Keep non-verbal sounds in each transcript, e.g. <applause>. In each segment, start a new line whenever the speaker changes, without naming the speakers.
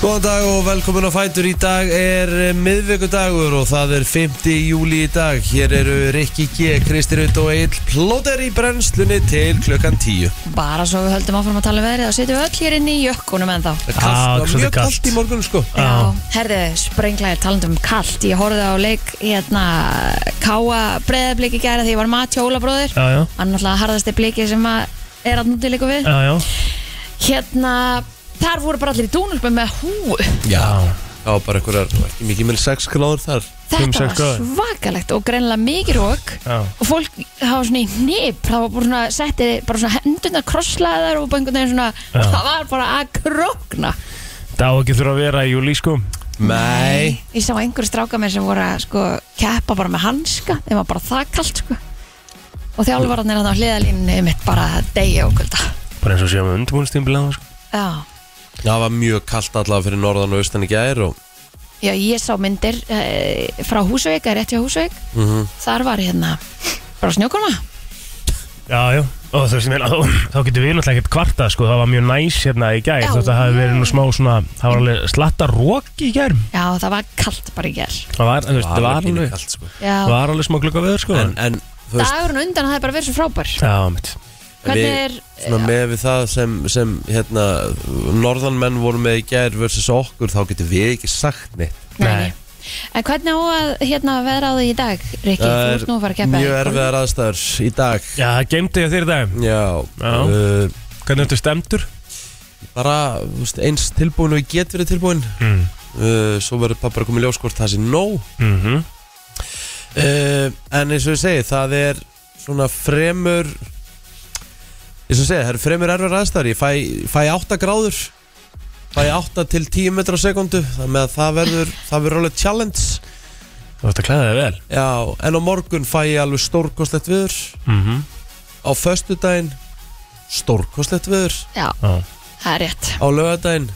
Góðan dag og velkomin á Fætur í dag er eh, miðvikudagur og það er 5. júli í dag Hér eru Rikki G, Kristi Rutt og Egil Plóter í brennslunni til klukkan 10
Bara svo við höldum áfram að tala um veðrið þá sitjum við öll hér inn í jökkunum ennþá
Það er
Ah,
kalt, það var
svolítið
mjög
kalt.
kalt í morgun sko
Já, herðu, sprenglaðir talandum um kalt Ég horfði á leik hérna Káa breyðabliki gæra því ég var mat hjólabróðir
Já, já,
Hann náttúrulega harðasti bliki sem að er að núti líka við
já, já.
Hérna, þar voru bara allir í dúnulpum með hú
Já, já bara einhverjar, ekki mikið með 6 gráður þar
Fimm,
Þetta
sex
var
gráður.
svakalegt og greinlega mikið rók
Já.
og fólk hafa svona í hnip það var bara svona, setti bara svona hendurnar krosslaðar og bara einhvern veginn svona
Já.
<laughs> það var bara að krokna
Það á ekki þurfa að vera í júli sko
Nei
Ég sá einhverju stráka mér sem voru að sko, keppa bara með hanska, þeim var bara það kalt sko. og þjálfararnir hann á hliðalínni mitt bara degi og kvölda
Bara eins og séum við undirbúinnstímbil á sko.
Já,
Það var mjög kalt allavega fyrir norðan og austan í gær og
Já ég sá myndir eh, frá Húsavík, eða rétt hjá Húsavík
Mhm.
þar var hérna bara snjókorma
Já, já Og þú veist, ég meina, þá- þá getur við náttúrulega ekkert kvarta sko. Það var mjög næs hérna í gær
Já,
Þótt að það hafi
já.
verið nú smá svona Það var alveg slatta rók í gær
Já, það var kalt bara í gerð
Það var, þú veist, það var
pínu
alveg
kalt sko
Já,
Það var alveg smá glugga veður sko
En, en þú veist,
dagurinn á undan það er bara verið svo frábær
Já, mitt
Hvernig
við-
er,
svona með við það sem, sem hérna, norðanmenn voru með í gær versus okkur, þá getum við ekki sagt neitt
nei. En hvernig á að hérna vera á því í dag, Rikki? Þú ert nú að fara að keppa
mjög erfiðar aðstæður í dag
Já, það gemdi ég þér í dag
Já,
Já.
Uh,
Hvernig ertu stemdur?
bara þú veist, eins tilbúin og ég get verið tilbúin
Mm.
uh, Svo verður bara komið ljós hvort það sé nóg
Mm -hmm. Hm?
uh, En eins og ég segi, það er svona fremur Eins og ég segi, það er fremur erfiðar aðstæður Ég fæ, fæ 8 gráður Fæ 8 til 10 metra á sekundu Þannig að það verður, það verður alveg challenge
Þú ætti að klæða þig vel
Já, en á morgun fæ ég alveg stórkostlegt viður
mm -hmm.
Á föstudaginn stórkostlegt viður
Já,
Já,
það er rétt
á lögadaginn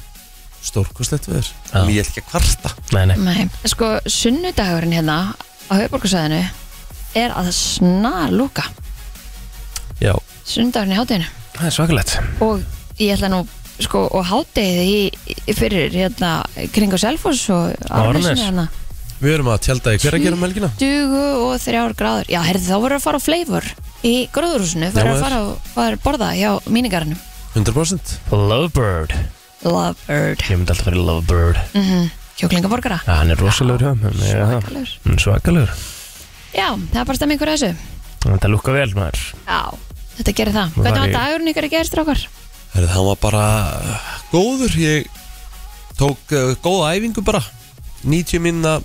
stórkostlegt við
Já.
þér ég ætla ekki að kvarta
nei, nei
Nei, sko sunnudagurinn hérna á höfuborgarsæðinu er að snar lúka
já,
sunnudagurinn í hátteginu
Það er svakalegt
og ég ætla nú sko og háttegið í, í fyrir hérna kringu Selfoss og
Árnes.
Árnesinu hérna
við erum að tjálta í hver að gera um helgina
dugu og þrjár gráður já, herði þá voru að fara á fleifur í gróðurhúsinu
Já,
fyrir
maður.
að fara og fara að borða hjá mínigarnum
100%
Lovebird
Lovebird
Ég myndi alltaf fara í Lovebird
mm kjóklingaborgara
Já, hann er rosalegur hjá mér, ég er það.
Svakalegur.
Mm, Svakalegur
já, það er bara stemmingur þessu
Þetta lukka vel maður
já, þetta gerir það
Nú
hvernig
var
var
ég-
dagurinn ykkur að gerast rákar?
Herri, það var bara uh, góður ég tók uh, góða æfingu bara 90 minna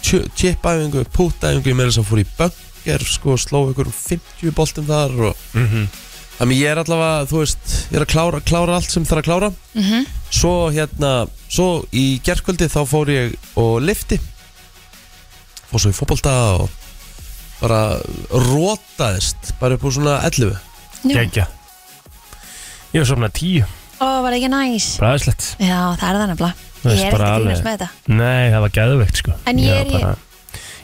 chip-æfingu, pút-æfingu ég meira sem fór í bönger sko, sló ykkur 50 boltum þar og...
mm -hmm.
þannig ég er allavega, þú veist ég er að klára, klára allt sem þarf að klára
mhm
svo hérna, svo í gerkvöldi þá fór ég og lifti og svo í fótbolta og bara rótaðist bara upp úr svona 11
Jú.
Gekja Ég var sofnað tíu,
Ó, var það ekki næs?
bræðislegt
Já, það er það nefnilega
Það
Ég
er
er
bara
ekki
alveg-
fínast með þetta
Nei, það var gæðveikt sko
En ég er
var bara,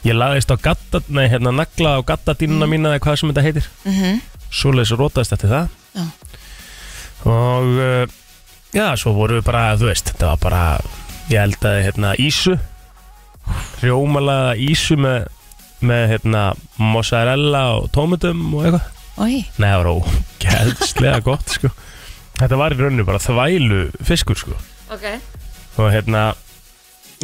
Ég laðist á gatta, nei hérna nagla á gattadínuna
Mhm.
mína eða hvað sem þetta heitir
mm
Svoleiðis rótaðist eftir það
Já.
Og uh, já, svo vorum við bara, þú veist, þetta var bara Ég eldaði hérna ísu Rjómalaða ísu með, með hérna mozzarella og tómutum og eitthvað
Ói,
Nei, það var ógeðslega gott sko. Þetta var í rauninu bara þvælu fiskur sko.
ok
og hérna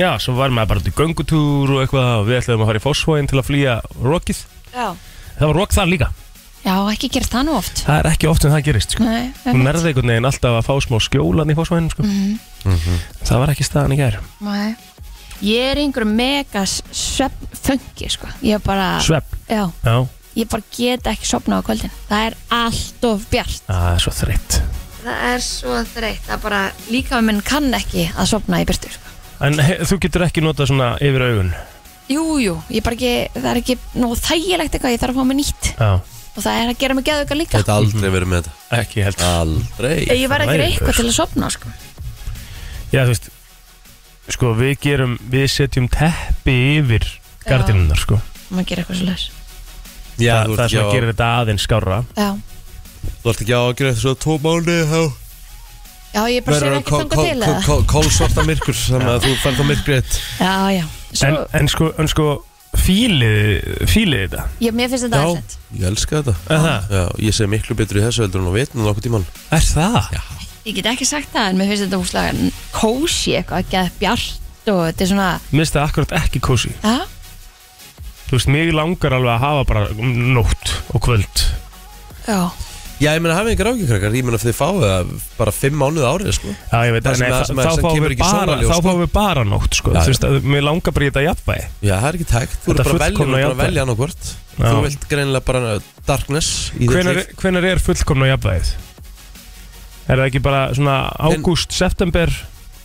já, svo var maður bara út í göngutúr og eitthvað og við ætlaðum að fara í fósfóin til að flýja rokið,
Já,
það var rok þar líka
Mm. Já ekki gerst það nú oft
það er ekki oft en það gerist sko.
Nei,
hún nærði einhvern veginn alltaf að fá smá skjólan í fósfóin sko.
Mhm.
það var ekki staðan í gær
Nei. Ég er einhver megas sveppfengi, sko Ég er bara,
svepp,
já,
já,
ég bara get ekki sopnað á kvöldin Það er allt of bjart
Ah, það er svo þreytt
Það er svo þreytt Það bara, líka minn kann ekki að sopna í byrtu, sko
en he, þú getur ekki notað svona yfir augun
Jú, jú, ég bara ekki, það er ekki nóg þægilegt eitthvað, ég þarf að fá mér nýtt
já,
og það er að gera mig geðuga líka
þetta aldrei verið með þetta
ekki held
aldrei
Ég verð ekki
það væri
eitthvað
eitthvað.
til að sopna, sko
já, þú veist sko, við gerum, við setjum teppi yfir
Já.
gardinunar sko.
maður gerir eitthvað svolítið
já,
það,
þú
það
ert
er svona að
ekki á-
gera þetta aðeins skára
Já,
þú ert ekki á að gera þetta svo tvo mánu þá
Já, ég bara segir ekki þangað til eða?
Kólsvarta myrkur Þannig að þú færð á myrkrið þitt.
Já, já. <laughs> Svo,
en, en sko, en sko fílið, fílið þetta
ég, mér finnst þetta
Já,
aðeins.
ég elska þetta
Er það?
Já, ég segi miklu betur í þessu heldur en á vitnum okkur tíman
Er það? Já.
Ég get ekki sagt það, en mér finnst þetta húslega kósi eitthvað, ekki að bjart og þetta er svona,
Mér finnst það akkurat ekki kósi
já,
Þú veist, mig langar alveg að hafa bara nótt og kvöld
já,
Já, ég meina, hafið ykkur ákjökrakkar, ég meina fyrir þið fáið það bara fimm mánuð árið, sko
Já, ég veit
Það
að,
sem
nei,
að-
það,
sem að-
þá
sem
fáum
kemur
við
ekki
bara,
sólarljós,
þá
sko.
fáum við bara nótt, sko,
Já,
þú
já.
veist, að mér langar bara í þetta jafnvægi.
Já, það er ekki tækt, þú
Þetta
er bara að velja og bara
fullkomna
að
jafnvægi.
velja hann okkur
Já.
Þú vilt greinilega bara uh, darkness í þitt
Hvenar,
líf
hvenar er fullkomna jafnvægið? Er það ekki bara svona
En-
ágúst, september,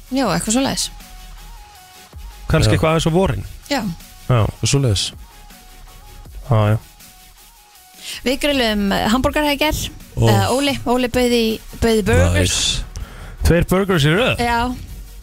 já, eitthvað svo leiðis.
kannski
Já.
eitthvað aðeins á vorin?
Já.
Já,
Svoleiðis
já, já.
Við grillum hambúrgarhækjar,
Ó.
oh. uh, Óli, Óli bauði, bauði burgers.
Nice.
Tveir burgers í röð?
Já,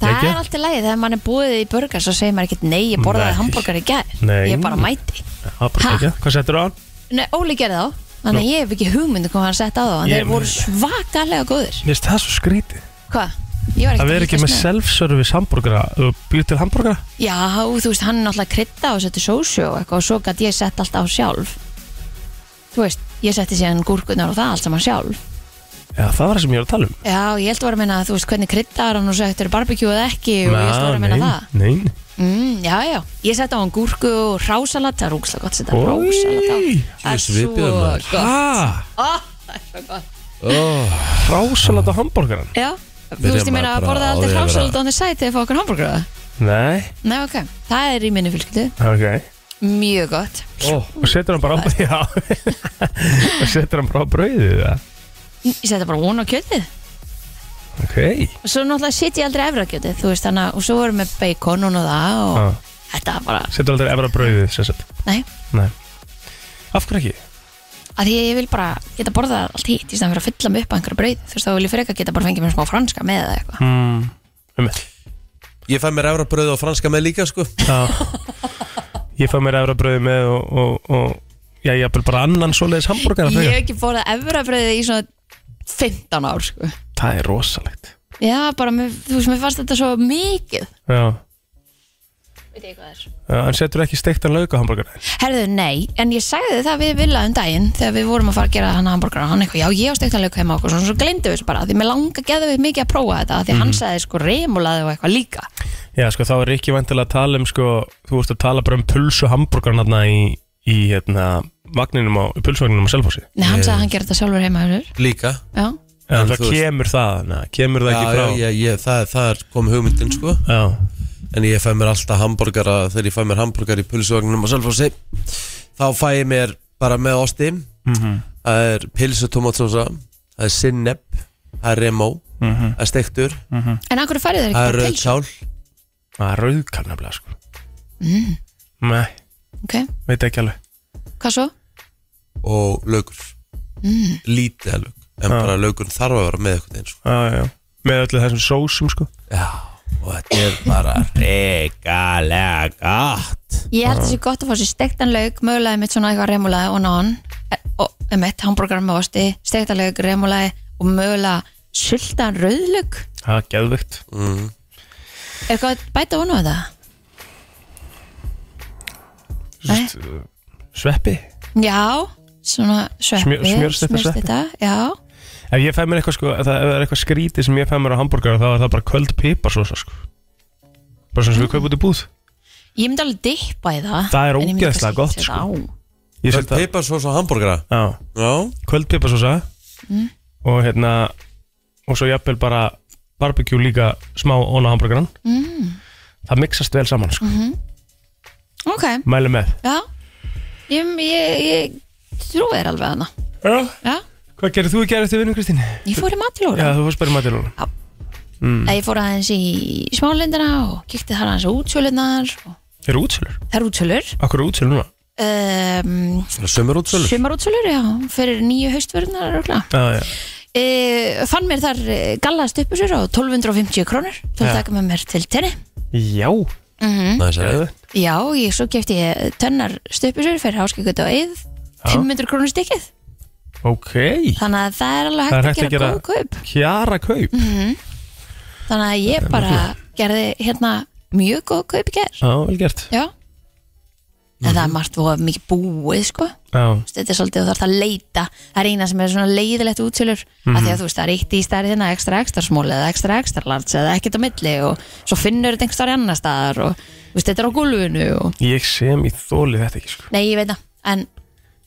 það
Ekki?
er alltaf lægið þegar mann er búið í burger svo segir maður ekkert nei, ég borðaði
Nei.
hambúrgar í gær
Nei.
ég bara mæti
Já, bara
Ha?
ekki. Hvað settur á hann?
Nei, Óli gerði þá, þannig að ég hef ekki hugmyndu hvað hann sett á þá, en
Ég
þeir voru
meina-
svakalega góður
Mér finnst það svo skrítið.
Hvað? Ég var
Það
að
verður ekki með
fylgjast
self-service hambúrgara. Þú býr til hambúrgara?
Já, þú veist, hann er náttúrulega krydda og setti sósu og eitthvað og svo gæti ég sett allt á sjálf Þú veist, ég setti síðan gúrkunar og það allt saman sjálf
Já, það var það sem ég var að tala um.
Já, ég held að vera að minna, þú veist, hvernig kryddaðar hann og svo eftir barbekjú eða ekki og ég held að vera að minna það
Nein,
Mm, já, já, ég seti á hann gúrku og rásalat, það er rúkslega gott að setja rásalat á
nein.
Það er
Jú, svipiða
svo
maður.
gott
Ah,
Ó, Það er svo gott
oh,
rásalat á hambúrgaran?
Já, þú
Byrja
veist ég meina
maður
að
bara
borða
á því
aldrei
að vera-
rásalat á þeir sæti eða fá okkur hambúrgráða
Nei,
Nei, ok, það er í minni fylgdu
Ah, ok.
Mjög gott
oh.
Og setur hann bara á Já Og <laughs> setur hann bara á brauðið það
Ég setja bara von á kjötið
Ok
Og svo náttúrulega setja ég aldrei efra kjötið, þú veist þannig að Og svo voru með bacon og það og
ah.
Þetta var bara,
Setur aldrei efra á brauðið sem sagt
nei
Nei Af hverju ekki?
að því ég vil bara geta borðað allt hitt í stæðan fyrir að fylla mig upp á einhverju brauð þú veist þá vil ég fyrir ekki geta bara fengið mér smá franska með eða eitthvað
Mm Um
Ég fæ mér efrabröð og franska með líka, sko
Já Ég fæ mér efra á brauðið með og, og, og Já, ég hafði bara annan svoleiðis hambúrgar
Ég hef ekki borðað efrabröðið í svona 15 ár sko.
Það er rosalegt
Já, bara, mér, þú veist, mér fannst þetta svo mikið
Já
Veit ég hvað það er
Já, En setur ekki steiktan lauk á hambúrgarinn
Herðu, nei, en ég sagði það við Villa um daginn þegar við vorum að fara að gera hann hamburgara hann eitthvað, já, ég á steiktanleik heima okkur svona, svo gleymdu við þessu bara, því mér langa geðu við mikið að prófa þetta því hann sagði sko remulaði og eitthvað líka
Já, sko, þá er ekki vantilega að tala um sko Þú vorst að tala bara um pulsu hambúrgarinn Þarna í, í hérna Vagninum á, pulsvagninum á Selfossi
Nei, hann
Ég-
sagði að hann gerði þetta sjálfur heima hefur
Líka
Já,
En
En
það
þú veist-
kemur það, na, kemur það ekki
Já,
frá
já, já, ég, það, er- það er kom hugmyndin, sko
já.
En ég fæ mér alltaf hambúrgara Þegar ég fæ mér hambúrgara í pulsuvagninum og selfósi Þá fæ ég mér bara með osti
Mhm.
Það er pilsu tomatsósa Það er sinneb Það er remó
Mhm.
Það er steiktur
en akkur færið þeir ekki
Það er
bara
rauð
pilsu
kjál
Það er rauðkál nefnilega sko Nei,
Mm, Ok,
veit ekki alveg
hvað svo?
og laukur
Mm.
Lítið að lauk En
Já.
bara laukur þarf að vera með sko. eitthvað eins
já, já, já. Með öllu þessum sósum sko
Já, og þetta er bara regalega gott
Ég held þessi gott að fá sér steiktan lauk, mögulega mitt svona eitthvað remulaði og nán og mitt hambúrgar með osti, steiktan lauk, remulaði og mögulega sultan rauðlauk
Það er geðvikt
mm.
Er eitthvað að bæta vonu á þetta?
Sveppi
Já, svona sveppi
Smjör- smjörsteypta sveppi.
Já,
Ef ég fæ mér eitthvað sko, ef það ef það er eitthvað skrítið sem ég fæ mér á hambúrgar þá er það bara köld piparsósa sko Bara svona sem við kaupum út í búð
ég myndi alveg dippa í það
Það er
Ah, en ég myndi
ógeðslega
kannski
gott,
setja
sko.
á.
Ég set
Sveit
það,
piparsós og hambúrgara
já,
Já,
köld piparsósa
Mm.
Og hérna Og svo jafnvel bara barbecue líka smá óna hambúrgaran mm. Það mixast vel saman sko
Mhm. Ok,
Mæli með
já Ég, ég, ég trúi þér alveg hana
Já
Já,
Hvað gerir þú í gerð eftir vinnu, Kristín?
ég fór í matilóra
Já, þú fórst bara í matilóna.
Ég fór aðeins í smálindina og kíkti þar aðeins á útsölunar og
Eru útsölur?
Það eru útsölur
Akkur eru útsölur núna?
um,
það er sömur útsölu
Sumarútsölur, já Fyrir nýju haustvörunar
Já, já.
e, Fann mér þar gallast uppur sér á 1250 krónur Þú
Já.
taka með mér til tenni
Já,
Mhm.
Næs að
gerðu.
Já, ég, svo gefti ég tönnar stupursur fyrir háskikut og eið 500 krónur stikkið
Ok.
Þannig að það er alveg
Það
hægt,
er hægt að
að gera
gera-
góð kaup Mhm.
Kjara kaup.
þannig að ég bara gerði hérna mjög góð kaup í ger
Já, vel gert
já en það er margt og mikið búið sko
Já,
Þú veist, þetta er svolítið og þarf það að leita það er eina sem er svona leiðilegt útsölur af
Mhm.
því að þú veist, það er eitt í hérna, stærðina ekstra ekstra smól eða ekstra ekstra lands eða ekkert á milli og svo finnur þetta einhver starf annar staðar og þú veist, þetta er á gólfinu og...
ég sem í þóli þetta ekki sko
nei, ég veit það, en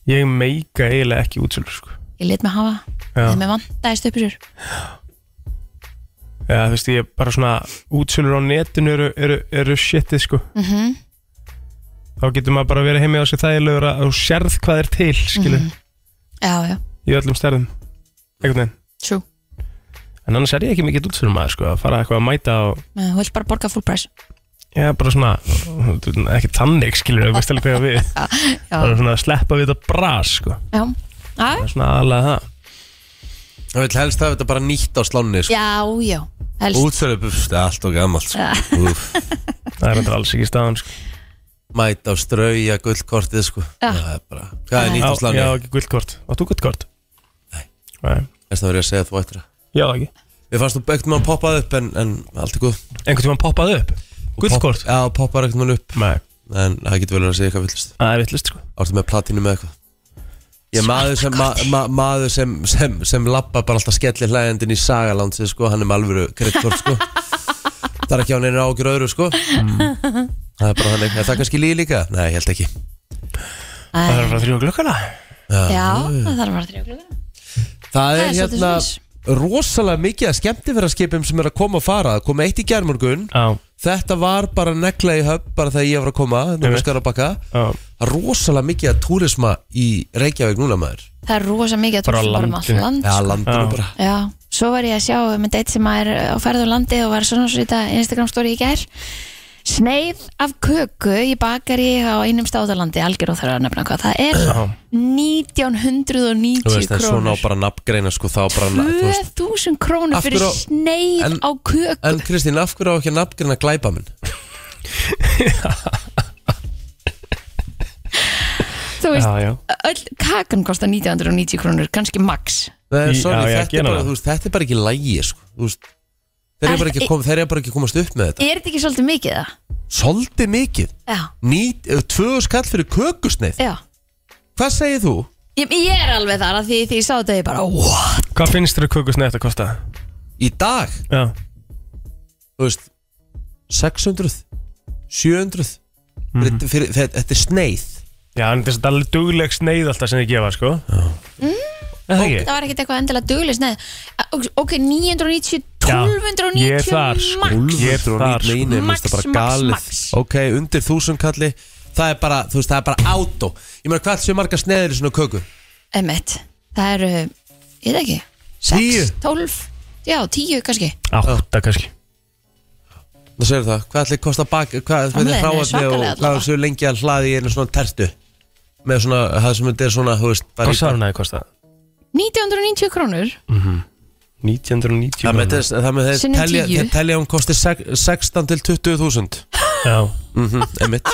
Ég meika eiginlega ekki útsölu sko
ég let mig hafa
Já.
þegar mér vantaðist upp í sér
Já, þú veist, ég er bara svona útsölur á netinu eru, eru, eru shitið sko
mm
Þá getur maður bara verið heimi á sér þægilegur að þú sérð hvað er til, skilu
Mhm. já, já,
Í öllum stærðum Einhvern veginn
true
En annars er ég ekki mikið útsölum maður sko Að fara eitthvað að mæta og
Men þú vilt bara borga full price
Já, bara svona þú veist, Ekki tannig, skilu, þú veist alveg hvað ég á við
<laughs> já,
Mm.
Bara svona að sleppa við þetta bras sko
já, já,
Það er svona aðalega það
Það vil helst hafa þetta bara nýtt á slánni sko.
já, já. helst
Útsölu, buff, það er allt og gammalt sko.
Já.
Úff,
Það er þetta alls ekki staðan sko
Mæta á strauja gullkortið sko.
Já.
Það er bara, hvað er nýtt á
Já,
slánni?
já, ekki guldkort Áttu guldkort? Nei
Þess að verið að segja að þú ættir það
Já, ekki
Við fannst þú ekkert mann poppað upp en, en allt er góð
Einhvern tímann poppaði upp Guldkort?
Popp- Já, poppar ekkert mann upp
Nei
En það getur vel verið að segja eitthvað villist
Það er vittlist sko
Ártu með platinu með eitthvað Ég er maður sem, ma, ma, maður sem, sem, sem lappa bara alltaf skellir hlægjandinn í sagalandsið sko, hann er með alvöru kreddkort sko Það er ekki á neina ágjur öðru sko Það er bara þannig, er það kannski líð líka? Nei, ég held ekki
Æ,
Það þarf að fara þrjóða klukkana
já, það þarf að fara þrjókluguna
Það er
Það er svolítið
hérna
svoleiðis.
rosalega mikið að skemmtifæraskipum sem er að koma og fara, það kom eitt í germorgun
Já,
Þetta var bara negla í höfn bara þegar ég var að koma, nú
Einmitt.
við skar að bakka
já
Rosalega mikið að túrisma í Reykjavík núna maður
það er rosa mikið að
Bara
túlsum bara um allt
landinu.
land
Já, landinu
Já.
bara
já, svo var ég að sjá með deitt sem er á ferð og landi og var svona svo þetta Instagram story í gær sneið af köku í bakari á einum stáðalandi, algjör og þarf að nefna hvað það er
Já,
1990
Þú veist, en svona á
krónur
bara nafngreina sko þá bara na- þú veist.
2000 krónur
Af
fyrir
hverju á-
sneið
en-
á köku
En Kristín, af hverju á ekki að nafngreina glæpa minn?
þú veist,
já, já
öll kakan kostar 1990 krónur, kannski max
Nei,
Í-
sorry,
já, já,
þetta, er
gera
bara,
það.
þú veist, þetta er bara ekki lægi sko. Þú veist, þeir
Er-
eru bara ekki, að kom, er bara ekki að komast upp með þetta
er þetta ekki svolítið mikið það?
Svolítið mikið
já,
Nít, eh, Tvö skall fyrir kökusneið
já
Hvað segir þú?
Ég, ég er alveg þar að því því ég sá þetta ég bara what?
Hvað finnst þér að kökusneið þetta kosta?
Í dag,
Já
þú veist 600 700 fyrir, fyrir, fyrir, Þetta er sneið
Mhm. Já, en þetta er alveg dugleg sneið alltaf sem þið gefa sko Já Er það ekki?
Það var ekkert eitthvað endilega duglis neð Ok, 990,
Já,
1290
ég er þar, sko.
max.
Ég er þar, sko.
Nei, nei,
Max,
minnst það bara
max,
galið
max.
Ok, undir þúsund kalli Það er bara, þú veist, það er bara átó Ég meina, hvað séu margar sneiðir í svona köku?
Einmitt. Það eru, ég veit ekki 6,
Tíu.
12, já 10 kannski
Átta kannski
Það segir það, hvað ætli kosta bak hvað
Framleiðin
hvað
er
er hráefni
svakaleg
og hvað
allavega.
þessu lengi að hlaði í einu svona tertu með svona, það sem þetta er svona, þú veist bara
Hvað
í-
sagði hún að það kosta?
1990 krónur
Mhm. 1990
Það með þess, það með þess,
Sinnum
telja,
tíu.
þeir telja hún kosti sek- 16 til 20.000
Já
Mhm, einmitt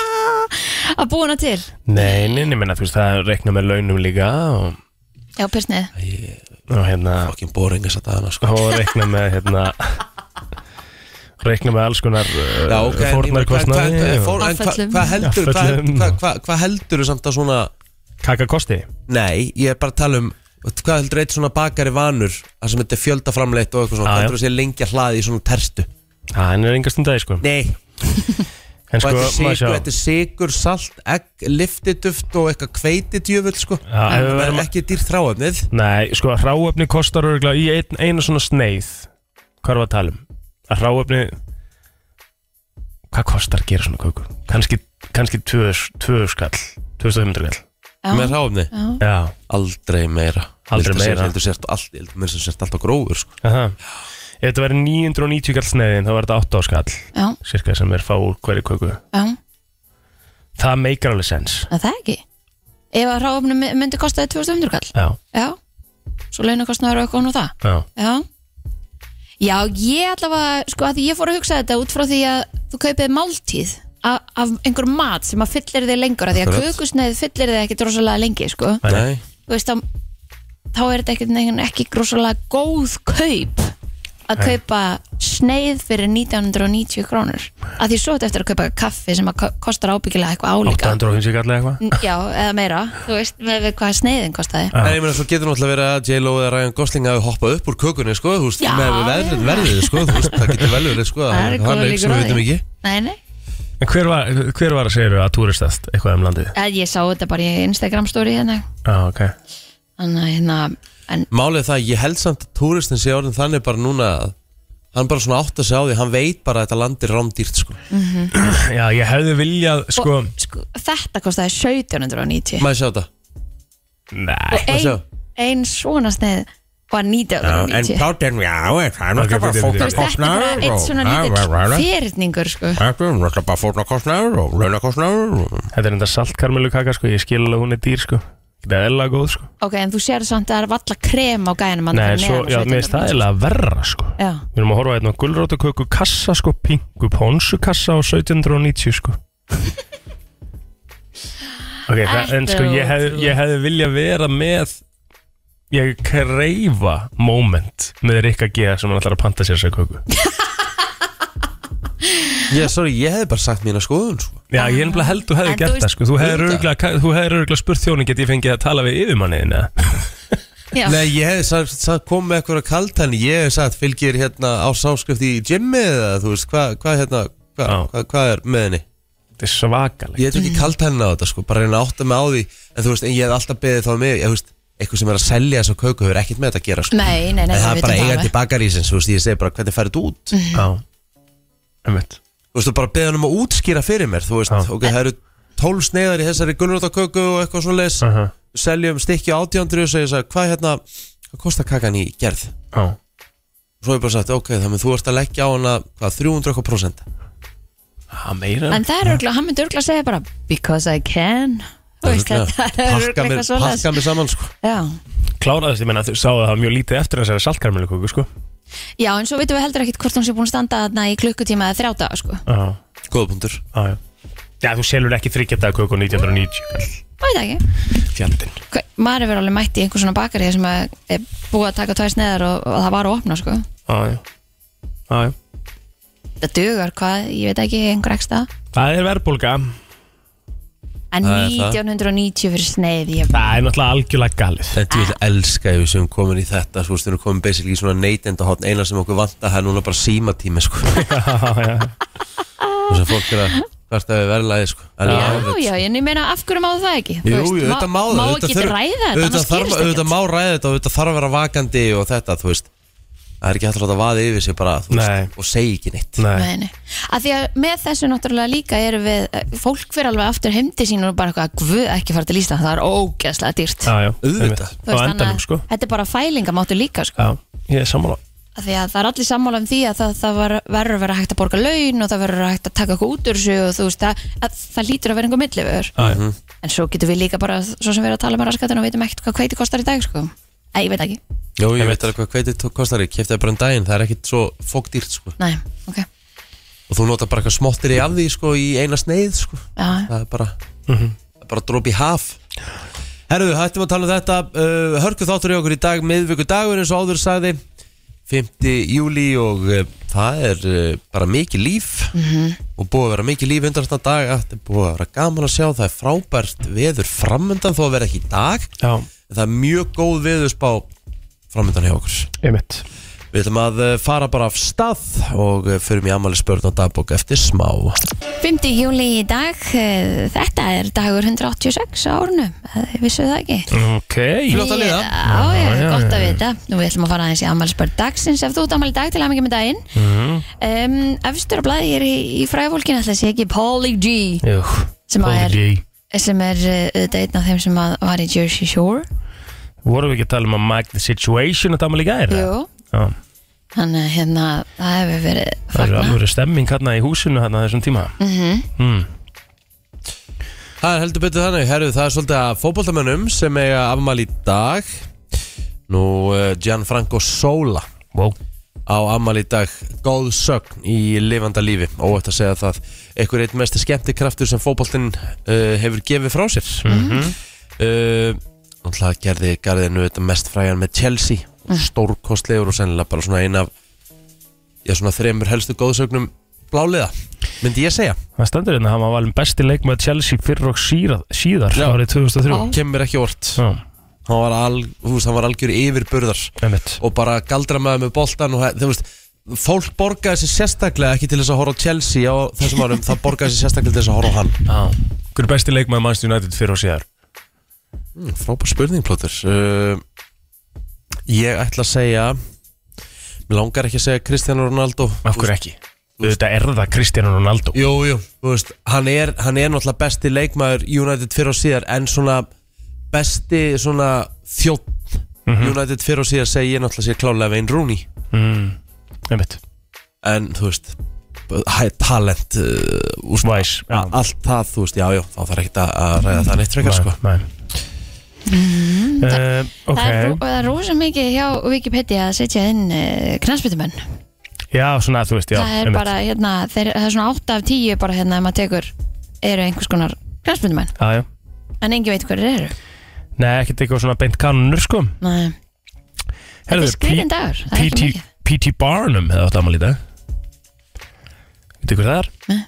að búa hana til
Nei, nei, nei, menna, þú veist, það reikna með launum líka og,
Já, pyrsnið
og hérna
Fucking boring þess að dagana, sko
og reikna með hérna reikna með alls konar uh,
Já, ok, en ég meina, hvað-
fórnarkostnaði
hvað-
og-
fór- en hvað-
Afföllum.
Hvað heldur, hvað
Afföllum.
hvað- hvað- hvað heldur samt að svona
Kaka kosti
Nei, ég er bara að tala um Hvað heldur eitt svona bakari vanur Það sem þetta er fjöldaframleitt og eitthvað svona Hvað
Ah, Já, já.
heldur að sé lengi að hlaði í svona tertu
Það er enga stundið sko
Nei,
<laughs> En
Og
sko,
þetta er
maður
sigur,
sjá
þetta er sigur, salt, egg, liftiduft og eitthvað kveitidjöfull sko
Já, ef
Það
við
er
verðum-
ekki dýrt þráefnið
Nei, sko, hráöfni kostar örgulega í ein, einu svona sneið Hvað er að tala um? Að hráöfni Hvað kostar að gera svona köku? Kannski, kannski tvö, tvö skall 2500 skall
með hráefni
Já,
Aldrei meira
Aldrei
Viltu
meira.
sér, heldur sért allt, heldur mér sem sért alltaf grófur sko
aha Ef þetta verður 990 skall sneiðin þá verður þetta 8 skall
Já,
Cirka sem er fá úr hverju köku
já,
Það meikar alveg sens
en það ekki Ef að ráfnum myndi kostaði 2500 kall
Já,
Já, svo launakostnaður og eitthvað og það
já
Já Já, ég allavega, sko, að því ég fór að hugsa þetta út frá því að þú kaupið máltíð af, af einhver mat sem að fyllir þig lengur að því að
Akkurat.
kökusneið fyllir þig ekki drosalega lengi, sko
Nei.
Nei,
þú veist, þá, þá er þetta ekki, ekki drosalega góð kaup að kaupa sneið fyrir 1990 krónur að því svo ertu eftir að kaupa kaffi sem að ko- kostar ábyggilega eitthvað álíka
850 kallar eitthvað
N- já, eða meira, þú veist með við hvað sneiðin kostaði
Já.
En ég meina svo getur náttúrulega verið að J-Lo eða Ryan Gosling hafi hoppað upp úr kökunni sko, þú veist,
Já,
með verðið,
já.
verðið sko, þú veist, það getur vel verið sko,
Það eru
hann
góðar
leik
líkur
sem
á
við veitum
því.
ekki
nei, nei,
En hver var, hver var að segja þau að túristast eitthvað um landið?
eða ég sá þetta bara í Instagram story hérna
Já, ok
þannig að hérna, en
Málið er það, að ég held samt að túristin sé orðin þannig bara núna að hann bara svona átt að segja á því, hann veit bara að þetta landi rámdýrt sko,
Já, ég hefði viljað, sko
og, sko, þetta kostaði 1790
maður sjá þetta
Nei
og ein, ein svona sneið var 1990
Páttinn, já, það er náttúrulega bara
þú veist, þetta er bara
fórnarkostnaður
eitt
og
svona lítill fyrirningur sko
Þetta er náttúrulega bara fórnarkostnaður og launakostnaður og
Þetta er enda saltkarmelu kaka, sko Ég skil alveg hún er dýr, sko Þetta er eðla góð, sko
ok, en þú sér samt að það er valla krem á gænum hann
Nei,
fyrir
svo,
neðan og
já,
hérna, svo
mér
þetta
er
er
staðilega verra, sko
Já,
Við erum að horfa hérna á gulrótaköku kassa, sko Pingu pónsu kassa á 1790,
<laughs>
sko Ok, það, en sko ég hefði, ég hefði viljað vera með Ég kreifa moment með Rikka G sem hann ætlar að panta sér sér köku
Ég, sorry, ég hefði bara sagt mína skoðun sko.
Já, ég er nefnilega held þú hefði
En
gert
þú
það sko Þú hefði
auðvitað.
örgulega, þú hefði örgulega spurt þjóni Get ég fengið að tala við yfirmanniðin eða?
já.
Nei, ég hefði sagt, sagt kom með eitthvað kalt hann, ég hefði sagt fylgir hérna á sáskrift í gymmi eða þú veist, hvað hva, hérna, hva,
Já.
hva, hva er með henni?
Þetta er svakaleg
Ég hefði ekki kalt hann á þetta sko, bara reyna að átta mig á því, en þú veist, en ég hefði alltaf beðið þá um mig, ég þú veist, eitthvað sem er að selja þessa köku hefur ekkert með þetta að gera sko.
Nei, nei, nei,
en
við
það er
vitum
bara
það
eigandi
alveg.
bakarísins, þú veist, ég segi bara hvernig færið þú út?
Mhm.
Já, einmitt
Þú veist, og bara beðið hann um að útskýra fyrir mér, þú veist,
Já.
ok, það eru tólf sneiðar í þessari gulrótaköku og eitthvað svo leis,
uh -huh.
seljum stykki átjándur og segja, hvað hérna, hvað kostar kakan í gerð?
Já,
Svo hef ég bara sagt, ok, þannig að þú ert að leggja á hana hvað, 300 eitthvað prosent
Ha, meira
En það er örgulega, hann myndi örgulega segja bara Because I can Þú veist, Þetta er
Pakka
örgulega
mér,
eitthvað svoleiðis
pakka mér saman sko.
já.
Kláraðist, ég menna, þú sáðu það mjög lítið eftir þessari saltkarmelukóku, sko
já, en svo veitum við heldur ekkit hvort hún sé búin að standa þarna í klukkutíma eða þrjá daga sko.
Já,
Góða punktur
já, já Já, þú selur ekki þryggjabdaga köku 1990 kall.
Veit það ekki
Fjandinn
Hva- Maður hefur alveg mætt í einhver svona bakarið sem að er búið að taka tvær sneðar og, og það var að opna sko.
Já, já, já, já
Það dugar hvað, ég veit ekki, einhver ekstra
Það er verðbólga <laughs>
En
Það er það.
1990 fyrir sneið ég bara
Það er náttúrulega algjörlega galið
Þetta ég vil elska ef við sem komin í þetta Svo styrir komin basically í svona neytendahotn Eina sem okkur vanta, það er núna bara símatími sko.
<laughs> Já, já,
Þess að fólk er að hvert að við verðlaði sko. Það er
Já,
alveg-
já, en ég meina af hverju má það ekki Þú
Jú,
veist,
jú, auðvitað má það
Má
auðvitað
ekki
þurfa-
ræða þetta,
auðvitað
annars
þarf-
gerist
Auðvitað
ekkert
má ræða þetta, auðvitað þarf að vera vakandi og þetta, þú veist Það er ekki hægt að láta vaði yfir sig bara þú
Nei.
veist, og segja ekki neitt
nei,
Nei, nei. Að því að með þessu náttúrulega líka erum við, fólk fyrir alveg aftur heimdi sín og bara eitthvað, guð ekki fara til Ísland, það er ógeðslega dýrt.
já, já
Auðvitað.
einmitt.
Þú
Á
veist, þannig
endanum,
að
sko
Þetta er bara fælingamáttu líka, sko.
Já, ég er sammála
Að því að það er allir sammála um því að það, það var, verður að vera hægt að borga laun og það verður að hægt að taka eitthvað út úr þessu og þú veist, að, að það lítur að vera einhver millifur.
Ah, Já, já
En svo getur við líka bara, svo sem við erum að tala með raskatunum, veitum ekkert hvað hveiti kostar í dag, sko. Nei, ég veit ekki.
Jó, ég
Einmitt.
veit alveg hvað kveitið tó- kostar ég Kefti það bara um daginn, það er ekkit svo fókdýrt sko.
Nei, ok.
Og þú notar bara eitthvað smottir í af því sko, í eina sneið sko.
Já,
það er bara það er bara dropi haf Herðu, hættum að tala um þetta uh, Hörku þáttur í okkur í dag, miðvöku dagur eins og áður sagði 5. júli og uh, það er uh, bara mikið líf og búið að vera mikið líf undan þetta dag þetta er búið að vera gaman að sjá, það er frábært veður framöndan þó að vera ekki í dag
Já,
en það er mjög góð veðurspá framöndan hjá okkur
einmitt
Við ætlum að uh, fara bara af stað og uh, förum í amali spörn og dagbók eftir smá
5. júli í dag, eh, þetta er dagur 186 á árnu, vissu það ekki?
Ok
Flott að liða.
Já, já,
Já, já,
gott að
já.
vita Nú við ætlum að fara aðeins í ammælspörð dagsins Ef þú ert ammæli dag til aðmyggja með daginn
Mhm.
um, Efstur að blæði hér í, í fræfólkinu Ætla að sé ekki Polly G
Jú,
Sem að er-
G.
Sem er uh, auðvitað einn af þeim sem að var í Jersey Shore
Vorum við ekki að tala um að Mike the Situation að dama líka er?
Jú,
Já,
þannig að hérna það hefur verið
það er
fagna
alveg stemming hérna í húsinu hérna á þessum tíma Hmm,
Það er heldur betur þannig, herru, það er svolítið að fótboltamönnum sem eiga afmæli í dag Nú, eh, Gianfranco Sola
Wow
á afmæli í dag góð sögn í lifanda lífi óvægt að segja það, einhver eitt mest skemmtikraftur sem fótboltinn uh, hefur gefið frá sér mm
Mhm.
-hmm. gerði garðinu þetta mest fræjan með Chelsea mm. stórkostlegur og sennilega bara svona eina já, svona þremur helstu góðsögnum bláliða, myndi ég segja
Það stendur hérna, hann var valin besti leikmaður Chelsea fyrir og síra, síðar
Já.
árið 2003
kemur ekki vort
Já,
hann var, al, þú veist, hann var algjör yfirburðar
einmitt
og bara galdra með með boltan og það- þú veist, fólk borgaði sér sérstaklega ekki til þess að horfa á Chelsea á þessum árum, það borgaði sér sérstaklega til þess að horfa á hann
Já. Hver er besti leikmaður Manchester United fyrir og síðar?
Hmm, Frábær spurning, Plóter uh, Ég ætla að segja Mér langar ekki að segja Cristiano Ronaldo
Af hverju ekki? Þetta er það Cristiano Ronaldo
Jú, jú, þú veist Hann er, hann er náttúrulega besti leikmaður United fyrir og síðar En svona besti svona þjótt
Mhm.
United fyrir og síðar segi ég náttúrulega sér klálega Wayne Rooney
Hmm, Einmitt
En þú veist hæ, Talent uh, úst,
Weiss Já.
Allt það, þú veist, já, já Þá þarf ekki að að ræða það neitt frekar, sko
Nei, nei. Eh, Ok
Það er, ró- og það er rosa mikið hjá Wikipedia að setja inn uh, knarspitumenn
Já, svona þú veist, já
það er
einmitt.
bara, hérna, þeir, það er svona 8 af 10 bara hérna, ef maður tekur, eru einhvers konar knarspitumenn,
Já, já
en engin veit hverju eru
Nei, ekkert eitthvað svona beint kanunur, sko
Nei, þetta er
Herðu, P-
skrifin dagur það er ekki
P.T.
mikið
P.T. Barnum hefði átt afmæli í dag Veitu hver það er?
Nei.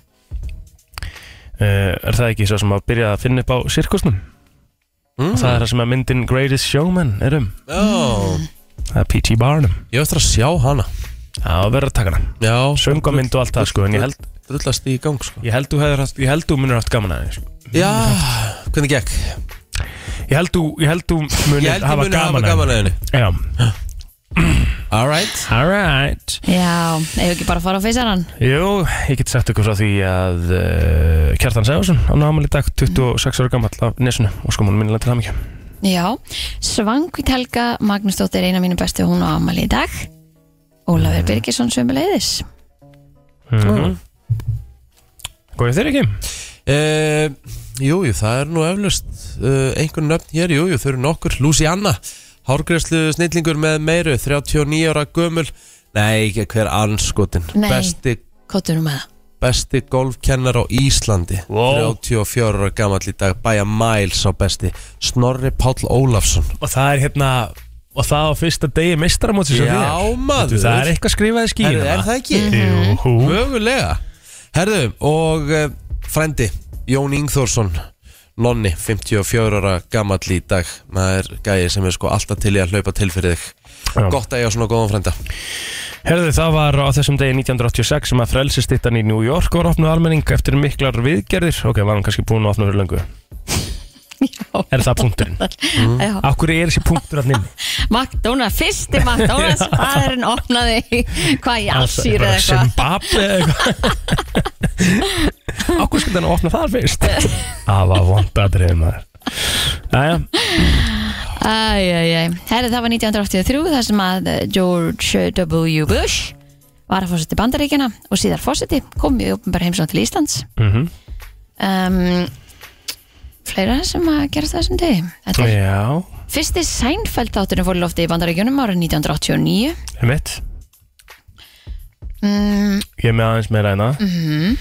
Eh, er það ekki svo sem að byrja að finna upp á sirkusnum?
Mm.
Það er það sem að myndin Greatest Showman er um
Já,
Það er P.T. Barnum
ég ætla að sjá hana
Já, verður að taka hana
Já,
Söngamind og allt það, sko En ég held,
drullast í gang, sko
ég held, þú, hefðir haft- ég held þú munir haft gaman að þið, sko
Já, hvernig gekk?
Ég held þú, ég held þú
Ég held
munir
ég
hafa
muni hafa
gaman að
gaman að henni
henni. Já,
Alright
alright
Já, ef ekki bara að fara á feysarann
Jú, ég get sagt ykkur frá því að uh, Kjartan Sæfarsson á námal í dag 26 ára gammal af nesunu og sko múnum minnilega til hamingju
Já, Svangvít Helga Magnúsdóttir, eina mínu bestu, hún á ammali í dag Ólafur Birgisson sömuleiðis
Mhm.
mm -hmm. Góðið þeir ekki?
Uh, jú, jú, það er nú eflust uh, einhvern nöfn hér, jú, jú, þau eru nokkur Luciana, hárgreðslu snillingur með meiru, 39 ára gömul Nei, ekki hver anskotin
Nei.
Besti,
Kottunum með það
besti golfkennar á Íslandi
Wow.
34 ára gamall í dag Bæja Miles á besti Snorri Páll Ólafsson
Og það er hérna, og það á fyrsta degi mestramóti
Já, maður.
Það er eitthvað skrifað í skýna
Herðu, er það ekki?
Mhm. Jú,
Mögulega Herðu, og uh, frendi Jón Ingþórsson Nonni, 54 ára gamall í dag maður gæði sem er sko alltaf til í að hlaupa til fyrir þig
Já.
Gott að ég á svona góðan frenda
Herðu, það var á þessum degi 1986 sem að frelsistittan í New York var opnuð almenning eftir miklar viðgerðir Ok, var hann kannski búin að opna fyrir löngu
Já, Mm.
Er það punkturinn?
já
Akkur er þessi punktur allir?
McDonalds, fyrsti McDonalds aðurinn opnaði <laughs> í- hvað í Alsýr eða eitthvað
Zimbabwe eða eitthvað
<laughs>
Ákveð skil þannig að opna þar fyrst
Eh.
Það var vond aðriðið maður Jæja,
Æjæjæj, herri það var 1983 þar sem að eh, George W. Bush var að fórseti bandaríkjana og síðar fórseti kom í uppenbar heimsókn til Íslands
Mhm.
um, Fleira sem að gerast á þessum degi Þetta er
já,
fyrsti Seinfeld þátturinn fór í lofti í bandaríkjunum árið 1989
um mitt
mm,
Ég er með aðeins meira hérna mm
Mhm.
-hmm.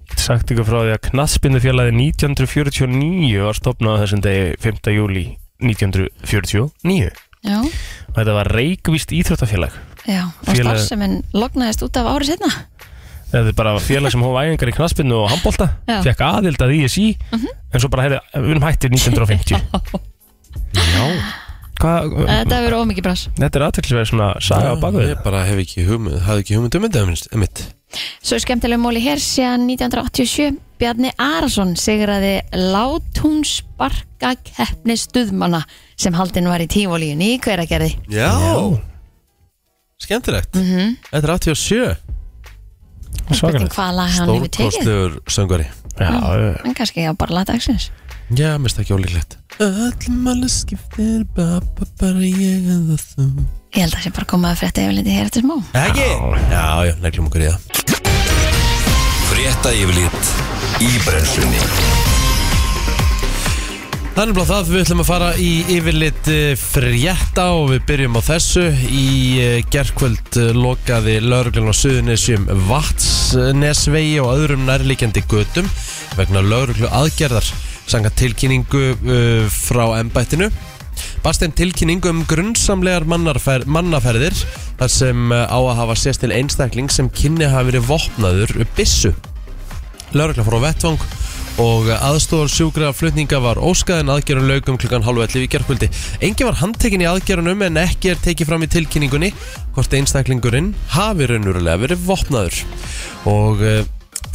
Ég get sagt ykkur frá því að knassbindu 1949 var stopnað á þessum degi 5. júli 1949
Já,
og þetta var Reykvist Íþróttafélag
já og
Félag-
starfseminn lognaðist út af árið setna
þetta er bara félag sem hófa æfingar í knassbindu og handbólta
Já.
fekk aðild að ISI en svo bara heyrðu, við erum hættir 1950
Já,
Hvað,
Eh, Þetta hefur ómikið brass
Þetta er aðteklisverð svona saga á baku
Ég bara hef ekki hugmynd, hafði ekki hugmynd um þetta emitt
Svo er skemmtileg móli hér síðan 1987 Bjarni Arason sigraði látúnsparka keppni stuðmanna sem haldin var í tífólíunni í hveragerði Mhm.
Já, skemmtilegt Þetta er 87
Spurning
Svakalegt
hvað lag hann hefur tekið
Stórkostur söngari
Já, já.
En kannski já, bara lag dagsins
Já, mist ekki ólíklegt Öllum alveg skiptir ba, ba, bara ég eða þú
Ég held að það sé bara komað að frétta yfirliti hér eftir smá
Ekki? Já, já, neglum okkur í það
Frétta yfirlit í brennslunni
Þannig blá það, við ætlum að fara í yfirlit eh, frétta og við byrjum á þessu Í eh, gerkvöld eh, lokaði lauruglun á suðunisjum Vatsnesvegi og öðrum nærlíkjandi götum vegna lauruglu aðgerðar sanga tilkynningu eh, frá embættinu Bast þeim tilkynningu um grunnsamlegar mannarfer, mannaferðir þar sem eh, á að hafa sést til einstakling sem kynni hafi verið vopnaður byssu. Lörgla fór á vettvang og aðstofar sjúkra flutninga var óskaðin aðgerun laugum um klukkan hálfu 11 í gerkvöldi. Engi var handtekinn í aðgerunum en ekki er tekið fram í tilkynningunni hvort einstaklingurinn hafi raunverulega verið vopnaður. Og eh,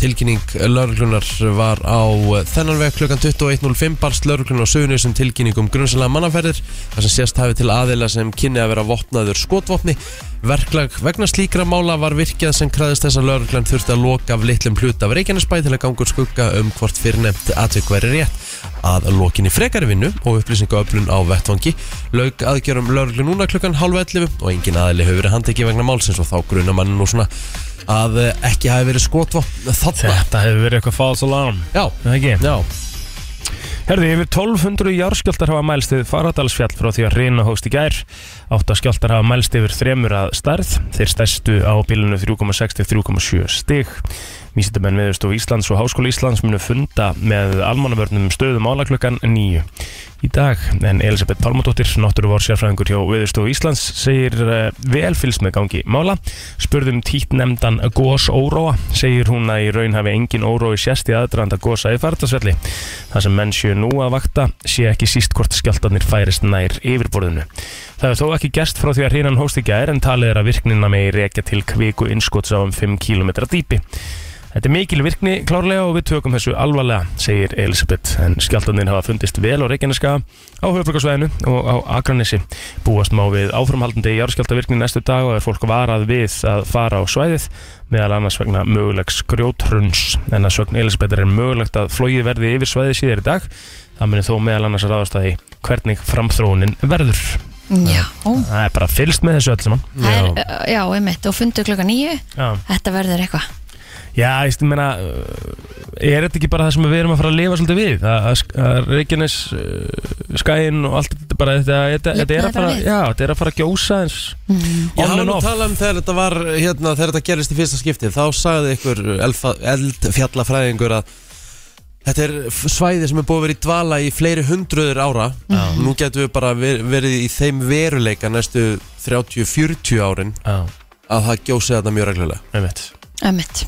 tilkynning lauruglunar var á eh, þennan veg klukkan 21.05 barst lauruglunar á sögunu sem tilkynning um grunnsalega mannaferðir þar sem sést hafi til aðila sem kynni að vera vopnaður skotvopni. Verklag vegna slíkra mála var virkjað sem kræðist þess að lauruglan þurfti að loka af litlum hluta af Reykjanesbæ til að ganga úr skugga um hvort fyrrnefnt atvik væri rétt að lokinni frekari vinnu og upplýsingaöflun á vettvangi lauk aðgjörum lauruglu núna klukkan halv 11 og engin aðili hefur verið handtekið vegna málsins og þá gruna mann nú svona að eh, ekki hafi verið skotvopn þarna
Þetta hefur verið eitthvað false alarm
Já,
Það ekki?
já,
Herði, yfir 1200 járskjáltar hafa mælst við Faradalsfjall frá því að reyna hóst í gær. Átta skjáltar hafa mælst yfir þremur að starð, þeir stærstu á bilinu 3,6-3,7 stig. Vísindamenn viðurstof Íslands og Háskóla Íslands munu funda með almannavörnum um stöðum álaklökan 9 í dag. En Elisabeth Pálmadóttir, náttúruvár sérfræðingur hjá Viðurstof Íslands, segir uh, vel fylgst með gangi mála. Spurðum títt nefndan gós óróa, segir hún að í raun hafi engin órói sérst í aðdraðanda gósa í Faradalsfjalli. Það sem menn séu nú að vakta sé ekki síst hvort skjáltarnir færist nær yfirborðinu. Það er þó ekki gerst frá því að hreinan hóst í gær en talið er að virknina megi rekja til kviku innskots á um 5 km dýpi. Þetta er mikil virkni klárlega og við tökum þessu alvarlega, segir Elisabeth, en skjáltarnir hafa fundist vel á Reykjaneska, á höfbrukarsvæðinu og á Akranesi. Búast má við áframhaldandi jarðskjáltavirkni næstu dag og er fólk varað við að fara á svæðið meðal annars vegna mögulegs grjótruns en að sögn Elisabethar er mögulegt að flóið verði yfir svæðið síðar í dag það muni þó meðal annars að ráðast að því hvernig framþróunin verður
Já,
það er bara fylst með þessu öll saman
Það er, uh, já, einmitt, og fundu klokka nýju
já,
Þetta verður eitthvað
já ég stu meina uh, er þetta ekki bara það sem við erum að fara að lifa svolítið við að, að, að Reykjanes uh, skæin og allt þetta bara þetta, þetta, þetta, er,
Lifnaði
að fara,
bara við. Mm.
já, þetta er að fara að gjósa eins
ég
on
hafa
and
nú
off
talað um þegar þetta var hérna, þegar þetta gerist í fyrsta skiptið, þá sagði ykkur elfa- eldfjallafræðingur að þetta er f- svæði sem er búið að vera í dvala í fleiri hundruður ára nú getum við bara ver- verið í þeim veruleika næstu 30-40 árin
já,
að það gjósi þetta mjög reglulega
einmitt
Ömmit.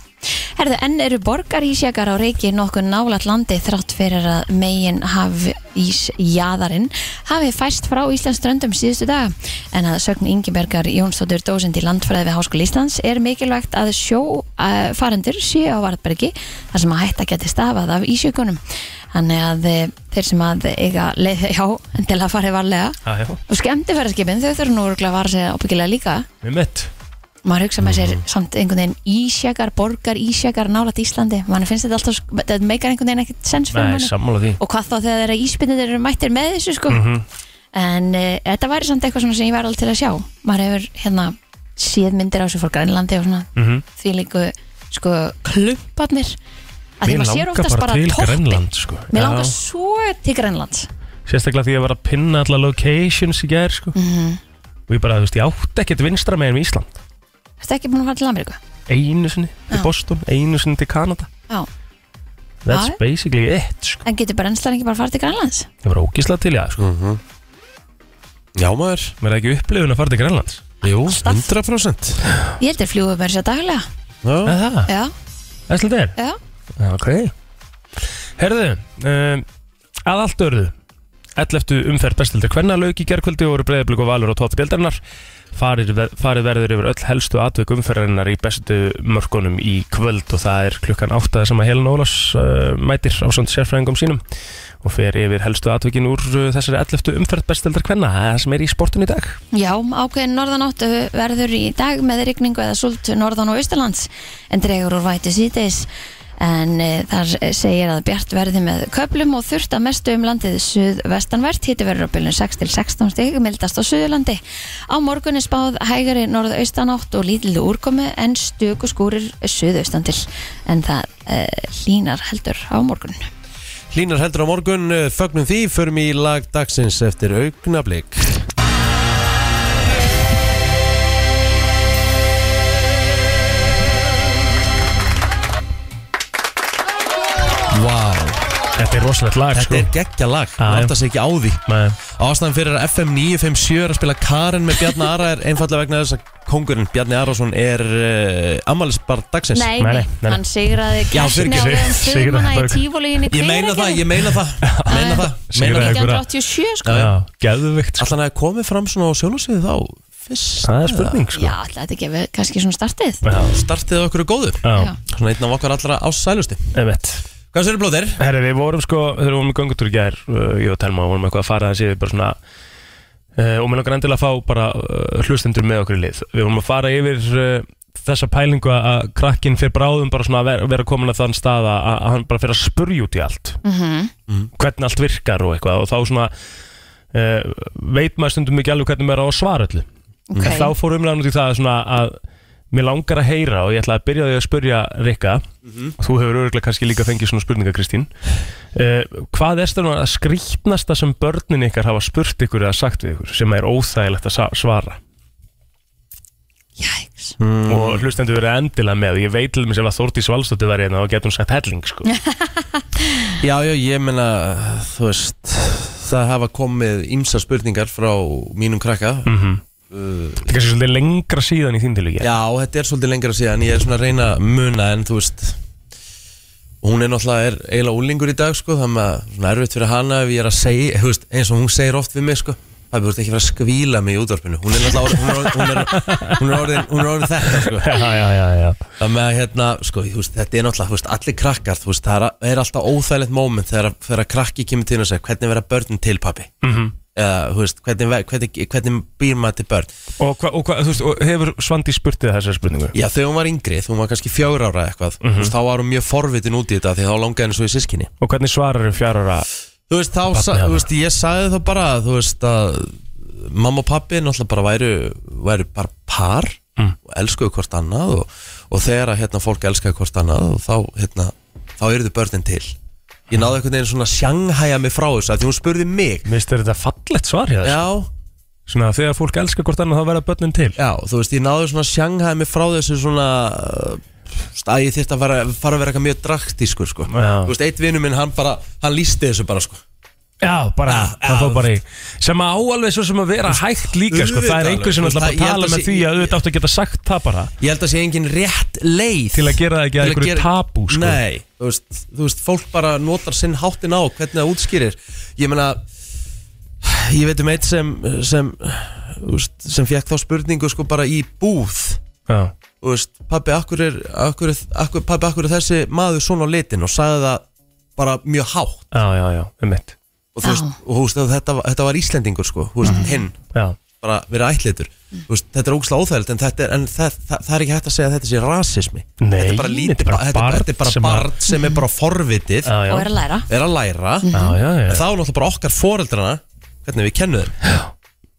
Herðu, enn eru borgarísjakar á reiki nokkuð nálat landi þrátt fyrir að megin hafi ísjaðarinn hafi fæst frá Íslands ströndum síðustu daga en að sögn Ingebergar Jónsdóttur dósind í landfræði við Háskóli Íslands er mikilvægt að sjófarendur séu á varðbergi þar sem að hætta geti stafað af ísjökunum þannig að eh, þeir sem að eiga leið hjá en til að fari varlega
já, já,
og skemmtifæraskipin þau þurfum nú örugglega að vara sig ábyggilega líka
einmitt
maður hugsa með sér
Mhm.
samt einhvern veginn ísjakar, borgar, ísjakar nálat Íslandi, mann finnst þetta alltaf sk- þetta meikar einhvern veginn ekkert sens fyrir
Nei,
manni
sammála því Mhm.
og hvað þá þegar þeirra íspinnir eru mættir með þessu sko en e, þetta væri samt eitthvað svona sem ég væri alveg til að sjá maður hefur hérna séð myndir á þessu frá Grænlandi og svona
mm -hmm.
því líku sko klumparnir að því maður sér oftast bara,
til
toppinn.
Grænland sko.
mér
Já.
langar svo til Grænlands
sérstaklega því að ég var að pinna alla locations í gær sko. og ég bara, þú veist, ég átti ekkert vinstra meginn við Ísland
Þetta ekki búin að fara til Ameríku
einu sinni til
Já.
Boston, einu sinni til Kanada
Já.
that's
Já.
basically it sko.
en getur brennslan ekki bara að fara til Grænlands
ég var ógislega til, já, sko.
Mhm. Já maður,
mér er ekki upplifun að fara til Grænlands
jú,
Alltaf.
100%
ég heldur fljúið mér sér daglega
Já.
það, það,
já,
það er slið þér
já,
ok herðu, um, að allt öðru 11. umferð bestildar hvenna lauk í gerkvöldi og voru breyðablík og valur á topp deildarinnar farið, farið verður yfir öll helstu atveg umferðarinnar í bestu mörkunum í kvöld og það er klukkan 8 þar sem að Helen Ólafs uh, mætir á svona sérfræðingum sínum og fer yfir helstu atvegin úr uh, þessari 11. umferð bestildar hvenna það er það sem er í sportun í dag
Já, ákveðin norðanáttu verður í dag með rigningu eða súlt norðan og austalands en dregur úr vætu síðdeis en e, þar segir að Bjart verði með köplum og þurft að mestu um landið suðvestanvert, hiti verður á bylun 6 til 16 stig, mildast á suðurlandi á morgun er spáð hægari norðaustanátt og lítill úrkomi en stöku skúrir suðaustan til en það e, hlínar heldur á morgun
Hlínar heldur á morgun, eh, fögnum því, förum í lag dagsins eftir augnablík Vá,
Þetta er er rosalegt lag
Þetta
sko
er geggja lag,
Já, já.
það átt að segja ekki á því
Nei.
Ástæðan fyrir að FM 957 er að spila Karen með Bjarni Ara er einfallega vegna þess að kongurinn Bjarni Arason er uh, ammælisbar dagsins
Nei,
Nei,
nei,
nei, nei.
hann sigraði
Já,
keppni á
fyrirgefðu,
vegum
sigraði
Stöðmanna í
bara-
tífólegin í
Ég meina það, ég meina það Meina það, meina
Sigraði
það
1987 sko
Já, geðvikt sko.
Alltaf hann hefði komið fram svona á sjónasviði þá Fyrst
Það er spurning sko
Já, alltaf þetta gefið kannski svona startið
Já,
Startið okkur góðu
já,
Já.
Svona einn af okkar allra ássælusti
emitt
Hvað sér blóðir?
Herri, við vorum sko, þegar við vorum í göngutúr í gær uh, ég og Telma, vorum eitthvað að fara þessi yfir bara svona uh, og mér langar endilega að fá bara uh, hlustendur með okkur í lið við vorum að fara yfir uh, þessa pælingu að- að krakkin fyrir bráðum bara svona að vera, vera komin að þann stað að, að hann bara fyrir að spurja út í allt
Mhm.
-hmm. hvernig allt virkar og eitthvað og þá svona uh, veit maður stundum ekki alveg hvernig maður á að svara öllu
Ok.
en þá fór umræðan út í það svona að mér langar að heyra og ég ætla að byrja á því að spurja Rikka
Mhm.
þú hefur örgulega kannski líka fengið svona spurninga Kristín uh, hvað er stærna að skrýtnasta sem börnin ykkar hafa spurt ykkur eða sagt við ykkur sem er óþægilegt að sa- svara
Jæks
Mm.
og hlustendur verið endilega með ég veit til mér sem að Þórti Svalstóttir var hérna og getur hún sagt helling
<laughs>
sko.
Já, já, ég meina, þú veist Það hafa komið ímsa spurningar frá mínum krakka Uh,
það Mhm. er kannski svolítið lengra síðan í þín til ekki
Já, þetta er svolítið lengra síðan Ég er svona að reyna að muna en þú veist Hún er náttúrulega er eiginlega úlingur í dag sko, þannig að svona erfitt fyrir hana ef ég er að segja, þú veist, eins og hún segir oft við mig sko, það búið ekki að fara að skvíla mig í útvarpinu hún er náttúrulega orðin- hún er orðin- hún er orðin- hún er orðin þetta sko.
<laughs> já, já, já, já.
Það með að hérna, sko, þú veist, þetta er náttúrulega, þú veist, allir krakkar, þú veist, það er, er alltaf óþægilegt moment þegar, að- þegar að krakki kemur til þín og segir, hvernig verða börnin til, pappi? -hmm.
Mhm.
Eða, þú veist, hvernig, ver- hvernig, hvernig býr maður til börn?
og, hva, og, hva, þú veist, og hefur Svandi spurt þið þessar spurningu Mhm.
Já, þegar hún var yngri, þegar hún var kannski fjögur ára eða eitthvað, þú veist, þá var hún mjög forvitin út í þetta því þá langaði henni svo í sískinni.
og hvernig svarar þið fjárara
Þú veist, þá, sa,
hana.
þú veist, ég sagði þá bara, að, þú veist, að mamma og pappi náttúrulega bara væru, væru bara par
Mm.
og elskuðu hvort annað og, og þegar að hérna fólk elskaði hvort annað og þá, hérna, þá eru þau börnin til. Ég náði einhvern veginn svona að sjanghæja mig frá þessu að því hún spurði mig.
Mér finnst þetta fallegt svar hjá þess
Já,
Svona að þegar fólk elskar hvort annað þá verða börnin til
já, þú veist, ég náði svona að sjanghæja mig frá þessu svona uh, að ég þyrfti að fara, fara að vera eitthvað mjög draktískur, sko.
Já.
Þú veist, eitt vinnu minn, hann bara, hann lísti þessu bara, sko.
Já, bara,
Ah,
það fór bara í Sem að á alveg svo sem að vera hægt líka sko. Það er
auðvitað
einhver sem
alveg,
alltaf bara
það- ég held
tala
að
með
sé-
því að auðvitað áttu að geta sagt það bara
Ég held að sé engin rétt leið
Til að gera það ekki að einhverju tabú, sko.
Nei, þú veist, þú veist, fólk bara notar sinn háttin á hvernig það útskýrir Ég meina, ég veit um eitt sem sem, þú veist, sem fekk þá spurningu sko bara í búð
Já,
Þú veist, pabbi, akkur er, akkur er, akkur, pabbi, akkur er þessi maður svona á litin og sagði það bara mjög hátt
já, já, já, um mitt
og þú veist,
Já. Mhm.
og, þú veist þetta, var- þetta var Íslendingur sko, þú veist, hinn
Já,
bara verið ætlitur
Mm.
Þú veist, þetta er ógslag óþægild en, þetta er, en það, það, það er ekki hægt að segja að þetta sé rasismi
Nei,
þetta er bara, lítið,
þetta er bara
þetta er bara, þetta er bara
barn sem
barn,
að- Mhm.
sem er bara forvitið
já, já
Og er að læra Mhm.
er að læra
Já, já,
en þá
já,
er náttúrulega bara okkar foreldrana hvernig við kennum þeim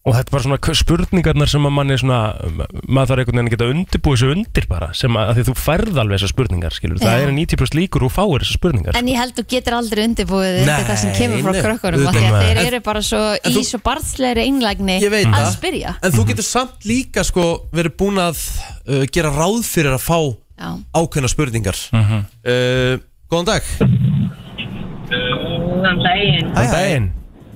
og þetta er bara svona k- spurningarnar sem að manni svona, um, maður þarf einhvern veginn að geta undirbúið þessu undir bara, sem að, að því þú færð alveg þessar spurningar, skilur,
Já.
það er 90% líkur og fáir þessar spurningar
En ég held þú getur aldrei undirbúið þig
Nei,
undir það sem kemur frá
nei,
krökkunum af
auðvitað
því að
ekki.
þeir
En-
eru bara svo í
þú-
svo barnslegri einlægni
Ég veit
að
það.
spyrja
en
Mhm.
þú getur samt líka sko verið búin að uh, gera ráð fyrir að fá
Já.
ákveðna spurningar
Mhm.
uh, góðan dag
Góðan daginn.
Hæ, hæ.
Daginn,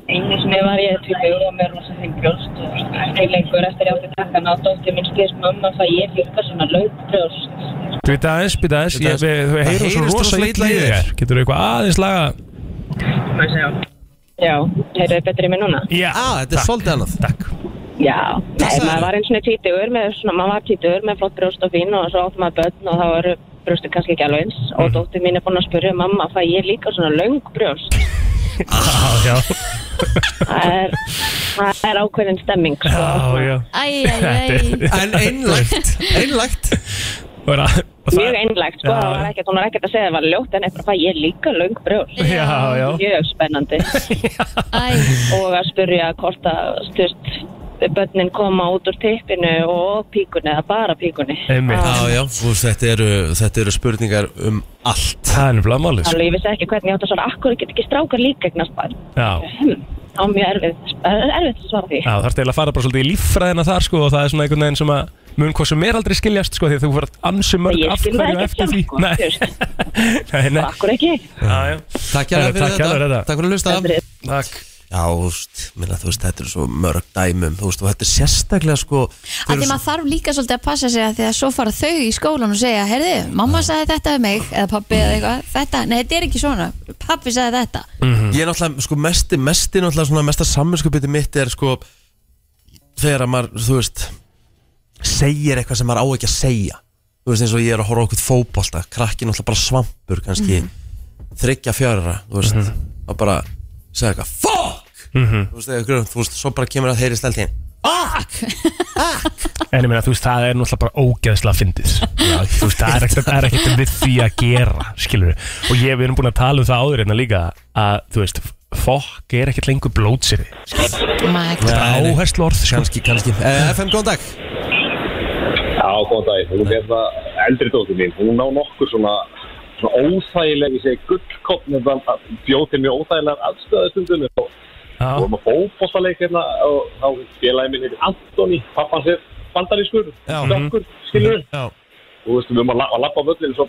Einu sinni var ég til hugur og mér rosa þeim brjóst og ekki lengur eftir ég átti takkan á dóttir minn skýrst mamma það um ég líka svona laugbrjóst.
þú veit aðeins, býta aðeins,
Bíddu
ég-
aðeins.
við
Það
við heyrum
heyrist
svo rosa
rosa
illa
illa
í
í
þér, getur eitthvað aðeins laga,
Hvað
<laughs>
séu? Já, heyrðu þið betri mér núna?
já,
ah, þetta er
takk,
svolítið annað
takk,
Já, nei,
sagðirðu?
maður var eins og niður títugur með svona, maður var títugur með flott brjóst og fín og svo átt maður börn og þá eru brjóstu kannski ekki alveg eins
Mm.
og dóttir mín er búin að spyrja um, mamma það ég líka svona laugbrjóst.
ah, já,
Það er, það er ákveðin stemming. sko.
já, já.
Æ,
<laughs>
æ, æ
en einlægt, einlægt
Og er að- og það-
Mjög einlægt, sko,
Já.
það var ekkert, hún var ekkert að segja það var ljótt en eitthvað það ég líka laugbrjóst.
Já, já,
Mjög
<laughs>
spennandi.
Æ,
og að spyrja hvort að styrst börnin koma út úr tippinu og píkunni eða bara píkunni
Einmitt.
Það-
já, já, þú veist, þetta eru, þetta eru spurningar um allt
það er nefnilega málið sko.
Þannig ég vissi ekki hvernig ég átt að svara Akkur get ekki strákar líka eignast barn
<laughs> Já,
á mjög erfið, erfið að svara því.
Já, þú þarfst eiginlega að fara bara svolítið í líffræðina þar sko og það er svona einhvern veginn sem að mun hvað sem er aldrei skiljast sko því að þú fyrir ansi mörg
Ég
af
skil það ekki
hverju eftir
sjálf,
því
sko,
Nei,
þú veist,
<laughs> nei, nei
akkur ekki.
Já, já.
Takk hérna
Herra,
fyrir þetta
takk hérlega fyrir þetta.
Takk fyrir að hlusta
Takk fyrir.
Takk
Já, þú veist, minna, þú veist, þetta er svo mörg dæmum Þú veist, og þetta er sérstaklega sko þau
að
eru
því maður þarf líka svolítið að passa sig að því að svo fara þau í skólan og segja heyrðu, mamma sagði þetta um mig eða pappi eða eitthvað, þetta, nei þetta er ekki svona pappi sagði þetta,
Mhm.
svo- Ég er náttúrulega, sko, mesti, mesti náttúrulega svona mesta samvinskupiti mitt er sko Þegar að maður, þú veist Segir eitthvað sem maður á ekki að segja Þú veist, eins og ég er að horfa okkur fótbolta Krakki náttúrulega bara svampur, kannski Þryggja fjárra, þú veist
Mhm.
mm Og bara segja eitthvað, fuck Þú veist, eða grunn, þú veist, svo bara kemur að heyri steltíðin
En ég meina, þú veist, það er náttúrulega bara ógeðslega fyndið Þú veist, það er ekkert, það er ekkert við því að gera, skilur Og ég, við erum búin að tala um það áður hérna líka að, þú veist, fokk er ekkert lengur blótsiri
maður
Það er áherslu orð, sko
Kannski, kannski Eh, FM, góðan dag
Já, góðan daginn. Hún er það eldri dóttir mín. Hún á nokkur svona, svona óþægileg, ég segi gullkopn, en það bjóð til mjög óþægilegar aðstöðu stundum. Og
Já,
við vorum að fókbóstaleik hérna og þá félagi minn heitir Antoni, pappan sér bandarískur,
Já. Mhm.
stökkur, skilur.
Já
Og þú veist, við vorum að la- að lappa völlin, svo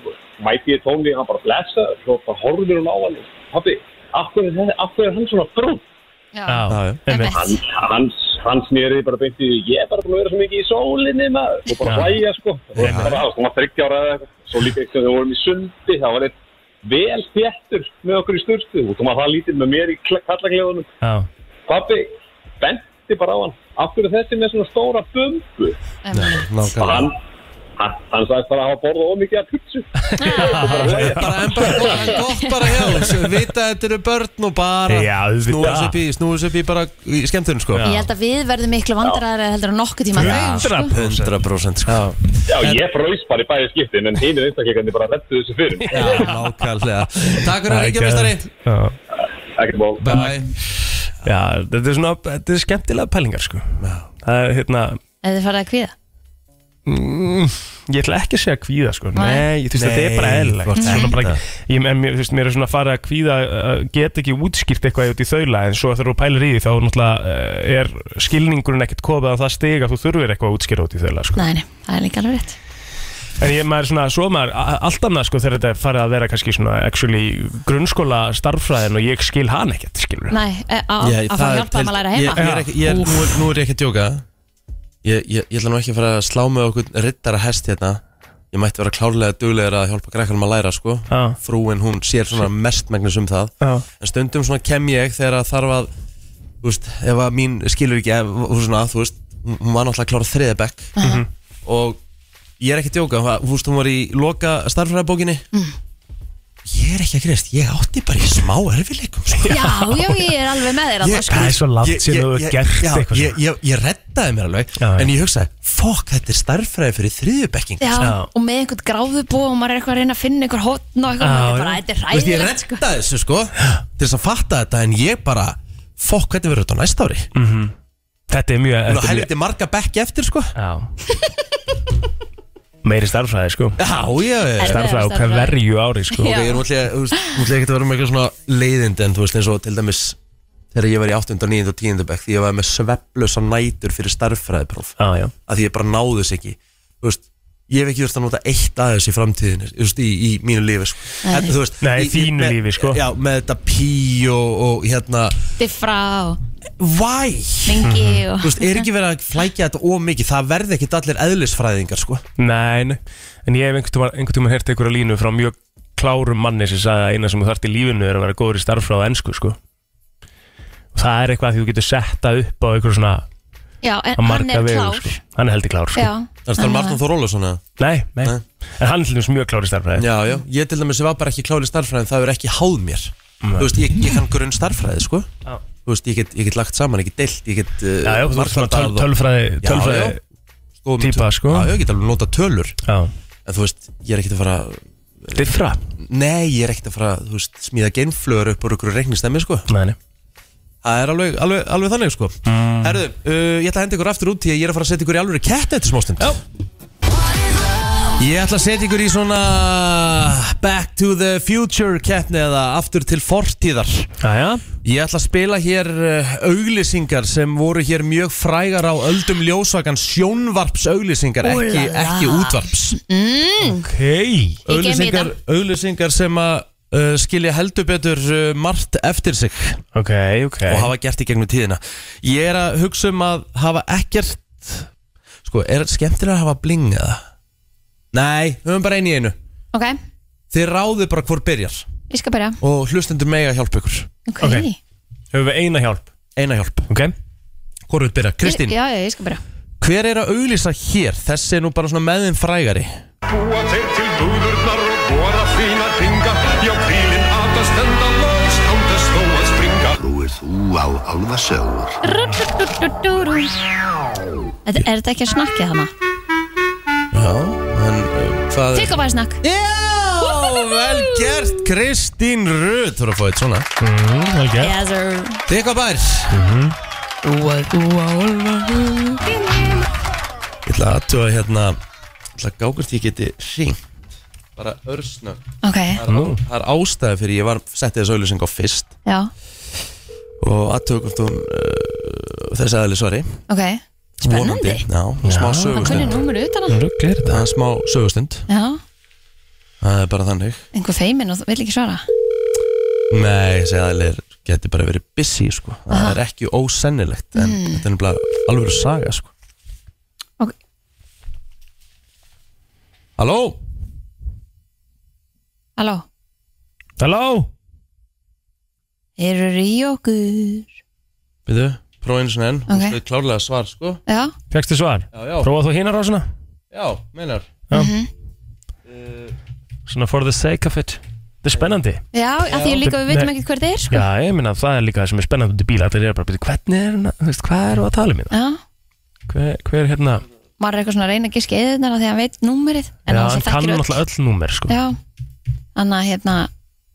mæti ég tónli, hann bara blessa, svo bara horfir hún á hann. Pappi, af hverju er, af hverju er hann svona brún?
já,
já.
einmitt.
Hann, hans, hans nýri bara beinti, ég er bara búin að vera svo mikið í sólinni maður, og bara
Já.
hlæja sko og bara svona 30 ára eða eitthvað, svo líka eitthvað þegar við vorum í sundi, það var eitt vel þéttur með okkur í sturtu og þú maður það lítið með mér í kallaklefunum
já
pappi, benti bara á hann af hverju þessi með svona stóra bumbu og
Nákvæmlega
hann, hann, hann sagði bara að hafa borðað of mikið af pizzu
bara, en bara gott, en gott bara hjá þessu vita að þetta eru börn og bara
Já, auðvitað.
snúa þessu upp í, snúa þessu upp í bara í skemmtunum sko
ég held að við verðum miklu vandræðar heldur en nokkuð tíma þau, sko.
100% sko
já, ég fröys bara í bæði skiptin en hinn er einstakleikarnir bara rettu þessu fyrir mig.
Já, nákvæmlega Takk fyrir að ringja mistari
Já,
ekkert mál
Bye
já, þetta er svona, þetta er skemmtilega pælingar, sko Það er, hérna, mm,
eða þið farið að kvíða
Ég ætla ekki að segja kvíða sko
Nei.
Nei, ég þú veist þetta er
Nei,
bara
þú
eðlilegt
ert
Svona
ekki
bara
það.
ekki- Ég en mér- þú veist, mér er svona að fara að kvíða uh, Get ekki útskýrt eitthvað út í þaula En svo þegar þú pælir í því þá náttúrulega uh, Er skilningurinn ekkert kofið að það stiga Þú þurfir eitthvað að útskýra út í þaula sko.
nei, nei, það er líka alveg rétt
En ég maður svona, svo maður a- a- Allt annað sko þegar þetta er farið að vera kannski svona Actually grunnskóla starffræðin Og ég skil hann ekkert skilur
nei, e- á-
Ég-
að fara
það er
hjálpa
til-
þeim að læra
ég-
heima
ég er ekki- ég er- Nú er- nú er ég ekki að djóka ég, ég, ég ætla nú ekki að fara að slá með okkur rittara hest hérna Ég mætti vera klárlega duglegur að hjálpa grækkanum að læra sko
Já.
Frúin hún sér svona mestmægnis um það
Já.
En stundum svona kem ég þegar að þarf að Þú veist, ef að mín skilur ekki ef, þú svona, Þú veist, hún hún var náttúrulega að klára þriðja bekk
Mhm.
Og ég er ekki að djóka það- Þú veist, hún var í loka starffræðabókinni Ég er ekki að greist Ég átti bara í smá erfileikum sko.
<laughs> já, já, ég er alveg með þér
Ég-
alltaf, sko.
Það er svo langt
Ég-
síðan
ég-
þú hefur
ég-
gert
já,
eitthvað
ég, ég, ég reddaði mér alveg
Já, já.
En ég hugsaði, fokk, þetta er starffræði fyrir þriðjubekking
Já,
Já.
og með einhvern gráðubó og maður er eitthvað að reyna að finna einhver hotn og eitthvað,
Já,
maður er
já.
bara, þetta er
Þú veist, ég
ræðilegt sko.
reddaði þessu sko Til þess að fatta þetta, en ég bara Fokk, hvernig verður þetta á næsta ári Nú,
Mhm. Þetta er mjög
mm.
þetta er mjög-
helviti marga bekki eftir sko
Já Meiri starffræði sko
Já, ég
Er-
Starffræði á
Starffræði.
hverju ári sko
Ok, ég er mútið ekki að vera með eitthvað svona leiðindi En þú veist, eins og til dæmis Þegar ég var í 8. og 9. og 10. bekk Því ég var með sveflösa nætur fyrir starffræðipróf
Já, já
að því ég bara náðu þess ekki þú veist, ég hef ekki verið að nota eitt aðeins í framtíðinu, þú veist, í, í mínu lífi sko. en, þú veist,
Nei,
í- í-
þínu
með-
lífi, sko.
já, með þetta pí og, og hérna,
Þetta er frá,
why Mhm.
mingi
Mhm.
og
þú veist, er ekki verið að flækja þetta of mikið það verði ekki allir eðlisfræðingar sko.
Nei, nei. en ég hef einhvern tímann einhvern tímann hert einhverja línu frá mjög klárum manni sem sagði að eina sem þú þarft í lífinu er að vera góður í starffræði á ennsku sko. og það er eitthvað að því þú getur setta upp á einhverju svona
já,
að
en hann
marga
er
vegu
klár
sko. hann er heldur klár sko.
Já,
þannig að það er Martin Þór Ólafsson eða?
nei, nei.
Nei.
en hann er til dæmis mjög klár í starffræði
já, já, ég til dæmis ég var bara ekki kláli starffræðin það er ekki háð mér þú veist, ég, ég kann grunn starffræði sko.
Já.
þú veist, ég get, ég get lagt saman, ég get deilt ég get uh,
já, já, þú ert svona töl,
margfaldað og-
tölfræði,
Já,
tölfræði
já. sko, með
típa,
töl-
sko.
já, já, ég get alveg nota tölur
Já.
en þú veist, ég er ekkert að fara
diffra
nei, ég er ekkert að fara, þú veist, smíða geinflöður upp úr ykkur reikningstemmi, sko
nei, Mm. nei.
það er alveg, alveg, alveg þannig, sko herðu, uh, ég ætla að henda ykkur aftur út því að ég er að fara að setja ykkur í alveg kett eftir smástund já,
One love,
Ég ætla að setja ykkur í svona Back to the Future keppni eða aftur til fortíðar
Jæja,
Ég ætla að spila hér uh, auglýsingar sem voru hér mjög frægar á öldum ljósvakan sjónvarps auglýsingar, ekki,
Úlala.
ekki útvarps
ok
Ég geymi
auglýsingar, auglýsingar sem að uh, skilja heldur betur uh, margt eftir sig
Ok, ok
og hafa gert í gegnum tíðina Ég er að hugsa um að hafa ekkert sko, er skemmtilega að hafa bling eða? Nei, við höfum bara einu í einu
Ok,
Þið ráðu bara hvor byrjar
ég skal byrja
og hlustendur mega hjálp ykkur
Ok,
Ok. Höfum við eina hjálp
Eina hjálp,
Ok
hvor vil byrja? Kristín
Ég, já, já, ég skal byrja
Hver er að auglýsa hér? Þessi er nú bara svona meðin frægari
Búa þeir til búðurnar og bóra fína ringa Já, bílinn að að stenda laus án þess þó að springa
Rú-rú-rú-rú-rú. Þetta- Er þetta ekki að snakki þannig?
Já, en uh, hvað
Tikka bara snakk
Já, vel gert Kristín Rut Þú er að fá eitt svona
Mm, Ok
Yes sir
Tikka bær Ég
Mhm.
ætla að aðtúa hérna Ég ætla að gákvist ég geti hringt Bara örsnögg
Ok,
Það er- það er ástæði fyrir ég var setti þessu auðlýsing á fyrst
já,
Og aðtúa hvort hún uh, Þessi aðli, sorry
ok Spennandi
Vonandi. Já, smá
Hann kunni
sögustund
númur utan hann
Rugl Ah. er
Það er smá sögustund
Já,
Það er bara þannig
einhver feimin og þú vill ekki svara
Nei, þessi aðlir geti bara verið busy sko. það er ekki ósennilegt en þetta er nefnilega alveg saga sko.
Hmm. Ok.
Halló
Halló,
Halló
eru í okkur
Býðu, prófa einu svona enn
Ok.
okay. klárlega svar sko.
Já,
Fekstu svar?
Já, já,
Prófa þú hínar á svona
já, meinar
Mhm.
Eh,
Svona for the sake of it Þetta er spennandi
já, af því líka við veitum
Nei.
ekkert hver þetta er sko
Já, ég minna það er líka það sem er spennandi út í bíla Þetta er bara, byrju, hvernig er hérna, þú veist, hvað eru að tala um hérna?
Já,
Hver, hver hérna
maður er eitthvað svona að reyna að giska eðirnar af því að hann veit númerið en hann
Já, hann
sem
kann
þekkir öll.
náttúrulega öll númer, sko
Já, þannig að hérna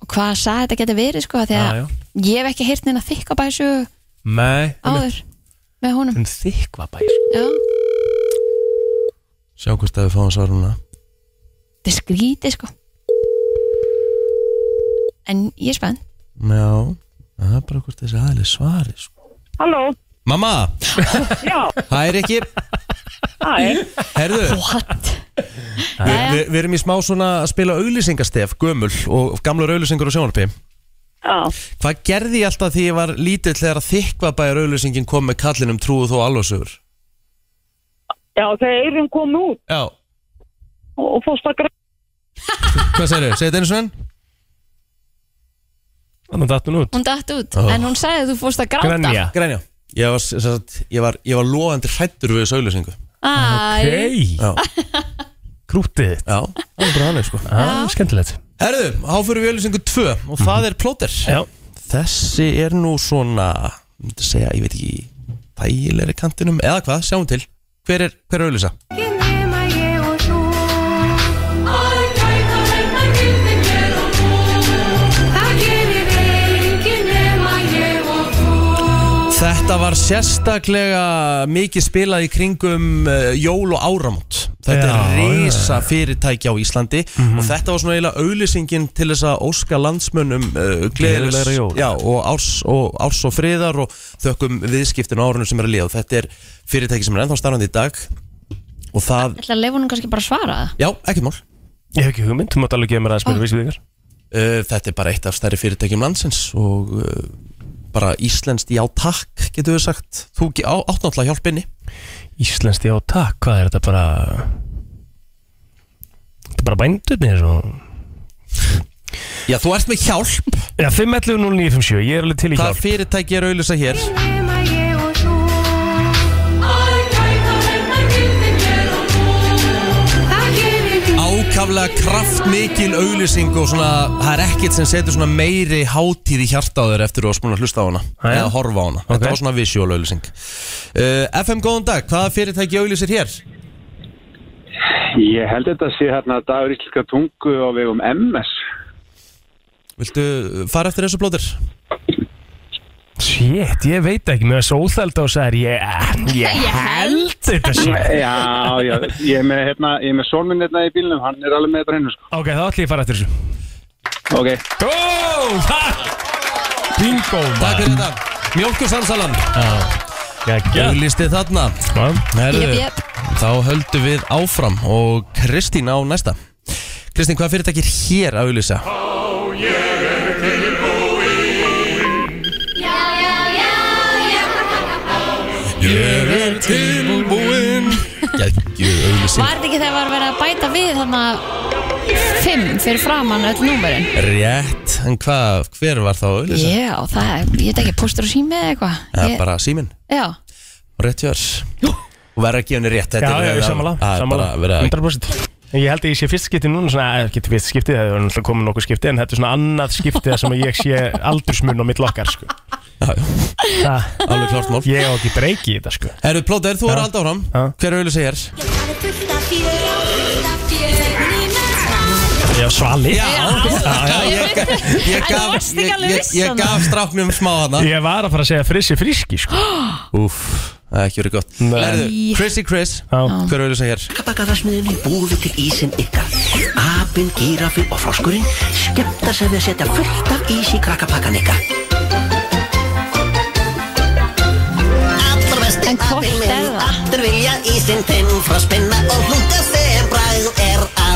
og hvað sað þetta getur verið sko af því að
Já, já.
ég hef ekki heyrt neina þykka bæsu
Nei,
áður með honum
en um þykva bær
Já,
Sjá hvort að við fáum svar núna
þetta er skrítið sko en ég er spennt
Já, það er bara hvort þessi aðlir svari sko.
Halló,
Mamma,
<laughs>
já,
hæ Rikki
hæ,
Herðu,
What?
við
Jæja.
vi, vi erum í smá svona að spila auglýsingastef, gömul og gamlar auglýsingur og sjónarpi
já,
Hvað gerði ég alltaf því ég var lítill þegar þykvabæjar auðlýsingin kom með kallinum trúið þó alvarsögur?
já, þegar eyrun kom út
Já.
og, og fórst að græða.
Hvað segir þau? Segir þetta einu svenn?
Þannig datt hún út
Hún datt út,
Oh.
en hún sagði að þú fórst að gráta
Grenja
Grænja. Ég var, sem sagt, ég var, ég var loðandi hrættur við þessu auðlýsingu.
Æ,
Hei,
Já.
<laughs> krútið þitt
Já. Það er Mhm. bara hannig, sko.
Já, skemmtilegt
Herðu, áfyrir við auðlýsingu 2 og það er plóter.
Já,
Þessi er nú svona, ég myndi segja, ég veit ekki, þægilegri kantinum eða hvað, sjáum til. Hver er, hver er auðlýsa? Þetta var sérstaklega mikið spilað í kringum uh, jól og áramót Þetta
Já, Mhm.
er risa fyrirtæki á Íslandi og þetta var svona eiginlega auðlýsingin til þess að óska landsmönnum uh,
Gleðilegra jóla.
gleðilegs já, og, árs, og árs og friðar og þökkum viðskiptin á árunum sem er að liða og þetta er fyrirtæki sem er ennþá starfandi í dag og það,
ætla að leifa hún kannski bara að svara það
já, ekkert mál
ég hef ekki hugmynd, þú mátt alveg gefa mér aðeins mér vísið ykkar
Uh, þetta er bara eitt af stærri fyrirtækjum landsins og uh, bara íslenskt já takk getur við sagt þú ge- á- átt náttúrulega hjálpinni
Íslenskt já takk, hvað er þetta bara Þetta er bara bændurnir og...
Já, þú ert með hjálp
Já, 5.11.09.57, ég er alveg til í
Hvaða
hjálp
fyrirtæki er auðlýsa hér?
hérna,
Ákaflega kraftmikil auðlýsing og svona, það er ekkert sem setur svona meiri hátíð í hjarta á þér eftir þú varst búin að hlusta á hana
Ah, já.
eða horfa á hana,
Ok.
þetta var svona visual auðlýsing uh, FM, góðan dag, hvaða fyrirtæki auðlýsir hér?
Ég held þetta sé hérna dagur íslika tungu á vegum MS.
Uh, Viltu fara eftir þessu blóðir?
Shit, ég veit ekki, mér er svo óþæld og sagði ég,
<laughs>
ég held þetta sé
Já, já, ég er með, hérna, ég er með sólminn hérna í bílnum, hann er alveg með þetta reynu, sko.
Ok, þá ætlum ég að fara eftir þessu
Ok.
Ó, það Bingo,
Takk fyrir þetta Mjölkursansalan
Gægja
Auðlisti þarna Herðu,
Jep, jep.
Þá höldum við áfram Og Kristín á næsta Kristín, hvað fyrirtækir hér að auðlýsa? Ég er tilbúinn Gægju auðlýsing
Var þetta ekki þegar var verið að bæta við þarna fimm fyrir framann öll númerinn?
Rétt, en hvað, hver var þá að auðlýsa?
Já, það er, ég veit ekki, póstur og sími eða eitthvað.
Það
Ég-
er bara síminn
Já,
og rétt hjörs Og verður að gefa henni rétt
Já,
þetta er-
já, ég sammála,
Það er
sammála,
bara verið að
100% En Ég held að ég sé fyrst skipti núna, svona, eða, ekki fyrst skipti, það er náttúrulega komin nokkuð skipti, en þetta er svona annað skipti þar sem ég sé aldursmun á mitt lokkar, sko.
Já, já,
Það,
Alveg klart mál
ég á ekki breyki í þetta, sko.
Herru, plóter, þú er að halda áfram
Já.
Hver auðlýsa hér?
Já, svali.
já, ég, ég,
En þú
gaf,
varst ekki
ég,
alveg
ég,
viss um
ég
þarna.
gaf stráknum smá hana
Ég var að fara að segja frissi friski, sko.
Úf, það er ekki verið gott
Nei.
Herru, Chrissy Chris,
Já.
hver auðlýsa hér?
Bakararsmiðinni búið til ísinn ykkar. Apinn, gírafinn og froskurinn skemmta sér við að setja fullt af ís í krakkapakkan ykkar. Allra besti
En hvort
apinn
er
minn,
það?
allir vilja ísinn þinn, frospinna og hlunga sem bræð er á.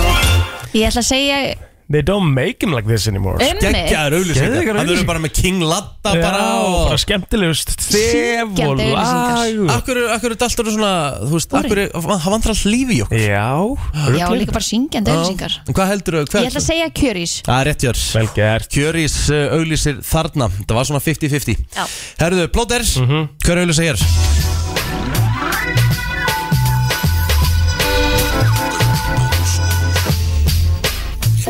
ég ætla að segja
They don't make them like this anymore. sko.
ummi,
Geggjaður
Geðveikar
auðlýsingar Hann
auglýsing.
verður bara með King Latta
Já,
bara
og bara
og
skemmtilegust stef og
Syngjandi auglýsingar.
lag.
Akkur, akkur er daltur svona, þú veist, akkur er, hann vantar allt lífi í okkur
Já,
já,
ruggling.
líka bara syngjandi auðlýsingar.
Já. En Hvað heldur þau?
Ég ætla að segja kjörís.
Það er rétt hjörs
Vel gert.
Kjörís uh, auglýsir þarna Það var svona 50-50
Já.
Herðu, plóter, hver auglýsa hér?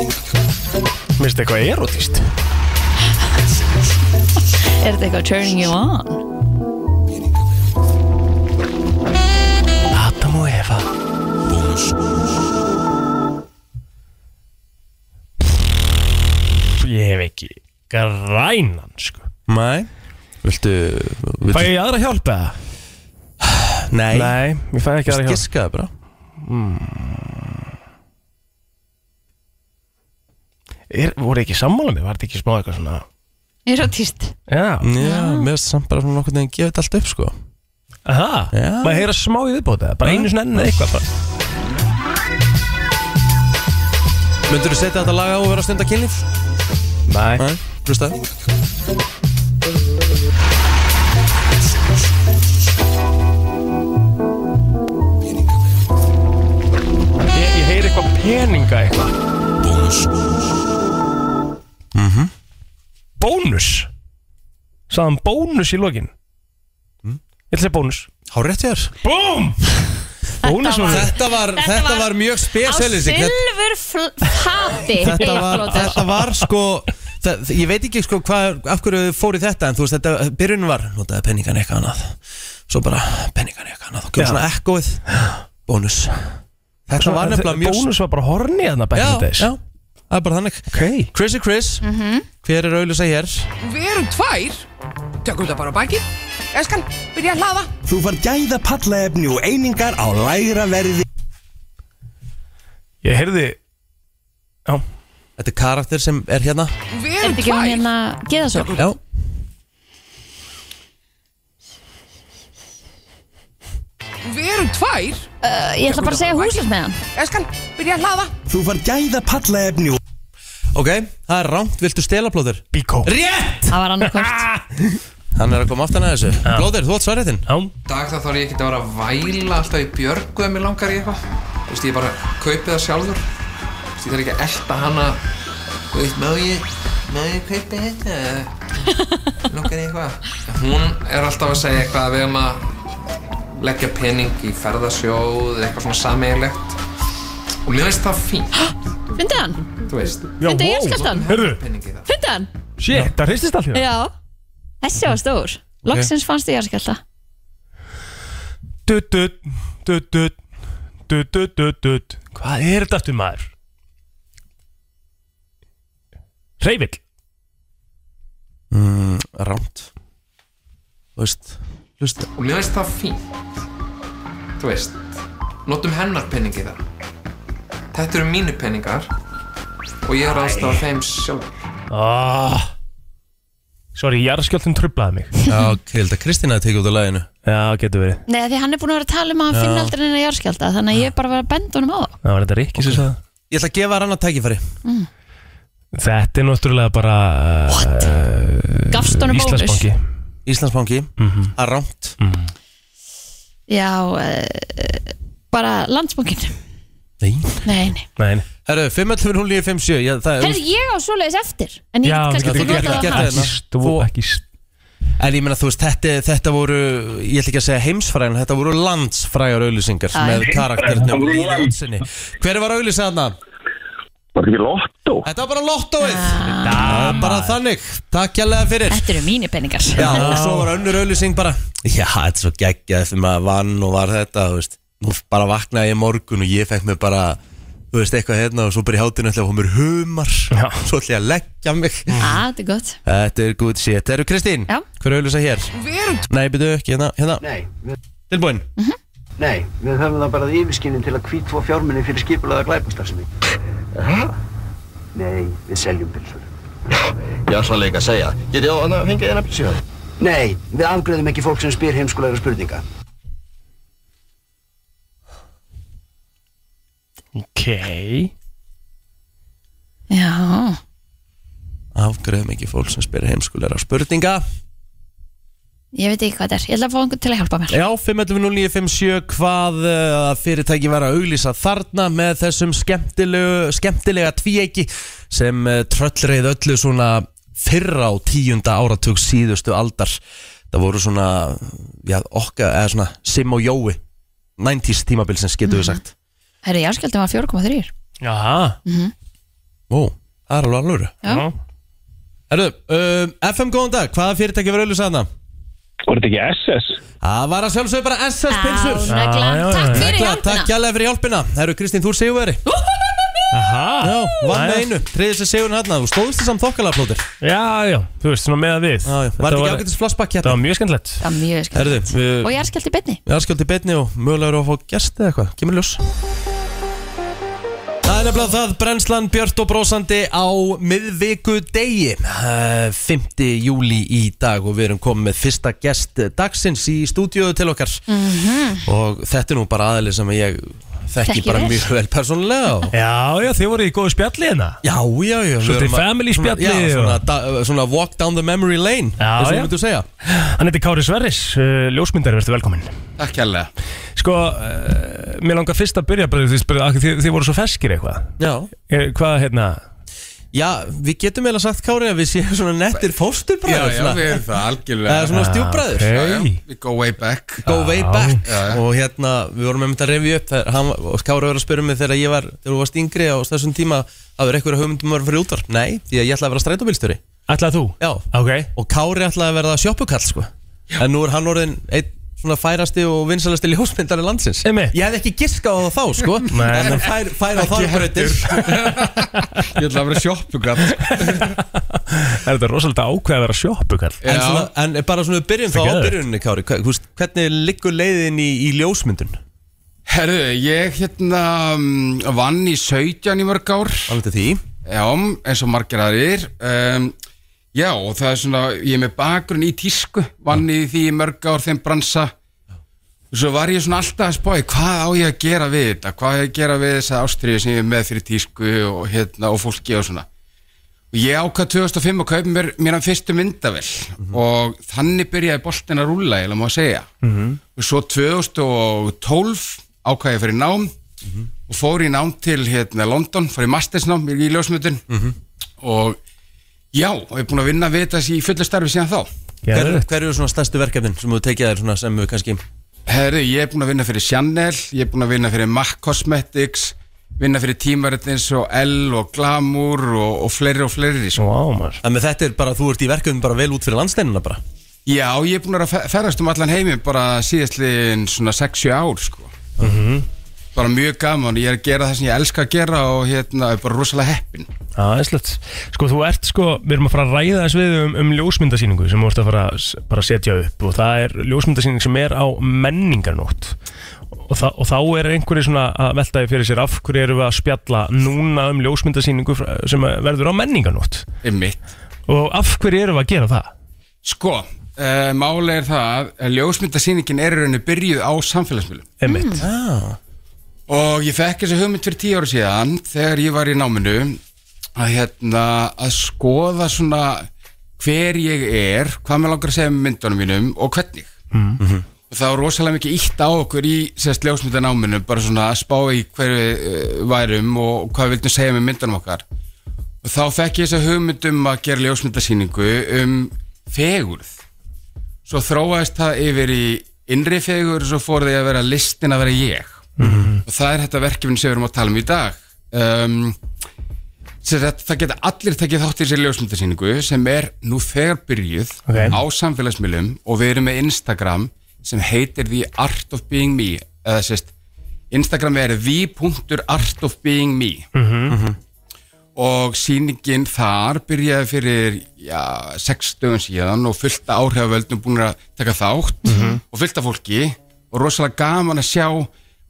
Mér finnst eitthvað erotíst.
Er þetta eitthvað turning you on?
Adam og Eva. Ég hef ekki grænan, sko.
Nei Viltu,
Fæ
viltu
ég aðra hjálp eða?
Nei,
Nei, ég fæ ekki aðra hjálp. Hmm.
Giskaðu bara
Er, voru ekki sammála mig? Var þetta ekki smá eitthvað svona?
Ég er svo týst.
Já.
Já, mér finnst samt bara svona nokkur þegar gefið þetta allt upp sko
Aha,
Já.
maður heyra smá í viðbóta. Bara einu svona enn eitthvað. bara.
Myndur þú setja þetta lag á og vera að stunda kynlíf?
Nei.
Nei, hlusta
Ég, ég heyri eitthvað peninga eitthvað Bónus Mhm. Bónus Saðan bónus í lokin Ég ætla að segja bónus
Há rétt hjá þér
<laughs> Búm Bónus var
Þetta var,
Þetta
þetta
var
var mjög speselis
silfur flati.
Þetta var, þetta var sko það, Ég veit ekki sko hvað, af hverju þau fóru í þetta En þú veist þetta, byrjun var Notaði penningan eitthvað annað Svo bara penningan eitthvað annað Og kemur
Já.
svona ekkoið Bónus Þetta var nefnilega mjög
Bónus var bara hornið þarna back in the
Já,
days
já, það er bara þannig
Ok
Chrissy Chris,
Mhm.
hver er auðvitað hér?
Við erum tvær Tökum þetta bara á baki Eskan, byrja að hlaða
Þú far gæða pallaefni og einingar á lægra verði
Ég heyrði Já
Þetta er karakter sem er hérna
Við
Er
erum
þetta ekki hún
tvær
hérna geðasól?
Já,
Við erum tvær
Uh, Ég ætla bara að segja húsins með hann.
Eskan, byrja að hlaða
Þú far gæða pallaefni og
ok, það er rangt, viltu stela plóður?
Bíkó
Rétt!
Það var annarkvæmt.
Hann er að koma aftan að þessu Plóður, þú átt svarréttin
Já
Dag þá þarf ég ekki að vera að væla alltaf í björgu ef mér langar í eitthvað Þú veist, ég bara kaupi það sjálfur Þú veist, ég þarf ekki að elta hana Þú veist, má ég, má ég kaupi þetta eða Langar í eitthvað Hún er alltaf að segja eitthvað að við erum að leggja pening í ferðasjóð eða eitthvað svona sameigilegt og mér finnst það fínt,
Fyndi hann?
þú veist
Fyndi ég skjöldan?
Heyrðu
pening í það
Fyndi hann?
Shit, það hristist allt hérna
Já. Þessi var stór. Loksins fannst ég að skjölda.
Dutt, dutt Dutt, dutt Dutt, dutt, dutt, dutt Hvað er þetta aftur maður? Hreyfill
Mm, Rangt Þú veist, hlusta
og mér veist það fínt þú veist notum hennar peningi þar þetta eru mínu peningar og ég er aðstafa þeim sjálf
ah. Sorry, jarðskjöldin trublaði mig
Já, ok, ég held að Kristina hafi tekið út á laginu
Já, getur verið
Nei, því hann er búin að vera að tala um að hann
Já.
finna aldrei neina járskjálta Þannig að ég er bara að vera að benda honum á það
Það var þetta Rikki sem sagði
Ég ætla að gefa þér annað tækifæri
mm.
Þetta er náttúrulega bara eh, uh,
Gafst honum bónus?
Íslandsbanki Mhm.
Íslandsbanki, mm -hmm. það er rámt
Já, uh, bara landsbókin
Nei
<laughs> Nei, nei
Nei
Herru, 5.11.09.57 Já, það
Herðu, ég á svoleiðis eftir En ég get kannski
þú
ekki
getur
notað
gert
það
það
þar.
hérna.
Þú-
En ég meina, þú veist, þetta, þetta voru Ég ætla ekki að segja heimsfræðan, þetta voru landsfrægar auðlýsingar
Æ.
með karakternum
Það voru
í
lands.
útsinni Hver var auðlýsað þarna?
Var þetta ekki lottó?
Þetta var bara lottóið ah. Bara þannig, takk kjærlega fyrir
Þetta eru mínir peningar <laughs>
Já, og svo var önnur auðlýsing bara Já, þetta er svo geggjað þegar maður vann og var þetta, þú veist Nú bara vaknaði ég morgun og ég fekk mér bara Þú veist, eitthvað hérna og svo bara í hátinu ætla að fá mér humar Já. Svo ætla ég að leggja mig
Á, þetta er gott
Þetta er good shit Eru Kristín,
Já.
hver er auðlýsa hér?
Veröld.
Nei, byrju ekki, hérna, hérna.
Nei, við,
Tilbúin
nei, við höfum það bara yfirskinni til að kvítfó fjárminni fyrir skipulaða glæpastarfsemi. Nei, við seljum pilsur.
Ég ætla líka að segja, get ég á hann að fengja eina pilsíu?
Nei, við afgreðum ekki fólk sem spyr heimskulegra spurninga.
Ok
Já,
Afgreðum ekki fólk sem spyrir heimskulegra spurninga
ég veit ekki hvað þetta er Ég ætla að fá einhvern til að hjálpa mér
Já, 5.11.09.57 Hvað uh, fyrirtæki var að auglýsa þarna með þessum skemmtilegu, skemmtilega tvíeiki sem uh, tröllreið öllu svona fyrra á tíunda áratug síðustu aldar Það voru svona, já, okka, eða svona Sim og Jói 90s tímabilsins getur við
Mhm.
sagt
Herru, járskjálta var 4,3
Jaha
Mhm.
Ó, það er alveg alveg
Já. Já.
Herru, um, FM góðan dag, hvaða fyrirtæki var að auglýsa þarna?
Var þetta ekki SS?
Það var að sjálfsögðu bara SS pilsur
naglan. Já, já, já. Takk fyrir hjálpina.
Takk kjærlega fyrir hjálpina Það eru Kristín, þú er sigurveri
Aha
Já, vann með
Jæja.
einu Tríði sér sigurinn hérna Þú stóðist þessam þokkalega plótir
Já, já, þú veist, svona með að við já, já.
Var þetta ekki ágætis flashback hérna?
Það var mjög skemmtilegt
Það er mjög skemmt
Herðu,
Og
við
járskjálta í beinni
Já, skjöldi betni og mögulega eru að fá gæsti eða eitthvað Kemur í ljós Það er nefnilega það, brennslan Björt og brósandi á miðviku degi 5. júli í dag og við erum komið með fyrsta gest dagsins í stúdíu til okkar
Mhm.
og þetta er nú bara aðli sem ég þekki
Þekki
bara
vel.
mjög vel persónulega
Já, já, þið voru í góðu spjalli hérna
Já, já, já við
Svolítið
erum að-
family
svona-
spjalli
Já,
og-
svona, da- svona walk down the memory lane
Já,
eins og
já.
þú myndu segja
Hann heiti Kári Sverris, uh, ljósmyndari, verður velkominn
Takk kærlega
Sko, uh, mér langar fyrst að byrja bara, því, bara, því, þið voru svo feskir eitthvað
Já
Eh, Hvað, hérna
Já, við getum eiginlega sagt Kári að við séum svona nettir fósturbræður
Já, já, við erum það algjörlega
Eða svona stjúbræður
Já, já, Við go way back
Go way back
Já, já.
Og hérna, við vorum einmitt að revja upp þegar hann, og Kári var að spyrja mig þegar ég var þegar þú varst yngri á þessum tíma að vera eitthvað hugmyndum um að vera fyrir útvarp Nei, því að ég ætlaði að vera strætóbílstjóri
Ætlaði þú?
Já
okay.
Og Kári ætlaði að verða sjoppukall sko. En nú er hann orðin einn svona færasti og vinsalasti ljósmyndari landsins
Einmitt.
Ég hefði ekki giskað á það þá sko
Nei,
En
nei.
hann fær, fær á þá breytir
<laughs> Ég ætla að vera sjoppugat
<laughs> Er þetta rosalega ákveð að vera sjoppukall
en, svona, en bara svona við byrjum þá á
Það er geðveikt.
byrjunni Kári Hva- þú veist, Hvernig liggur leiðin í, í ljósmyndun?
Herðu, ég hérna mm, vann í 17 í mörg ár
Aldrei því
Já, eins og margir aðrir um, Já, og það er svona, ég er með bakgrunn í tísku Vann í því í mörg ár þeim bransa Svo var ég svona alltaf að spáði Hvað á ég að gera við þetta? Hvað á ég að gera við þessa ástriðu sem ég er með fyrir tísku og, hérna, og fólki og svona Og ég ákvað 2005 að kaupa mér, mér hann fyrstu myndavel
Mhm.
Og þannig byrjaði boltin að rúlla, ég lefum að segja og svo 2012 ákvað ég fyrir nám
Mhm.
og fór í nám til hérna London fór í mastersnám í ljósmyndun og já, og ég er búin að vinna við þetta í fullu starfi síðan þá
Hver, hver eru svona stærstu verkefnin sem þú tekið þér svona sem við kannski
Herru, ég er búin að vinna fyrir Chanel ég er búin að vinna fyrir MAC Cosmetics vinna fyrir tímarit eins og L og Glamour og, og fleiri og fleiri sko.
wow,
En með þetta er bara, þú ert í verkefnin bara vel út fyrir landsteinina bara
Já, ég er búin að vera að fe- ferðast um allan heiminn bara síðastliðin svona 6-7 ár sko.
mm -hmm.
bara mjög gaman, ég er að gera það sem ég elska að gera og hérna, er bara rosalega heppin
aðeinslegt Sko þú ert sko, við erum að fara að ræða þess við um, um ljósmyndasýningu sem þú ert að fara að s- bara að setja upp og það er ljósmyndasýning sem er á menningarnótt og, þa og þá er einhverju svona að velta því fyrir sér af hverju erum við að spjalla núna um ljósmyndasýningu fr- sem verður á menningarnótt
Einmitt
og af hverju erum við að gera það?
um Sko, uh, máli er það að eh, ljósmyndasýningin er í rauninu byrjuð á samfélagsmiðlum Ah.
Einmitt mm.
Og ég fekk þessi hugmynd fyrir tíu ára síðan þegar ég var í náminu að, hérna, að skoða svona hver ég er, hvað maður langar að segja með myndunum mínum og hvernig.
Mhm.
Og það var rosalega mikið ítt á okkur í sérst ljósmyndanáminu, bara svona að spá í hverju uh, værum og hvað við vildum segja með myndunum okkar. Og þá fekk ég þessa hugmynd um að gera ljósmyndasýningu um fegurð. Svo þróaðist það yfir í innri fegurð og svo fór því að vera listin að vera ég og það er þetta verkefni sem við erum að tala um í dag um, sem sagt, það geta allir tekið þátt í sér ljósmyndasýningu sem er nú þegar byrjuð
Ok.
á samfélagsmiðlum og við erum með Instagram sem heitir The Art of Being Me eða sérst, Instagram er the.artofbeingme
Mhm.
og sýningin þar byrjaði fyrir já, sex dögum síðan og fullt af áhrifavöldum búin að taka þátt
Mhm.
og fullt af fólki og rosalega gaman að sjá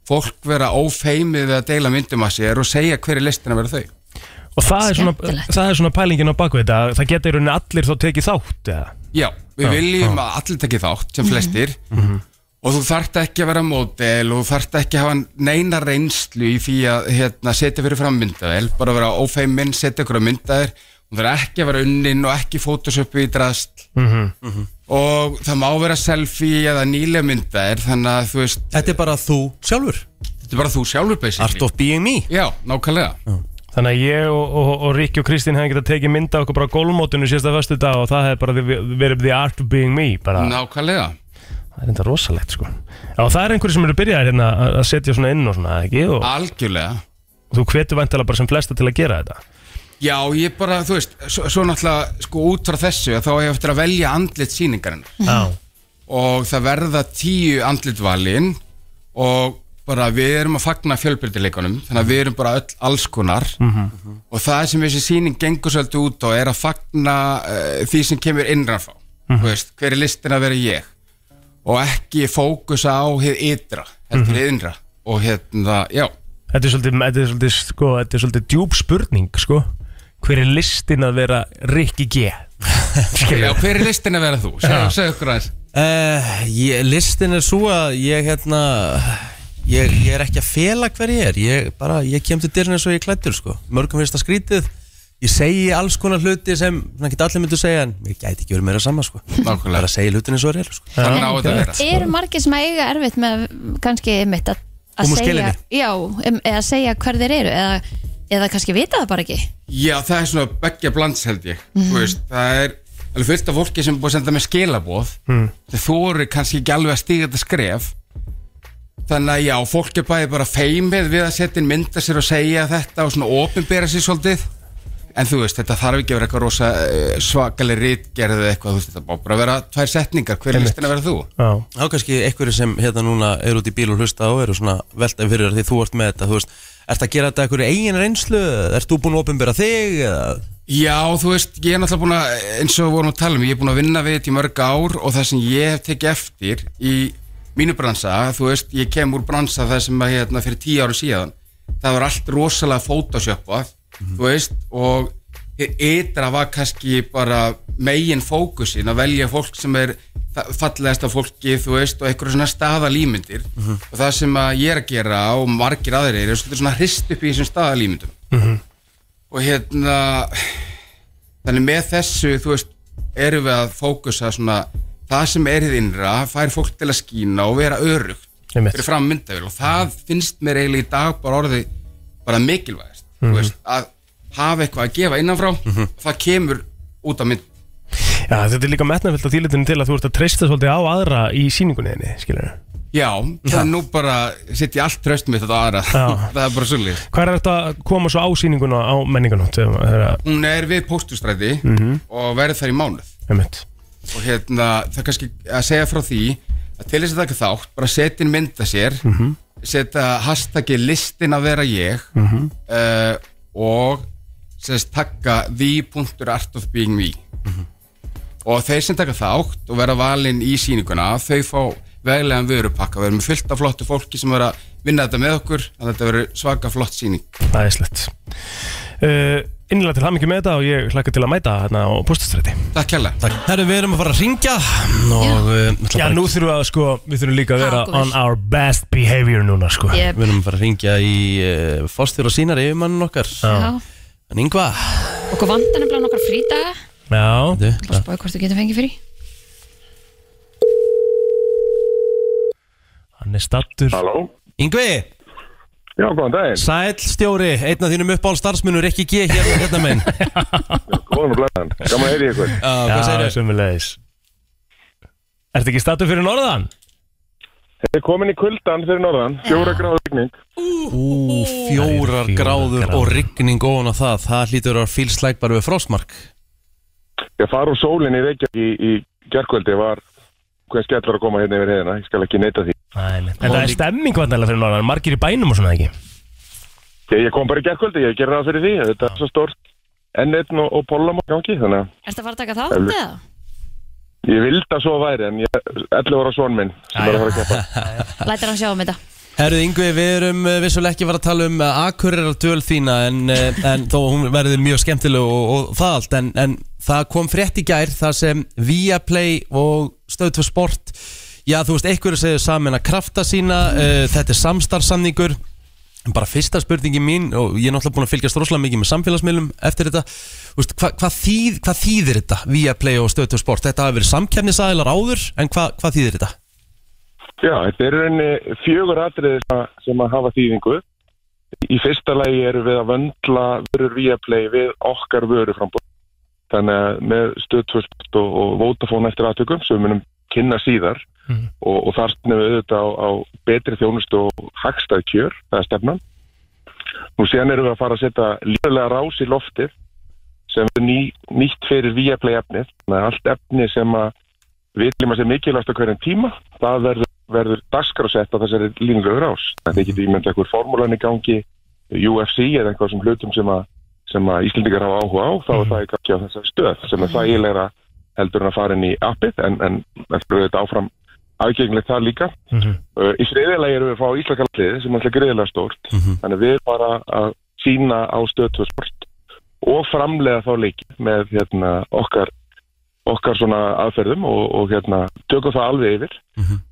fólk vera ófeimið við að deila myndum að sér og segja hverju listina vera þau
Og það er, svona, það er svona pælingin á bakvið þetta það geta í rauninni allir þá tekið þátt eða?
Já, við
Já,
viljum
já.
að allir tekið þátt sem flestir
Mhm.
og þú þarft ekki að vera módel og þú þarft ekki að hafa neina reynslu í því að hérna, setja fyrir fram myndaðel bara að vera ófeiminn, setja ykkur á myndaðir og það er ekki að vera unnin og ekki fótosöpu í drast
Mhm.
og það má vera selfie eða nýlega myndaðir þannig að þú veist
Þetta er bara þú sjálfur
Þetta er bara þú sjálfur basically
Art of
being me
Já, nákvæmlega
Þannig að ég og, og, og Ríkki og Kristín hefði getað tekið mynda okkur bara á gólmótinu síðasta föstu dag og það hefði bara verið- verið the art of being me bara.
Nákvæmlega
Það er enda rosalegt sko Já, og það er einhverju sem eru byrjaðir hérna að- að setja svona inn og svona, eða ekki? Og,
Algjörlega
Þú hvetur væntalega bara sem flesta til að gera þetta
Já, ég bara, þú veist, svo, svo náttúrulega sko út frá þessu að þá hef ég eftir að velja andlit sýningarinn
Já
og það verða tíu andlitvalin og bara við erum að fagna fjölbyrdileikunum þannig að við erum bara öll alls konar
Mhm.
og það sem þessi sýning gengur svolítið út á er að fagna uh, því sem kemur innranfá mm
Mhm.
veist, hver er listin að vera ég og ekki fókusa á hið ytra heldur mm
Mhm.
innra og hérna, já
Þetta er svolítið, þetta er svolítið, sko, þetta er svolítið djúb spurning sko Hver er listin að vera Ríkki G?
Já, hver er listin að vera þú?
Já.
Segðu segðu okkur aðeins
Uh, ég, listin er svo að ég hérna ég, ég er ekki að fela hver ég er ég, bara, ég kem til dyrna eins og ég er klæddur sko. mörgum finnst það skrítið ég segi alls konar hluti sem svona geta allir myndu segja en ég gæti ekki verið meira saman sko. bara að segja hlutin eins og það er sko.
þannig á þetta að vera
Eru margir sem að eiga erfitt með að- kannski einmitt að, að
Koma úr
segja
skelinni.
já, um, eða segja hver þeir eru eða, eða kannski vita það bara ekki
Já, það er svona begja blands held ég Þú veist, Það er alveg fullt af fólki sem er búið að senda með skilabóð
Mm.
Þeir þóru kannski ekki alveg að stíga þetta skref Þannig að já, fólk er bæði bara feimið við að setja inn mynda sér og segja þetta og svona opinbera sér svolítið En þú veist, þetta þarf ekki að vera eitthvað rosa eh, svakaleg rítgerð eða eitthvað, þú veist, þetta má bara vera tvær setningar, hver er
Einmitt.
listin að vera þú?
Já.
Þá kannski einhverju sem hérna núna eru út í bíl og hlusta á eru svona velta fyrir þér því þú ert með þetta, þú veist, ert að gera þetta einhverju eigin reynslu, ert þú búin að opinbera þig eða?
Já, þú veist, ég er náttúrulega búin að, eins og við vorum að tala um, ég er búin að vinna við þetta í mörg ár og það sem ég hef tekið eftir í mínu bransa, þú veist, ég kem úr bransa það sem að hérna fyrir tíu áru síðan, það var allt rosalega photoshoppað, þú veist, og ytra var kannski bara megin fókusin að velja fólk sem er fa- fallegasta fólki, þú veist, og einhverju svona staðalímyndir
Mhm.
og það sem að ég er að gera og margir aðrir er svolítið svona hrist upp í þessum staðalímyndum og hérna þannig með þessu þú veist, erum við að fókusa svona, það sem er hið innra fær fólk til að skína og vera örugt
Einmitt.
fyrir fram myndavél og það finnst mér eiginlega í dag bara orðið bara mikilvægast
Mhm.
þú veist, að hafa eitthvað að gefa innanfrá það kemur út af mynd
Já, þetta er líka metnafyllt að þýlitinu til að þú ert að treysta svolítið á aðra í síningunniðinni, skilur
já, það er nú bara setja allt tröst mitt þetta aðra
Já.
<laughs> það er bara svolítið
Hvað er þetta að koma svo á síninguna á menninganótt? Einmitt
hún er við póstustræti
Mhm.
og verður þar í mánuð og hérna það er kannski að segja frá því að til þess að taka þátt, bara setja inn mynda sér
Mhm.
setja hashtaggi listin að vera ég
Mhm.
uh, eh, og sérst takka the.artofbeingme
Mhm.
og þeir sem taka þátt og vera valinn í síninguna þau fá veglegan vörupakka við erum með fullt af flottu fólki sem vera að vinna þetta með okkur þannig að þetta verður svaka flott síning
Æðislegt uh, Innlega til hamingju með þetta og ég hlakka til að mæta hérna á postastræti
Takk hérlega
Herru, við erum að fara að ringja og Já,
eh, Já, nú þurfum við að sko, við þurfum líka að vera
Takk, vel.
on our best behavior núna sko
Yep. Við erum að fara að ringja í uh, Fostur og sínar yfirmannin okkar
Já.
En Ingva
Okkur vandan er bláð nokkar frídaga
Já
Báði hvort þú getur fengið frí
Hann er stattur
Halló Ingvi
Já, góðan daginn
Sæll stjóri, einn af þínum uppáhald starfsmunur ekki G hérna, hérna minn
<laughs>
Góðan og blæðan, gaman að heyri ykkur
Já, hvað segirðu?
sömulegis Ertu ekki stattur fyrir norðan?
Þið komin í kuldan fyrir norðan, fjóra gráðu rigning
Ú, fjórar gráður og rigning ofan á það Það hlýtur að fílslæk bara við frostmark
Ég far úr sólinn í Reykjavík í, í gerkvöldi var hvern skellar að koma hérna yfir heiðina, ég skal ekki neita því
Æli. En það er stemming vantanlega fyrir norðan, margir í bænum og svona ekki
Ég, ég kom bara í gerkvöldi, ég ger það fyrir því, þetta er svo stórt N1 og, og Pólamá gangi, þannig að
Ertu að fara að taka þátt eða?
ég vildi að svo væri en ég, 11 ára svon minn sem er að fara að keppa
Lætir hann sjá um þetta
Herru Ingvi, við erum eh, vissulega ekki að fara að tala um Akureyrar döl þína en, eh, en þó hún verður mjög skemmtileg og, og það allt en, en það kom frétt í gær þar sem Viaplay og Stöðtvö Sport Já, þú veist, einhverju segir saman að krafta sína uh, Þetta er samstarfsamningur En bara fyrsta spurningi mín og ég er náttúrulega búin að fylgjast rosalega mikið með samfélagsmiðlum eftir þetta Þú veist, hva, hvað, þýð, hvað þýðir þetta Viaplay og Stöðtvö Sport? Þetta hafi verið samkjarnisæðilar áður en hva, hvað þýðir þetta?
Já, þetta eru enni fjögur atriði sem að- sem að hafa þýðingu Í fyrsta lagi erum við að vöndla vörur Viaplay við okkar vöru frambúð. Þannig að með stöðtvöld og, og Vodafone eftir aðtökum sem við munum kynna síðar og, og þar stefnum við auðvitað á, á betri þjónustu og hagstað kjör, það er stefnan. Nú síðan erum við að fara að setja líflega rás í loftið sem er ný, nýtt fyrir Viaplay efnið. Þannig að allt efni sem að við viljum að sé mikilvægt á hverjum tíma, það verður, verður dagskráðsett á þessari línulega rás. Það er ekki ímynd eitthvað formúlan í gangi, UFC eða eitthvað sem hlutum sem að, sem að Íslendingar hafa áhuga á, þá er það í gangi á þessari stöð sem er þægilegra heldur en að fara inn í appið, en, en eftir auðvitað áfram aðgengilegt það líka. Uh, í þriðilegi erum við að fá Íslakalliði sem er alltaf greiðilega stórt, þannig að við erum bara að sína á stöðtvösport og framlega þá leiki með hérna, okkar okkar svona aðferðum og, og hérna, tökum það alveg yfir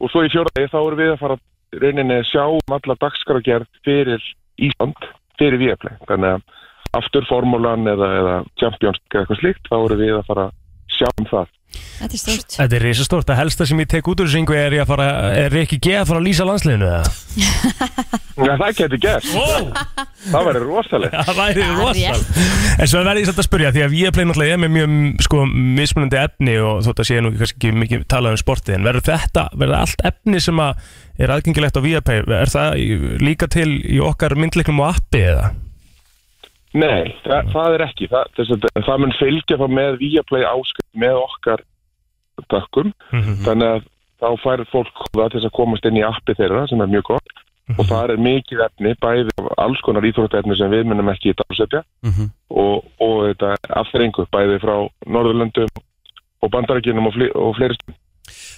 og svo í fjórðagi þá erum við að fara að rauninni sjá um alla dagskrágerð fyrir Ísland, fyrir Viaplay þannig að aftur formúlan eða, eða Champions eða eitthvað slíkt þá erum við að fara að sjá um það
Þetta er stórt
Þetta er risastórt, það helsta sem ég tek út úr þessu Ingvi, er ég að fara, er ég ekki geð að fara að lýsa landsliðinu eða?
Já, það getur gert Það væri rosaleg
<laughs> Það væri
Já,
rosal En svo verði ég svolítið að spyrja Því að Viaplay náttúrulega er með mjög mm, sko, mismunandi efni og þótt að sé nú kannski ekki mikið talað um sportið en verður þetta, verður allt efni sem að er aðgengilegt á Viaplay er það í- líka til í okkar myndleiknum og appi eða?
Nei, það, það er ekki það, þess að, það mun fylgja þá með Viaplay áskrift með okkar dökkum þannig að þá fær fólk það til þess að komast inn í appi þeirra sem er mjög gott og það er mikið efni bæði af alls konar íþróttaefni sem við munum ekki í dagsetja og, og þetta afþrengu bæði frá Norðurlöndum og Bandarækjunum og, fle og fleiri stöðum.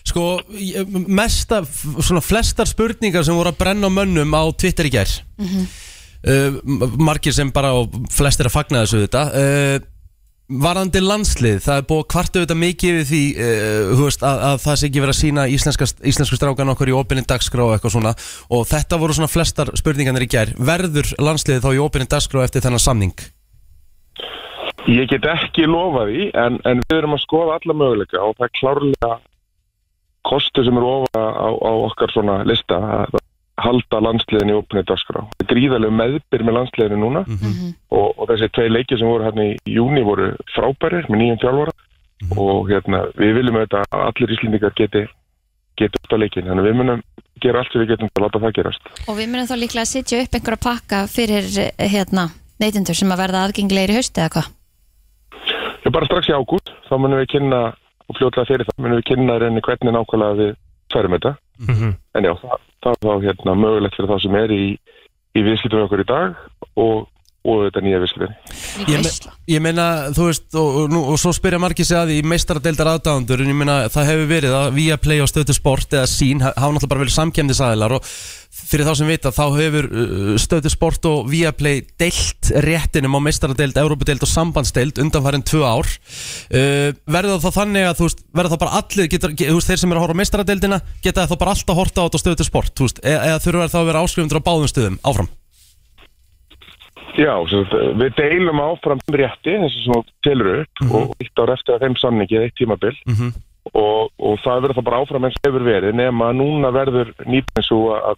Sko, ég- mesta, svona flestar spurningar sem voru að brenna á mönnum á Twitter í gær uh, Margir sem bara, og flestir að fagna þessu þetta uh, Varandi landslið, það er búið að kvarta auðvitað mikið við því uh, þú veist, að, að það sé ekki verið að sína íslenska, íslensku strákan okkur í opinni dagskrá og eitthvað svona Og þetta voru svona flestar spurningarnir í gær Verður landsliðið þá í opinni dagskrá eftir þennan samning?
Ég get ekki lofa því en, en við erum að skoða alla möguleika og það er klárlega kostu sem er ofa á, á okkar svona lista að halda landsliðinu í opni dagskrá. Það er gríðarlega meðbyr með landsliðinu núna og, og þessi tvei leikir sem voru hérna í júni voru frábærir með nýjum fjálfara og hérna, við viljum auðvitað að allir íslendingar geti geti upp að leikin, þannig að við munum gera allt sem við getum til að láta það gerast.
Og við munum þá líklega að setja upp einhverja pakka fyrir eh, hérna, neytendur sem að verða aðgengilegir í haust eða hvað
Já, bara strax í ágúst, þá munum við kynna og fljótlega fyrir það, munum við kynna í rauninni hvernig nákvæmlega við færum þetta
Mhm.
<laughs>
en já, það, það er þá hérna mögulegt fyrir þá sem er í, í viðskiptum við okkur í dag og, og þetta nýja visslunni.
Ég, me, ég meina, þú veist, og, og, nú- og svo spyrja margir sig að því í meistaradeildar aðdáðundur en ég meina, það hefur verið að via play og stötu sport eða sín, hafa náttúrulega bara verið samkemnisæðilar og fyrir þá sem vita, þá hefur uh, stötu sport og via play deilt réttinum á meistaradeild, európadeild og sambandsdeild undanfærin tvö ár uh, verður það þá þannig að, þú veist, verður þá bara allir, getur, get, þú veist, þeir sem eru að horfa á meistaradeildina geta þá bara alltaf horta á þetta stötu sport, þú veist, e-, eða, eða þurfa þá að vera áskrifundur á báðum stöðum, áfram
Já, sem sagt, við deilum áfram þeim rétti, þessi sem þú telur upp og eitt ár eftir að þeim samningi, eitt tímabil
Mhm.
og, og það verður það bara áfram eins og hefur verið nema að núna verður nýtni svo að,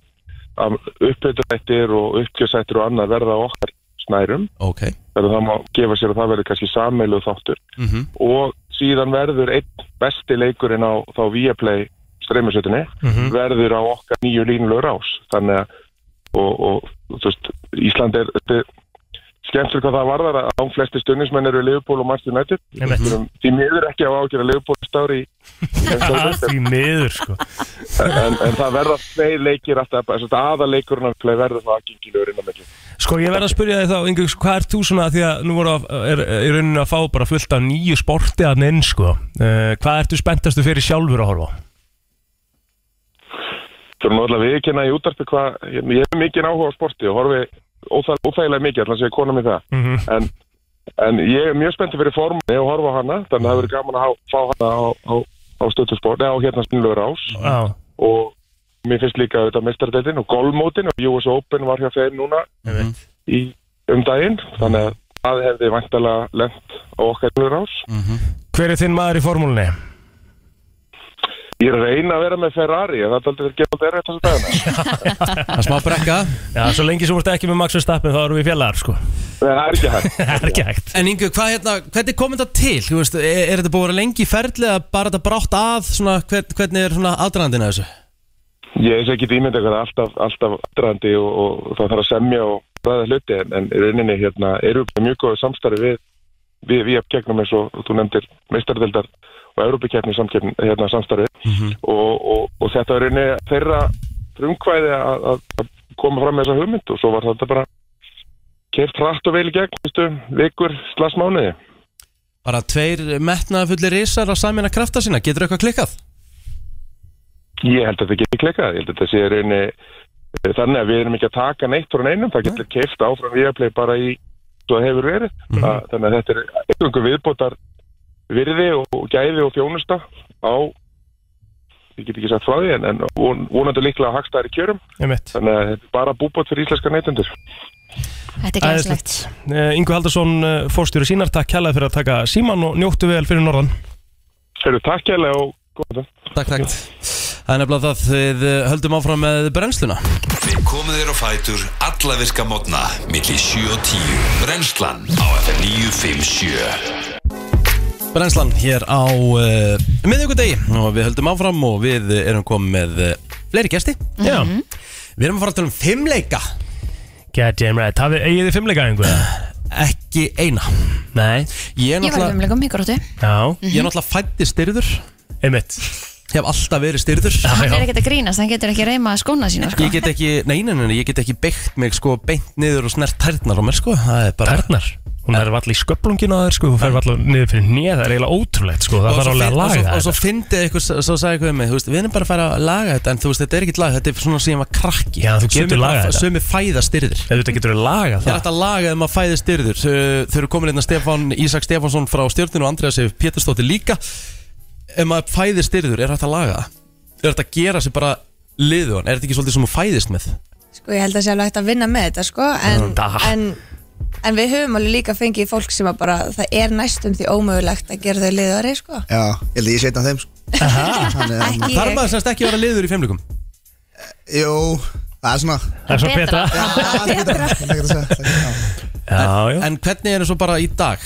að uppbyttuðættir og uppgjörsættir og annað verða á okkar snærum
Ok
þegar það má gefa sér að það verður kannski sammeiluð þáttur
Mhm.
og síðan verður einn besti leikurinn á þá Viaplay streymisötunni
Mhm.
verður á okkar nýju línulegur ás þannig að og, og þú veist, Ísland er þetta er skemmtileg hvað það varðar að án flesti stundinsmenn eru Leopold og Manchester United
Einmitt.
Við erum því miður ekki á ágjör að Leopold stári í
Að því miður sko
en, en það verða tvei leikir alltaf, þess að aðaleikurinn að play verður það aðgengilegur inn á milli
Sko ég verð að spyrja þig þá Ingus, hvað ert þú svona því að nú voru að, er, er í rauninni að fá bara fullt af nýju sporti að inn sko uh, Hvað ertu spenntastu fyrir sjálfur að horfa? á?
Þú erum náttúrulega viðkynna í útarpi hvað, ég, ég hef mikið áhuga á sporti og horfi óþæ, óþægilega mikið, allan sé ég kona mér það.
Mhm.
en, en ég er mjög spenntið fyrir formanni og horfa á hana, þannig að það hefur verið gaman að há, fá hana á, á, á stöttusport, eða á hérna spinnlöður ás.
Já
Og mér finnst líka auðvitað mestardeltin og golfmótin og US Open var hjá þeim núna
Mhm.
í, um daginn, þannig að það hefði vantalega lent á okkar spinnlöður ás.
Mhm. Hver er þinn maður í formúlunni?
Ég er að reyna að vera með Ferrari, en það er aldrei gerðið erfitt þessu dagana.
Það er smá brekka
Já, svo lengi sem þú ert ekki með Max Verstappen þá erum við fjallar sko
Það er ekki hægt
<laughs> Það er ekki hægt
En Ingu, hvað hérna, hvernig kom þetta til? Þú Veist, er, er þetta búið að vera lengi í ferli eða bara þetta brátt að, svona, hver, hvernig er svona aðdragandinn að þessu?
Ég hef ekki ímynd eitthvað alltaf, alltaf aðdraðandi og, og það þarf að semja og ræða hluti en, en í rauninni hérna eru við mjög góðu samstarfi við við, við gegnum eins og þú nefndir meistardeldar og Európikeppni samkeppn- hérna, samstarfi og, og, og þetta er í rauninni þeirra frumkvæði að, að- að koma fram með þessa hugmynd og svo var þetta bara kert hratt og vel í gegn, veistu, vikur slagsmánuði.
Bara tveir metnaðafullir risar að samina krafta sína, getur eitthvað klikkað?
Ég held að þetta geti klikkað, ég held að þetta sé reyni þannig að við erum ekki að taka neitt frá neinum, það getur keift áfram viðaplay bara í svo það hefur verið Þa- þannig að þetta er einhverjum viðbótar virði og gæði og fjónusta á ég get ekki sagt frá því en, en von, vonandi líklega að hagsta þær í kjörum
Einmitt.
þannig að þetta er bara búbót fyrir íslenska neytendur
Þetta er glæslegt
Uh, Ingu Haldarsson, uh, fórstjóri sínar, takk kærlega fyrir að taka síman og njóttu vel fyrir norðan
Heru, Takk kærlega og góða
Takk, takk Það er nefnilega það, við eh, höldum áfram með brennsluna
Við komum þér á fætur allavirka mótna millir 7 og 10 Brennslan á FM 957
Brennslan hér á uh, miðvíkudegi og við höldum áfram og við eh, erum komið með uh, fleiri gesti Já Við erum að fara að tala um fimmleika
God damn right, hafið eigið þið fimmleika einhverja?
Ekki eina
Nei
Ég, er
Ég var
náttúrulega-
umlegum í gróttu
Já
Ég er náttúrulega fætti styrður
Einmitt
Ég hef alltaf verið styrður
Hann er ekkert að grínast, hann getur ekki reyma skóna sína sko.
Ég get ekki, nei, nei, nei, nei, ég get ekki beitt mig sko beint niður og snert tærnar á mér sko Það er bara
Tærnar? Hún er valla í sköplungina þér sko, hún fer valla niður fyrir nýja, það er eiginlega ótrúlegt sko, það
Og
þarf
svo
alveg að
fin- og
laga
svo- Og
þetta.
svo fyndi eitthvað, svo sagði eitthvað um mig Þú veist, við erum bara að fara að laga þetta En þú veist, þetta er ekkert lag, þetta er svona sem ég var krakki
Já, þú getur
Sumir bara-
lagað þetta.
Sumir fæða styrður
Ef þetta getur að laga
Það er hægt að laga þeim að fæði styrður Þau þau eru komin hérna Stefán, Ísak Stefánsson frá stjórninu og Andreas Sif Pétursdóttir líka Ef maður fæði styrður, er hægt að laga það? Er hægt að gera sér bara liðugan? Er þetta ekki svolítið sem þú fæðist með?
Sko ég held að sé alveg hægt að vinna með þetta sko en,
Mm,
Mm, Da.
en, en við höfum alveg líka fengið fólk sem að bara það er næstum því ómögulegt að gera þau liðari sko
Já, ég held að ég setja á þeim sko. Þannig að- Eh,
Ekki Þarf ég. maður
semst ekki að vera liður í fimmleikum?
Jú, það er svona
Það er svona Betra. betra.
Já, það er betra, það er ekki að segja það er ekki- já.
Já, já.
En hvernig er það svo bara í dag?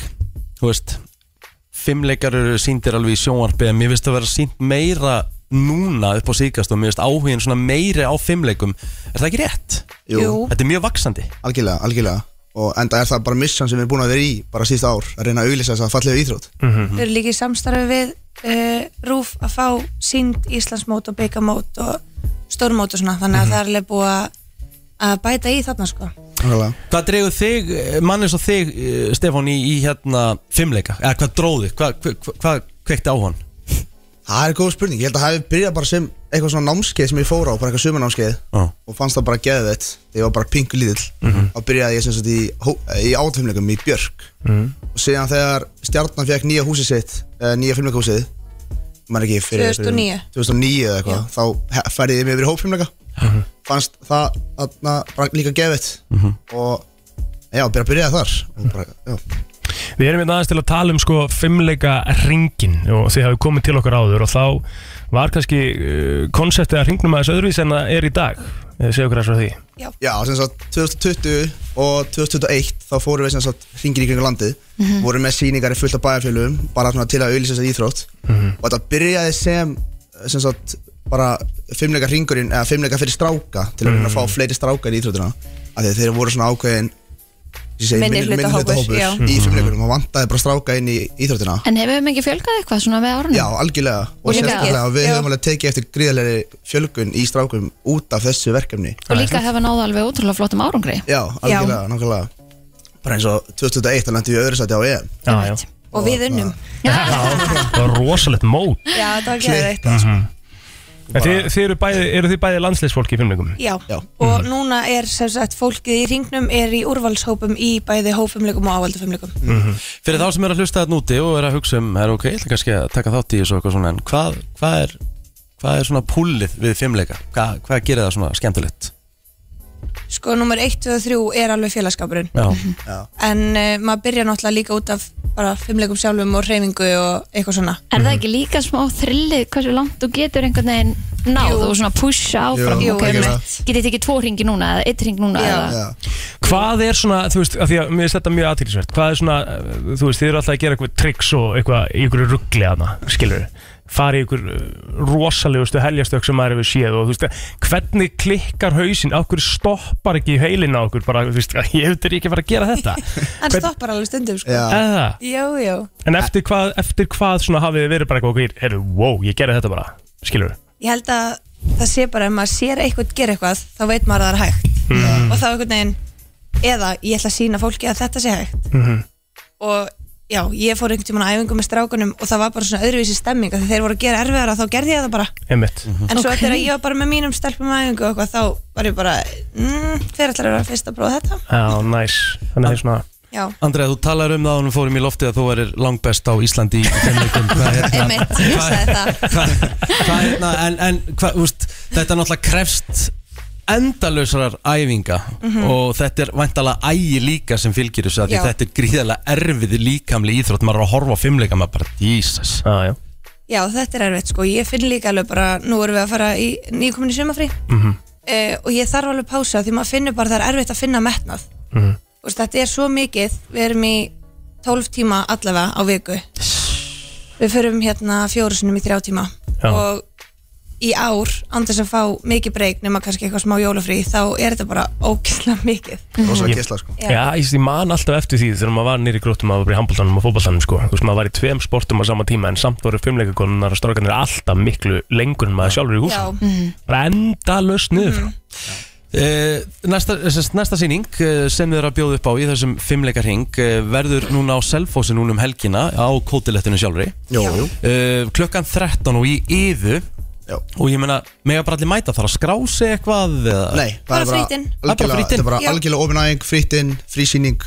Þú veist, fimmleikar eru síndir alveg í sjónvarpi en mér finnst það vera sínt meira núna upp á síkast og mér finnst áhugin svona meiri á fimmleikum Er það ekki rétt?
Jú. Jú.
Þetta er mjög vaksandi
Algjörlega, algjörlega Og enda er það bara missan sem við erum búin að vera í bara síðust ár að reyna að auglýsa þess að fallega íþrótt
Mhm.
Við erum líka í samstarfi við uh, Rúf að fá sínd Íslandsmót og byggamót og stórmót og svona þannig að það er alveg búið að- að bæta í þarna sko
Hvað dregur þig, mannis og þig eh, Stefán í, í hérna fimmleika? Eða hvað dróði, hvað, hvað, hvað kvekti á hann?
Það er góð spurning, ég held að það hefði byrjað bara sem eitthvað svona námskeið sem ég fór á, bara eitthvað sumarnámskeið
Já.
og fannst það bara geðvett þegar ég var bara pingu lítill
Mhm.
þá byrjaði ég sem sagt í, hó- í átfimleikum í Björk
Mhm.
og síðan þegar stjarnan fekk nýja húsið sitt eh, nýja filmleikahúsið maður ekki fyrir
2009.
2009 eða eitthvað þá he- færði ég mig yfir í hópfilmleika
Mhm.
fannst það þarna bara líka geðvett
Mhm.
og já, byrja að byrja þar og bara, já,
Við erum hérna aðeins til að tala um sko fimmleika ringin og þið hafið komið til okkar áður og þá var kannski uh, konseptið að ringnum aðeins öðruvís en það er í dag eða segja okkur aðeins frá því
Já, sem sagt 2020 og 2021 þá fórum við sem sagt hringin í kringu landið
Mhm.
vorum með sýningar í fullt af bæjarfélugum bara svona til að auðlýsa þess að íþrótt
Mhm.
og þetta byrjaði sem sem sagt bara fimmleika hringurinn eða fimmleika fyrir stráka til að reyna að fá
Mhm.
fleiri stráka inn í íþróttina af því að þeir voru svona ákveðin ég segi,
Minni
minni-
hlutahópur,
minnihlutahópur
já.
í
Mhm.
fimmleikunum og vantaði bara stráka inn í íþróttina
En hefur við ekki fjölgað eitthvað svona með árunum?
Já, algjörlega
Og
og
líka-
sérstaklega við
Já.
höfum alveg tekið eftir gríðarlega fjölgun í strákum út af þessu verkefni
Og líka hefa náðu alveg ótrúlega flottum árangri
Já, algjörlega, nákvæmlega Bara eins og 2001 þá lendi við öðru sæti á E. EM
Já, já
og við unnum
Það var rosalegt mót
<laughs> já, það var geðveikt
Mhm. En Þið, þið eru, bæði, eru þið bæði landsleisfólki í fimmleikum?
Já. og núna er sem sagt fólkið í ringnum er í úrvalshópum í bæði hófumleikum og ávaldufumleikum
Fyrir þá sem er að hlusta þetta núti og er að hugsa um er ok, ég ætla kannski að taka þátt í þessu og eitthvað svona en hvað, hvað, er, hvað er svona púlið við fimmleika? Hvað, hvað gerir það svona skemmtilegt?
sko nummer 1, 2 og 3 er alveg félagskapurinn
Já,
en uh, maður byrja náttúrulega líka út af bara fimmleikum sjálfum og hreyfingu og eitthvað svona
Er það ekki líka smá þrillið hversu langt þú getur einhvern veginn náð og svona pusha áfram
Jú,
Jú, okay,
algjörlega.
Getið þið ekki tvo ringi núna eða eitt ring núna eða
Hvað er svona, þú veist, af því að mér er þetta mjög aðtýrlisvert Hvað er svona, uh, þú veist, þið eru alltaf að gera eitthvað triks og eitthvað í ykkur ruggli hana, skilur Fari ykkur uh, rosalegustu heljastök sem maður hefur séð og þú veist, hvernig klikkar hausinn, okkur stoppar ekki heilin á okkur, bara, þú veist, <laughs> ég hefur ekki að fara að gera þetta
hann stoppar alveg stundum sko
Já. Er það?
jú, jú
En eftir hvað, eftir hvað svona hafið þið verið bara eitthvað okkur, heyrðu, wow, ég gerði þetta bara, skilur
ég held að það sé bara ef maður sér eitthvað gera eitthvað þá veit maður að það er hægt
mm.
og þá einhvern veginn eða ég ætla að sína fólki að þetta sé hægt
Mhm.
og já, ég fór einhvern tímann á æfingu með strákunum og það var bara svona öðruvísi stemming að þeir voru að gera erfiðara þá gerði ég það bara
Einmitt mm
en svo eftir að ég var bara með mínum stelpum á æfingu og eitthvað þá var ég bara mm, hver ætlar að vera fyrst að prófa þetta
Já, næs, þannig að það er svona
já,
Andrið, þú talar um það og við fórum í loftið að þú erir langbest á Íslandi í fimmleikum Hvað er hérna?
einmitt, ég sagði það
Hvað er hérna? En, en hvað, úst, þetta náttúrulega krefst endalausrar æfinga
Mhm.
og þetta er væntalega ægi líka sem fylgir þessu af því
Já.
þetta er gríðarlega erfið líkamli íþrótt maður er að horfa á fimmleika maður bara, Jesus
ah,
já, þetta er erfitt sko, ég finn líka alveg bara nú erum við að fara í nýkominni sumafrí
Mhm.
uh, og ég þarf alveg pása því maður finnur bara það er erfitt að finna metnað
Mhm.
Þú veist, þetta er svo mikið við erum í 12 tíma allavega á viku við förum hérna fjóru sinnum í þrjá tíma
Já.
og í ár andis að fá mikið breyk nema kannski eitthvað smá jólafrí þá er þetta bara ógislega mikið
Rosalega
Ég-
geisla, sko.
Já.
Já, ég, ég man alltaf eftir því þegar maður var nýri gróttum maður var bara í handbóltanum og fótbóltanum sko. Þú veist, maður var í tveim sportum á sama tíma en samt voru fimmleikakonunar og strákanir alltaf miklu lengur en maður sjálfur í húsum
Mhm.
Bara endalaust niður mm.
Eh, Næsta, sest, næsta síning eh, sem þið eru að bjóða upp á í þessum fimmleikarhing eh, verður núna á Selfossi núna um helgina á kótilettinu sjálfri
Jó, jú.
Eh, klukkan 13 og í yðu og ég meina, mega bara allir mæta þar að skrá sig eitthvað eða?
Nei, það er
Það er bara
algjörlega-
frýtin
Þetta er bara
Já.
algjörlega ofnæðing, frýtin, frísýning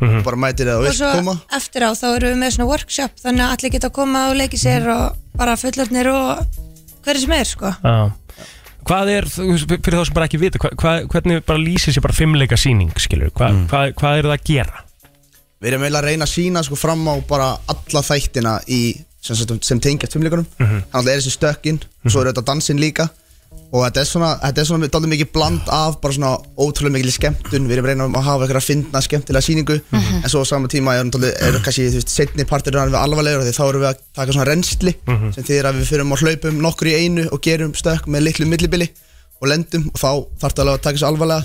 Mhm.
Bara mætir það og
og
vilt
svo
koma
eftir á þá erum við með svona workshop þannig að allir geta að koma og leiki sér
Mm.
og bara fullornir og hverju sem er sko
Hvað er, þú veist, fyrir þá sem bara ekki vita hva, hva, hvernig bara lýsir sér bara fimmleika síning skilur, hva,
Mm.
hvað, hvað er það að gera?
Við erum eiginlega að reyna að sína sko, fram á bara alla þættina í, sem, sem, sem tengjast fimmleikunum
Mhm.
Þannig að það er þessi stökkinn og svo er þetta dansinn líka Og þetta er svona, þetta er svona daldið mikið bland af bara svona ótrúlega mikil skemmtun Við erum reynað að hafa eitthvað að finna skemmtilega síningu En svo á sama tíma er, daldið, er kannski, þú veist, setni partur er alveg alvarlegur af Því þá erum við að taka svona reynsli
Mhm.
sem þýðir að við fyrum og hlaupum nokkur í einu og gerum stökk með litlu millibili og lendum og þá þarf það alveg að taka þessu alvarlega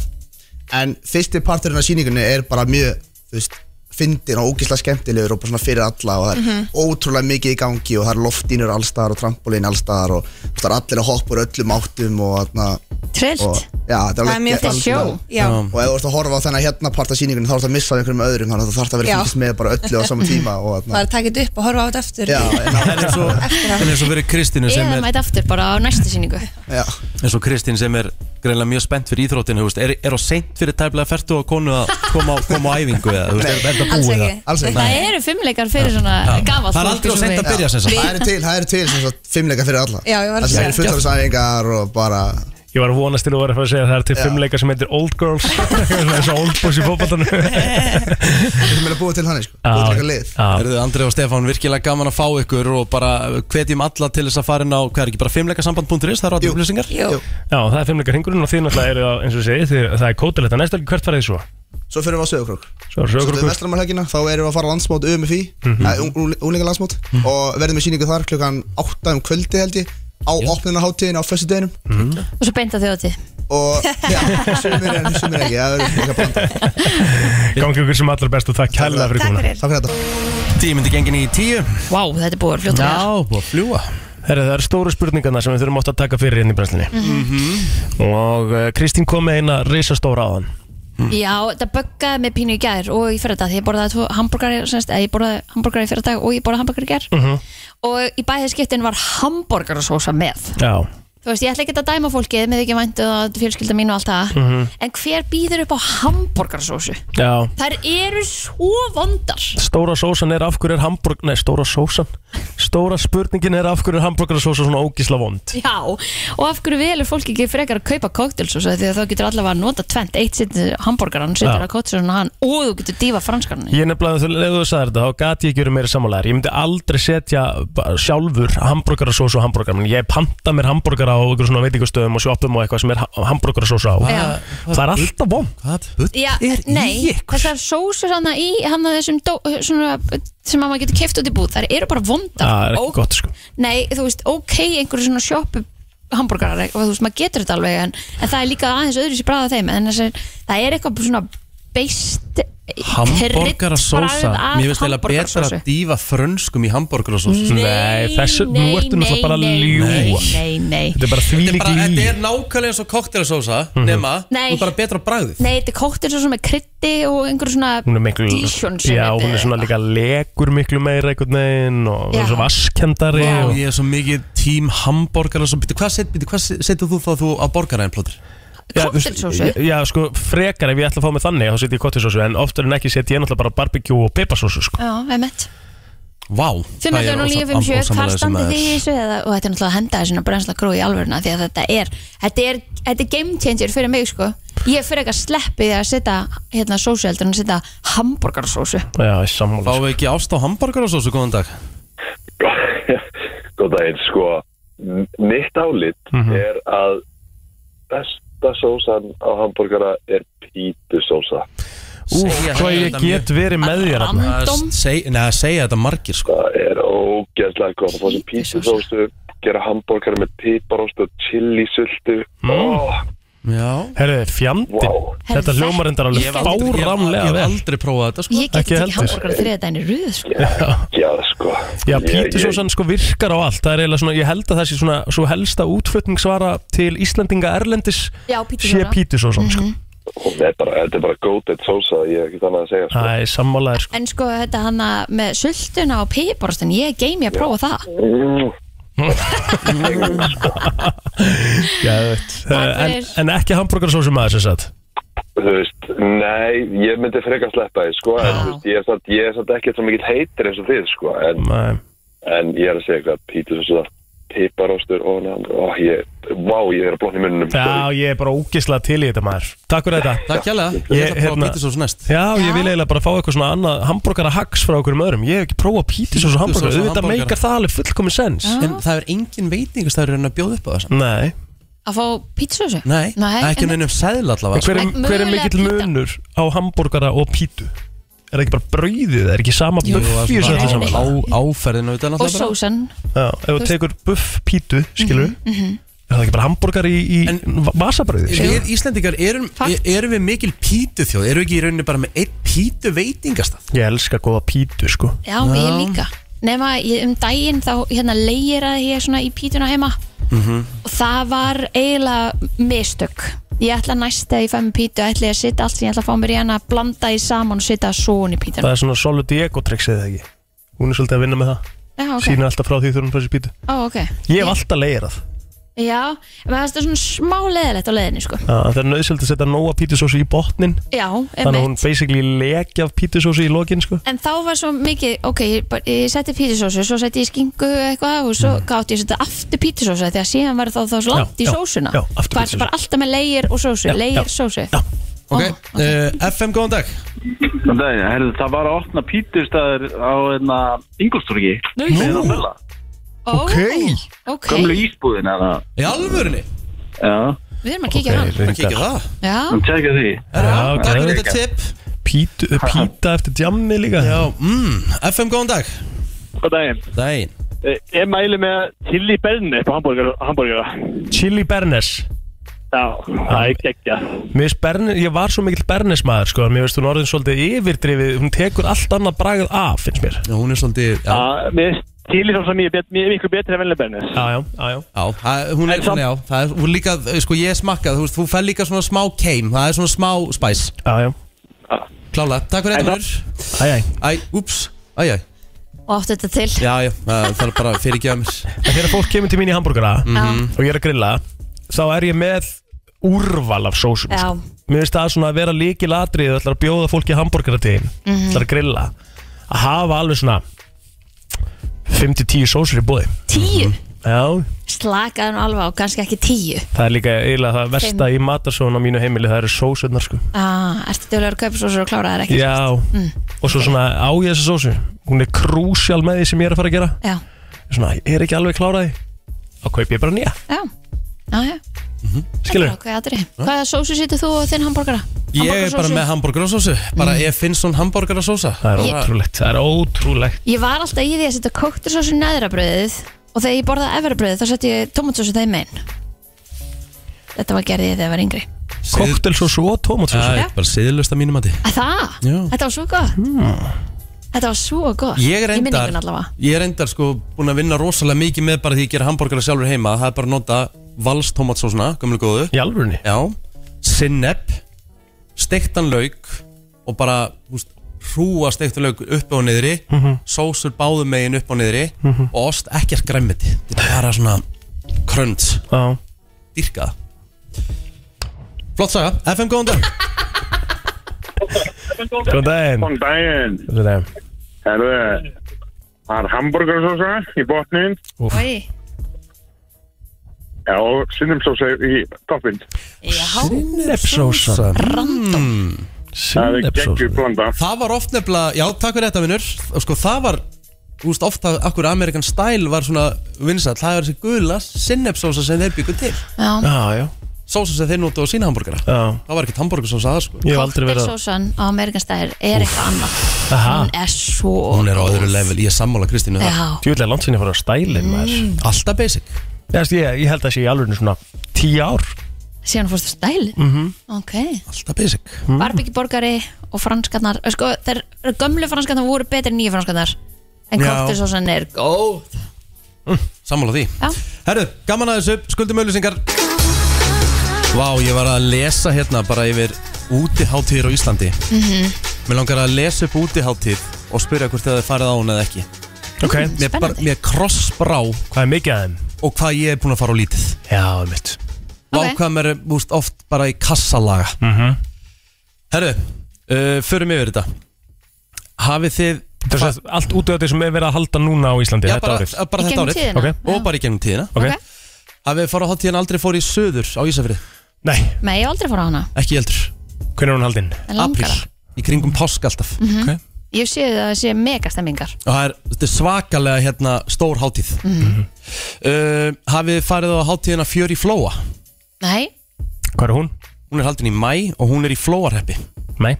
en fyrsti parturinn af síningunni er bara mjög þú veist, fyndin og ógislega skemmtilegur og bara svona fyrir alla og það er
Mhm.
ótrúlega mikið í gangi og það er loftínur allstaðar og trampolín allstaðar og það er allir að hoppa úr öllum áttum og þarna
Trillt.
og, já, þetta
Það er mjög
þetta
fínt sjó,
algjörlega-
já.
og ef þú ert að horfa á þennan hérna part af sýningunni þá ert að missa af einhverjum öðrum þannig að þú þarf að vera
Já.
að fylgist með bara öllu
<laughs>
á sama tíma
Það
og þarna
er takit upp og horfa á þetta aftur
Já,
en eins og,
Eftir á.
en eins og verið Kristínu sem
Eða
er
mæta aftur bara á næstu síningu
Já.
eins og Kristín sem er greinlega mjög spennt fyrir íþróttinu þú veist, er, er á seint fyrir tæplega fertu og konu að koma, á- koma á æfingu eða, þú veist, er, er það
Alls
búið
ekki. Það eru fimmleikar fyrir svona gafall
Það eru til, það eru til sem sagt fimmleika fyrir alla
Já, ég var að
að
segja.
segja Það eru fullorðsæfingar og bara
Ég var að vonast til að vera að fara að segja að það er til fimmleika sem heitir
<laughs>
Old Girls <laughs> Þessu Old Boys í fótballtannu
Við erum að búa til hann, sko,
Já.
búa til eitthvað lið
Erðu Andrið og Stefán virkilega gaman að fá ykkur og bara hvetjum alla til þess að fara inn á hvað er ekki bara fimmleikasamband.is, það eru allir upplýsingar
Já, það er fimmleika hringurinn og þið náttúrulega eru á, eins og segið, þið, það er kótilegt að næstu hvert farið þið svo?
Svo fyrir við á sögurkrok
Svo er
Svo
sögur
við vestramarhelgina, þá erum við að fara á landsmót UMFI, mm
Mhm.
-hmm. úlinga landsmót og verðum í síningu þar klukkan 8 um kvöldi held ég á opnunaháttíðin á föstu deginum
Mhm.
Og svo beinta þjóti
og <laughs> já,
<laughs>
sumir er, sumir er ekki, það verður eitthvað blanda
Gangi ykkur sem allra best og takk kærlega fyrir komuna
Takk fyrir þetta
Tíu myndi gengin í tíu
Vá, þetta er búið að fljóta
Já,
búið að fljúa
Herra, það eru stóru spurningarna sem við þurfum átt að taka fyrir hérna í brenslinni
Mhm.
Og uh, Kristín kom með eina risastóra á hann
Já, það böggaði með pínu í gær og í fyrradag því ég borðaði tvo hamburgari semst, eða ég borðaði hamburgari í fyrradag og ég borðaði hamburgari í gær
Mm.
Mhm.
og í bæði skiptin var hamburgarasósa með
Já
Þú veist, ég ætla ekki að dæma fólkið með ekki væntu og um fjölskylda mín og allt það
Mhm.
en hver býður upp á hamburgarasósu?
Já
Þær eru svo vondar
Stóra sósan er af hverju er hamburg... Nei, stóra sósan Stóra spurningin er af hverju er hamburgarsósa svona ógísla vond
Já, og af hverju velur fólk ekki frekar að kaupa kóktelsósu því að þá getur allavega að nota tvent eitt setur hamburgaran, setur að
Já.
kóktelsósuna hann og þú getur dífa franskarni
Ég nefnilega, þegar leðu þú sagði þetta, þá gati ég ekki verið meira sammálaðar Ég myndi aldrei setja ba- sjálfur hamburgarasósu á hamburgarar minn. Ég panta mér hamburgara á einhverjum svona veitingastöðum og sjoppum og eitthvað sem er ha- hamburgarasósu á
Já.
Það er alltaf bom
Hvað bull
Já, nei, þessar sósur hann í hann þessum dó, svona, sem að maður getur keft út í búð, þær eru bara vondar
Það er
Ó-
ekki gott sko
Nei, þú veist, ok, einhverju svona sjoppu hambúrgarar, þú veist, maður getur þetta alveg en, en það er líka aðeins öðru sér bræða þeim en þessar, það er eitthvað svona beist
Hamborgarasósa Mér finnst eða betra að dýfa frönskum í hamborgarasósa
Nei, Nei, þessu- nú nei, ertu náttúrulega nei, bara að nei, ljúga. nei, nei. Þetta
er bara því
líka í Þetta er nákvæmlega eins og koktelsósa nema,
Nei.
þú er bara betra á bragðið
Nei, þetta er kóttir svo með krytti og einhverju svona
Hún er miklu,
Dijon sem
já,
þetta
hún er
er.
svona líka legur miklu meira einhvern veginn og hún
Já.
er svo vaskendari
Vá,
og...
ég er svo mikið tím hamborgarasósa Býttu, Hvað set- býttu, hvað set- setur þú þá þú á borgaraðin plótur?
Já, já, já, sko, frekar ef ég ætla að fá mig þannig þá setjum ég kottisósu, en oftar en ekki setjum ég náttúrulega bara barbekjú og piparsósu, sko
Já, emmett
Vá,
50957, hvað standið þið í þessu eða, og þetta er náttúrulega að henda þessu brennsla grú í alvöruna því að þetta er, þetta er, þetta er game changer fyrir mig sko ég fyrir ekki að sleppi því að setja hérna sósu heldur en að setja hambúrgarsósu
Já, ég sammála
Fáum við ekki ást á hamborgarasósu, góðan dag
Góð daginn, sko m- Mitt álit
Mhm.
er að besta sósan á hambúrgara er pítusósa
Úf, hvað ég get verið með þér
Random Nei, að segja þetta margir, sko
Það er ógeðslega góð að fá sem pítusósu gera hambúrgara með piparóst og chilisultu mm.
Já
Herðu, fjandi Þetta hljómar endar alveg
Ég hef aldrei- ég hef-
fáramlega
Ég hef
vel
aldrei prófað þetta, sko
ég get ekki, ekki
heldur.
hambúrgar þriða dæni rúð sko.
Já, sko
Já,
Ég-
pítusósan sko virkar á allt Það er eiginlega svona, ég held að það sé svona svo helsta útflutningsvara til Íslandinga Erlendis
Já, Mhm.
sé
pítusósa.
pítusósan, sko
Hún er bara, þetta er bara góðið sósa ég er ekki þannig að segja sko.
Það er
<laughs>
sammálaðir, sko
en sko þetta hanna með sultuna og piparostin, ég er game ég að prófa það
Mm.
Já, ég veit Eh, en,
fyrir.
en ekki hambúrgarsósu maður, sem sagt
Þú veist, nei, ég myndi frekar sleppa því, sko, en þú veist, ég er samt, ég er samt ekki svo mikill heitir eins og þið, sko, en,
nei.
en ég er að segja eitthvað, pítur svo svona, piparostur, ó, ná, ó, ég, vá, ég er að blóna í sko. munnum,
Já, ég er bara ógislega til í þetta maður Takk fyrir þetta hérna-
Takk hérlega. Ég ætla að prófa pítusós næst
Já, ég vil eiginlega bara fá eitthvað svona annað hambúrgara hacks frá okkur um öðrum Ég hef ekki prófað pítusós og hambúrgara
Pítusós og
Þetta
hamborgara.
meikar það alveg fullkomin sens
Ah.
En það er engin veitingastæður en að bjóða upp á þessan
Nei
að fá pítsósu
Nei, ekki nefnum sæðl allavega sko.
Hver, er-
En
hver er
mögulega
mikill
píta.
munur á hambúrgara og pítu? Er það ekki bara brauðið? Er ekki sama
Jú,
buff
það
í
er
þessu öllu
svona
saman?
á- áferðin auðvitað
og
náttúrulega bara.
sósan
Já, ef þú
Þú veist-
tekur buff pítu, skilur
Mhm.
Er það ekki bara hamburgar í, í vasabröði?
Er, Íslendingar, erum, erum við mikil pítu þjóð? Erum við ekki í rauninni bara með einn pítu veitingastað?
Ég elska góða pítu sko
Já, ég líka Nefna um daginn þá hérna leiraði ég svona í pítuna heima
mm
Mhm.
-hmm.
og það var eiginlega mistök ég ætla næst að ég fæ mér pítu ætla ég að sitja allt sem ég ætla að fá mér í hana blanda í saman og sitja svo í
Það
pítuna
er svona solid ego tricks eða ekki Hún er svolítið að vinna með það
Já, ok.
Sýnir alltaf frá því þú erum frá þessi pítu
Ó, ok
Ég hef alltaf leirað
Já, en það er svona smá leðilegt á leðinni sko
Já, Það er nöðsöld að setja nóa pítusósu í botnin
Já,
Þannig að
emmitt
hún basically leki af pítusósu í lokin sko
En þá var svo mikið, ok, ég, bara- ég setti pítisósu, svo setti ég skingu eitthvað og svo mm. gátti ég að setja aftur pítisósu því að síðan var þá þá svo
Já,
langt í
já,
sósuna.
já, aftur
Bara-
pítsusósu.
Bara alltaf með leir og sósu,
Já, já,
leir, sósu. Já.
Ok, uh, FM, góðan dag
Þannig að herðu, það var að opna pítustæður á hérna, einna Ingolstorgi
Nei.
Nú,
Ok. Ok,
gömlu ísbúðin eða
Í alvörunni?
Já,
við erum að kíkja okay, hann.
kíkja það
Já,
hann tjekka því
Já,
takk fyrir
geðveikt.
þetta tip
Pítu, píta eftir djamni líka
Já, mm, FM, góðan dag
Góð daginn
Daginn
Eh, Ég mæli með chili berni upp á hambúrgar, hambúrgar.
Chili Bernes
Já, það er geggja
Mér finnst Bernes, ég var svo mikill Bernes maður sko en Mér finnst hún orðin svolítið yfirdrifið Hún tekur allt annað bragð af finnst mér
Já, hún er svolítið Já,
Já, Mér finnst chili svo sem ég bet, mér er miklu betri en venlega berni
já, já, já,
já það- hún er, hún, já Það er hún líka, sko ég smakkað Þú veist, þú fær líka svona smá keim Það er svona smá spæs
Já, já
Klála, takk fyrir þetta
Æ, æ
Æ, úps, æ, æ
og áttu þetta til.
Já, já, það það er bara fyrir ekki að mér
En þegar fólk kemur til mín í hambúrgara
Mhm.
Já.
og ég er að grilla þá er ég með úrval af sósum
Já.
sko. Mér finnst það svona að vera líkil atrið Það ætlar að bjóða fólki hambúrgara til mm
Mhm.
ætlar að grilla að hafa alveg svona 5-10 sósur í bóði
Tíu,
Já,
slakaði nú alveg á, kannski ekki tíu.
það er líka eiginlega það versta í matarsóðun á mínu heimili það eru sósurnar sko
Ah, ertu dölur að kaupa sósu og klára það ekki?
Já,
Mm.
og svo svona á ég þessa sósu Hún er krúsjál með því sem ég er að fara að gera
Já.
Svona, ég er ekki alveg kláraði Þá kaup ég bara nýja,
Já, já, já.
skilur
Ok, aðri. Hvaða sósu setur þú og þinn hambúrgara?
Ég er bara
Hamborgarasósu?
með hambúrgarasósu Bara mm. ég finn svona hambúrgarasósa
Það
er Ég-
ótrúlegt, það er ótrúlegt
Ég var alltaf í því að setja kóktursósu í neðra bröðið og þegar ég borðaði efra bröðið þá setti ég tomatsósu þeim einn Þetta var gerðið þegar ég var yngri
Koktelsósu og tómatsósu
Það er bara siðlust að mínum að
Að Það?
Já. Hmm.
Þetta var svo gott
Mm.
Þetta var svo gott
Ég er
Í
endar,
minningunni allavega
ég er endar sko búin að vinna rosalega mikið með bara því ég gera hambúrgara sjálfur heima Það er bara að nota vals tomatsósuna, gömlu góðu
Í alvörunni?
Já, sinnepp, steiktan lauk og bara húst, hrúa steiktan lauk upp og niðri
Mhm.
Sósur báðum megin upp og niðri
Mhm.
Og ost ekkert græmiti Þetta er bara svona krönt
Já
Dyrka Flott saga, FM góðan dag
Góðan daginn
Góðan daginn
Góðan daginn
Herðu, það er hambúrgarsósa í botnin
Oi.
Já, og sinnumsósa í toppin
Sinnepsósa
Random
Mm.
Það er geggjur blanda
Það var oft nefnilega, já takk fyrir þetta vinnur Og Sko það var, þú veist oft að akkur Amerikan Style var svona vinsall Það var þessi gula sinnepsósa sem þeir byggu til
Já.
já
Sósa sem þeir notu á sína hambúrgara
Já
Það var ekkert hambúrgarsósa það sko
Ég hef aldrei
Sósan á Amerikanstæðir er eitthvað annað
Aha.
Hún er svo
Hún er á öðru level, ég er sammála Kristínu þar.
Já.
Tjóðlega langt sinni að fara á stælinn maður
Mm.
Alltaf basic
Ég, ég, ég held að sé í alveg svona 10 ár
Síðan fórstu stæli
Mhm.
Ok
Alltaf basic
Mm.
Barbekiborgari og franskarnar sko, þeir, Gömlu franskarnar voru betri en nýju franskarnar En
Já.
kóktursósan er góð
Hm, Sammála því
Já.
Herru, gaman að þessu, skuldum auðlýsingar Vá, ég var að lesa hérna bara yfir útiháttíðir á Íslandi
Mhm.
Mér langar að lesa upp útiháttíð og spyrja hvort þið hafið farið á hún eða ekki
Ok.
Mér, bara, mér krossbrá
Hvað er mikið að þeim?
Og hvað ég er búin að fara á lítið
Já, mitt
Vá, hvað mér er úst, oft bara í kassalaga
mm -hmm.
Herru, uh, förum yfir þetta Hafið þið
Það er svo allt út af þetta sem er verið að halda núna á Íslandi
Já,
þetta
bara,
árið
bara þetta árið
Ok.
Og bara í gegnum tíðina
Ok.
Hafið þið farið á hátíðina aldrei fór í söður á Ísafrið
Nei,
Nei, ég hef aldrei fór á hana
ekki eldur
Hvernig er hún haldinn?
En langar
Apríl, í kringum pásk alltaf
Mhm. Ég sé það að það sé megastemmingar
Og það er, þetta er svakalega hérna, stór hátíð
Mm.
Mhm.
uh, Hafið þið farið á hátíðina fjör í Flóa
Nei,
Hvað er hún?
Hún er haldin í mæ og hún er í Flóarheppi
Nei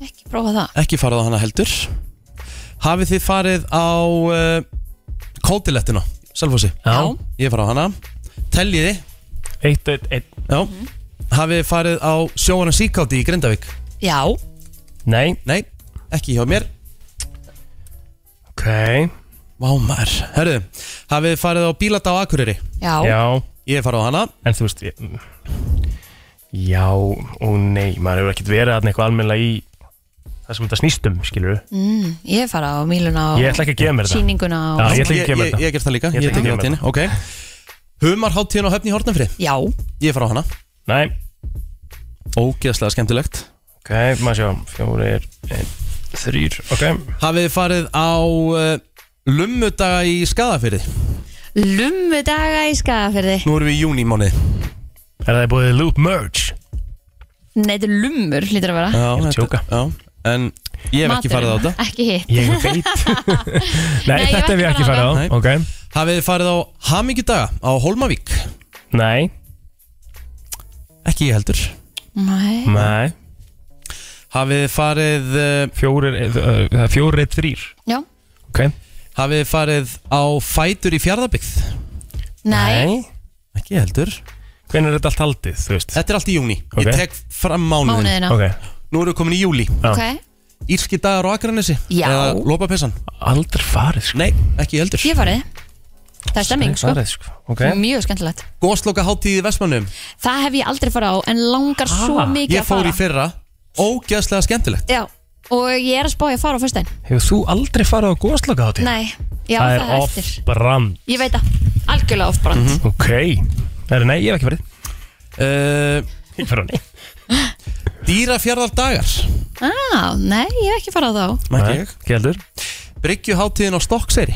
ekki prófa það
Ekki farið á hana heldur Hafið þið farið á uh, Kótilettina, Selfossi
Já
Ég farið á hana Teljiði
Eitt, eitt, eitt
Já, hafið þið farið á sjóana síkáti í Grindavík?
Já
Nei
Nei, ekki hjá mér
Ok
Vámar, herðu, hafið þið farið á bílata á Akureyri?
Já.
Já.
Ég hef farið á hana
En þú veist, ég, já og nei, maður hefur ekkert verið þarna eitthvað almennilega í það sem þetta snýst um, skilur við.
mm, Ég er farað á míluna og
Ég ætla ekki að gefa mér þetta.
Sýninguna og...
Já, ég ætla ekki að gefa mér
Ég,
þetta.
ég, ég gerst það líka,
Ég ætla
ég
ekki að
tekið
gefa mér
hátíðina, ok Humarháttíðin á höfni í Hortnafri?
Já
Ég fara á hana
Nei
Ógeðslega skemmtilegt
Ok, maður sjá, fjórir, einn, þrýr, ok
Hafið þið farið á uh, Lummudaga í Skadafyrði
Lummu daga í skafirði
Nú erum við í júnímáni
Er það búið Loop Merge?
Nei, þetta er lummur, hlýtur að vera
Já, ég er tjóka Já, en ég hef ekki farið á þetta
Ekki hitt
Ég veit.
Nei, Nei, ég þetta hef ég ekki ekki farið farið á. á.
Nei. Hafið þið farið á Hamingjudaga á Holmavík?
Nei
Ekki ég heldur
<laughs> Nei.
Nei
Hafið þið farið uh,
Fjórir, uh, fjórir, eitt, þrýr
Já.
Ok
Hafið þið farið á Fætur í Fjardabyggð?
Nei.
Ekki heldur
Hvernig er þetta allt haldið, þú veist?
Þetta er allt í júni
Ok.
Ég tek fram mánuðin
Mánuðina. Ok.
Nú erum við komin í júli
Ok.
Írski dagar á Akranesi
Já.
Eða Lopapessan
Aldrei farið sko.
Nei, ekki heldur
Ég hef farið Það er stemming, sko,
Farið, sko.
Mjög skemmtilegt
Góðsloka hátíð í Vestmannum Ah,
Það hef ég aldrei farið á en langar svo mikið
Ég
að fara
fór í fyrra Ógæðslega skemmtilegt
Já, og ég er að spája að fara á föstudaginn
Hefur þú aldrei farið á góðslaka hátíð?
Nei, já, það,
það er
eftir
off-brand Mhm.
Ég veit það, algjörlega off-brand
Mhm.
Ok, Nei, nei, ég hef ekki farið
uh,
Ég farið á nei
Dýrafjarðar dagar
ah, Nei, ég hef ekki farið á þá
Mætti ég
Ekki heldur
Bryggju hátíðin á Stokkseri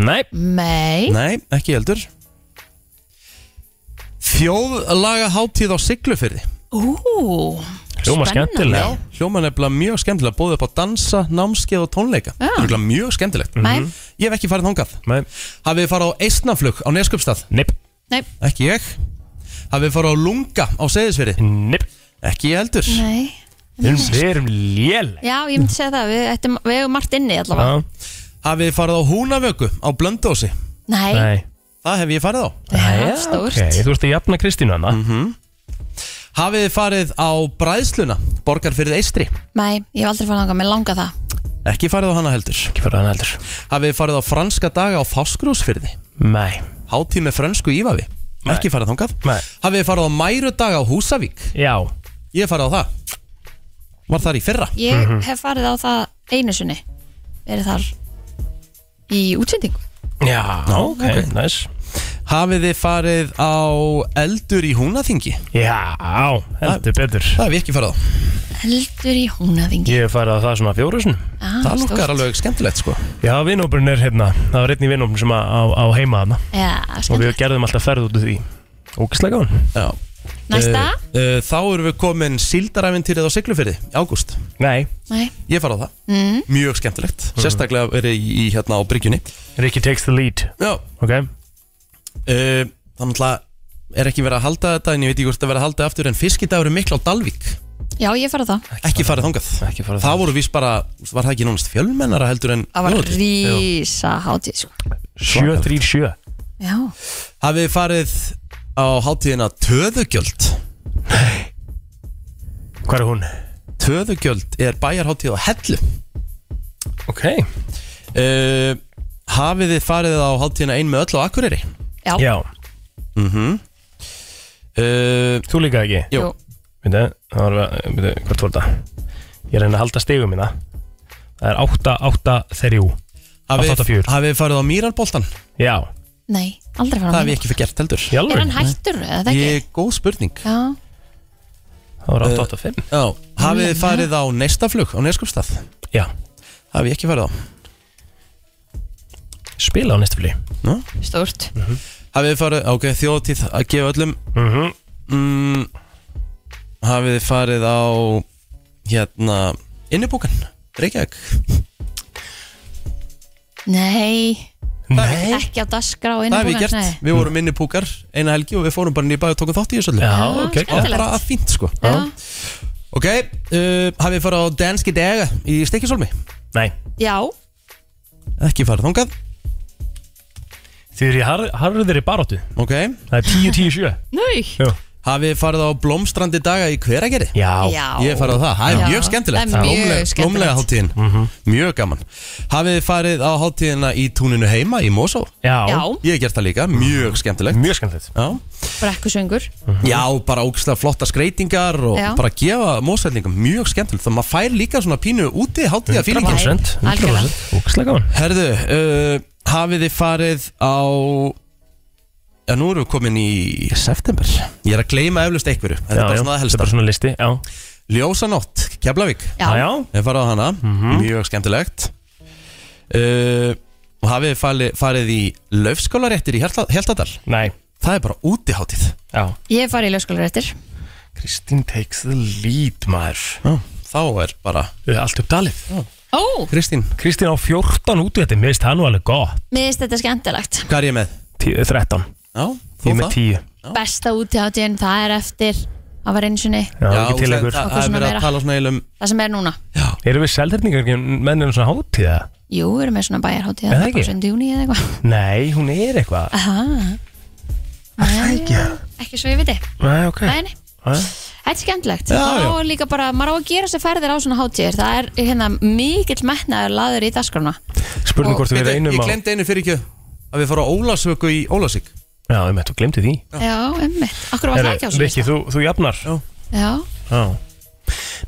Nei
Nei,
Nei, ekki heldur Þjóðlaga hátíð á Siglufyrði
Ú,
Hljóma
spennandi.
skemmtilega Já, Hljóma nefnilega mjög skemmtilega Bóðið upp á dansa, námskeið og tónleika
Já.
Örugglega Mjög skemmtilegt Mhm.
Nei.
Ég hef ekki farið þangað
Nei.
Hafið þið farið á Eistnaflug á Neskjöpstað
Nip
Nei.
Ekki ég Hafið þið farið á Lunga á Seyðisfyrði
Nip
Ekki ég heldur
Nei.
Við erum lél
Já, ég myndi segja það, við, ættum, við hefum margt inni allavega
Hafið þið farið á Húnavöku á Blöndósi
Nei. Nei.
Það hef ég farið á
Jæja, ok, Þú ert að jafna Kristínu hana mm
-hmm. Hafið þið farið á Bræðsluna Borgarfyrðið Eistri
Nei, ég hef aldrei farið þangað, mér langar það
Ekki farið á hana heldur
Ekki farið á hana heldur
Hafið þið farið á franska daga á Fáskrúsfyrði
Nei
Hátíð með frönsku ívafi Ekki farið þangað
Nei.
Hafið þið farið á mæru daga á Húsavík
Já
Ég hef farið á það Var þar í fyrra
Ég
Mhm.
hef farið á það einu sinni Verið þar í útsendingu
Já, ok, okay. nice
Hafið þið farið á eldur í Húnaþingi
Já, heldur betur Það
hef ég ekki farið á
Heldur í húnaðingi
Ég hef farið á það svona fjóruðsinn
Ah, Það stórt. lukkar
alveg skemmtilegt sko
Já, vinnópurinn er hérna Það var einn í vinnópurinn sem að- á, á heima þarna
Já,
Og
skemmt
við gerðum alltaf ferð út úr því Eh, Ógæslega gáðan
Já
Næsta?
uh, Þá erum við komin síldaræfintýrið á Siglufyrði í ágúst
Nei
Nei.
Ég farið á það
Mm.
Mjög skemmtilegt Sérstaklega verið í, í hérna á bryggjunni
Rikki takes the lead
Já
Ok
uh, Þannig að er ekki verið að halda þetta En ég veit ekki hvort það verið að halda aftur En fiskidagur er miklu á Dalvík
Já, ég hef farið á það
Ekki farið þangað
Ekki farið
Það voru vís bara Var það ekki nónast fjölmennara heldur en
Það var
Jú,
rísa hátíð sko.
737
Já,
Hafið þið farið á hátíðina Töðugjöld
Hvað er hún?
Töðugjöld er bæjarhátíð á Hellu
Ok
uh, Hafið þið farið á hátíðina Ein með öll á Akureyri
já,
Já
mm -hmm.
Þú líka ekki?
Uh, Jú. Jú.
Veitu, það var að, veitu, hvort voru þetta? Ég reyna að halda stegum minna Það er 883
Hafið
884
hafið þið farið á Mýrarboltan
Já
nei, aldrei farið á
Það hef
mínu.
ég ekki fyrir gert heldur
Er hann hættur eða það ekki?
Ég, góð spurning Eh,
Já,
Það var
Uh,
885
Já, hafið þið farið á neistaflug á neskupstað?
Já
Það hef ég ekki farið á
Spila á næstu fli
Nú?
stórt
Mhm. Hafið þið farið, ok, þjóðtíð að gefa öllum
Mhm.
mm, Hafið þið farið á hérna, innibúkan Reykjavík
Nei,
Nei.
ekki á dasgra og
Það hef ég
innbúin
gert, við vorum innibúkar eina helgi og við fórum bara nýbæð og tókum þátt í þessu öllu
Já, Já,
Það
ok,
var
skemmtilegt.
bara að fínt sko
Já.
Ok, uh, hafið þið farið á Danski Dega í Stekjusólmi?
Nei
Já,
Ekki farið þangað
Þið eru í har, harðir í baróttu
Ok
Það er 10-10-7
Nei
Hafið þið farið á blómstrandi daga í hveragerði?
Já.
Já.
Ég hef farið á það, það er
Já.
mjög skemmtilegt
Það er mjög
Blómleg-
skemmtilegt.
Blómlega hátíðin,
Mhm.
mjög gaman Hafið þið farið á hátíðina í túninu heima í Mosó?
Já.
Já.
Ég hef gert það líka, mjög skemmtilegt
Mjög skemmtilegt Mhm.
Já,
brekkusöngur
Já bara ógislega flotta skreitingar og
Já.
bara gefa mósætlingum mjög skemmtilegt Þannig að maður fær líka svona pínu úti hátíða fílingar
100% 100% Ógæslega gaman
Herðu, uh, hafið þið farið á Já, nú erum við komin í september Ég er að gleyma eflust einhverju Þetta er
Já,
bara
já,
svona það helsta
þetta er bara svona listi, já
Ljósanótt, Keflavík
Já. Já, já. Mhm.
Ég farið á hana, mjög skemmtilegt uh, Og hafið þið farið, farið í Laufskólaréttir í Hjalta- Hjaltadal
Nei
Það er bara útiháttið
Já
Ég hef farið í lögskólaréttir
Kristín takes the lead maður
Já, Þá er bara
Allt upp dalið
Ó,
Kristín
Kristín á 14 út í þetta Mér finnst það nú alveg gott
mér finnst þetta skemmtilegt
Hvað er ég með?
10, 13
Já,
þú Ég er með 10
Besta útiháttíðin, það er eftir Það var einu sinni
Já, ekki til
það, það,
Okkur
einhver. Ah.
það er
svona
verið
meira.
að tala svona um- eilum
Það sem er núna
Erum við selðherningar mennum svona hátíða?
Jú, við erum með svona bæjarháttíð
Er það
Það er bara
ekki?
sundi júni eða
<laughs>
eitthvað
Nei, hún er
Ah.
eitthvað
Aha. Nei, Ekki svo ég viti
Nei, ok Ah,
Nei, nei. Þetta er skemmtilegt
Já,
Það
já.
á líka bara, maður á að gera sér ferðir á svona hátíðir Það er hérna mikill metnaður laður í dagskrána
Spurning hvort við
Veitu,
reynum
Ég
á-
glemdi einu fyrir ekki að við fara á Ólasvöku í Ólasík
Já, ég meðt, þú glemdi því
Já, emmitt, akkur var það ekki á svona
Viki, þú, þú jafnar Já,
Já,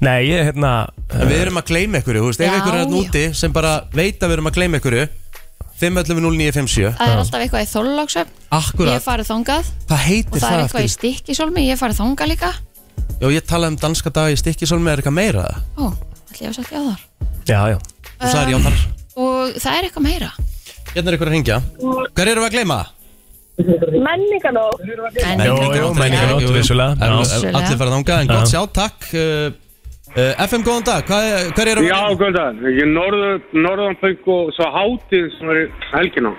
Nei, ég er hérna
En við erum að gleyma ykkur, þú veist, ef
Já,
ykkur er hann
já.
úti sem bara veit að við erum að gleyma ykkur 511-0957
það er alltaf eitthvað í þorláksöfn Ég
Akkurat,
hef farið þangað
hvað
Og
heitir
það
það?
er eitthvað í
aftur?
stikkisólmi, ég hef farið þangað líka
Já, ég talaði um danska dag í stikkisólmi, er eitthvað meira?
Ó, ætli ég hef sagt já þar
Já, já
Þú sagði já þar
Og það er eitthvað meira
Hérna er ykkur að ringja Hver erum við að gleyma?
Menninganótt
Jó,
Menningarnótt, menningarnótt,
jú, jú.
vissulega.
En-
Já.
en Allir fara þangað, en
Já.
gott sjá, takk Uh, uh, FM, góðan dag, hvað hver erum við?
Já, góðan, ég er norður, norðanpöng og svo hátíð sem er í helgina.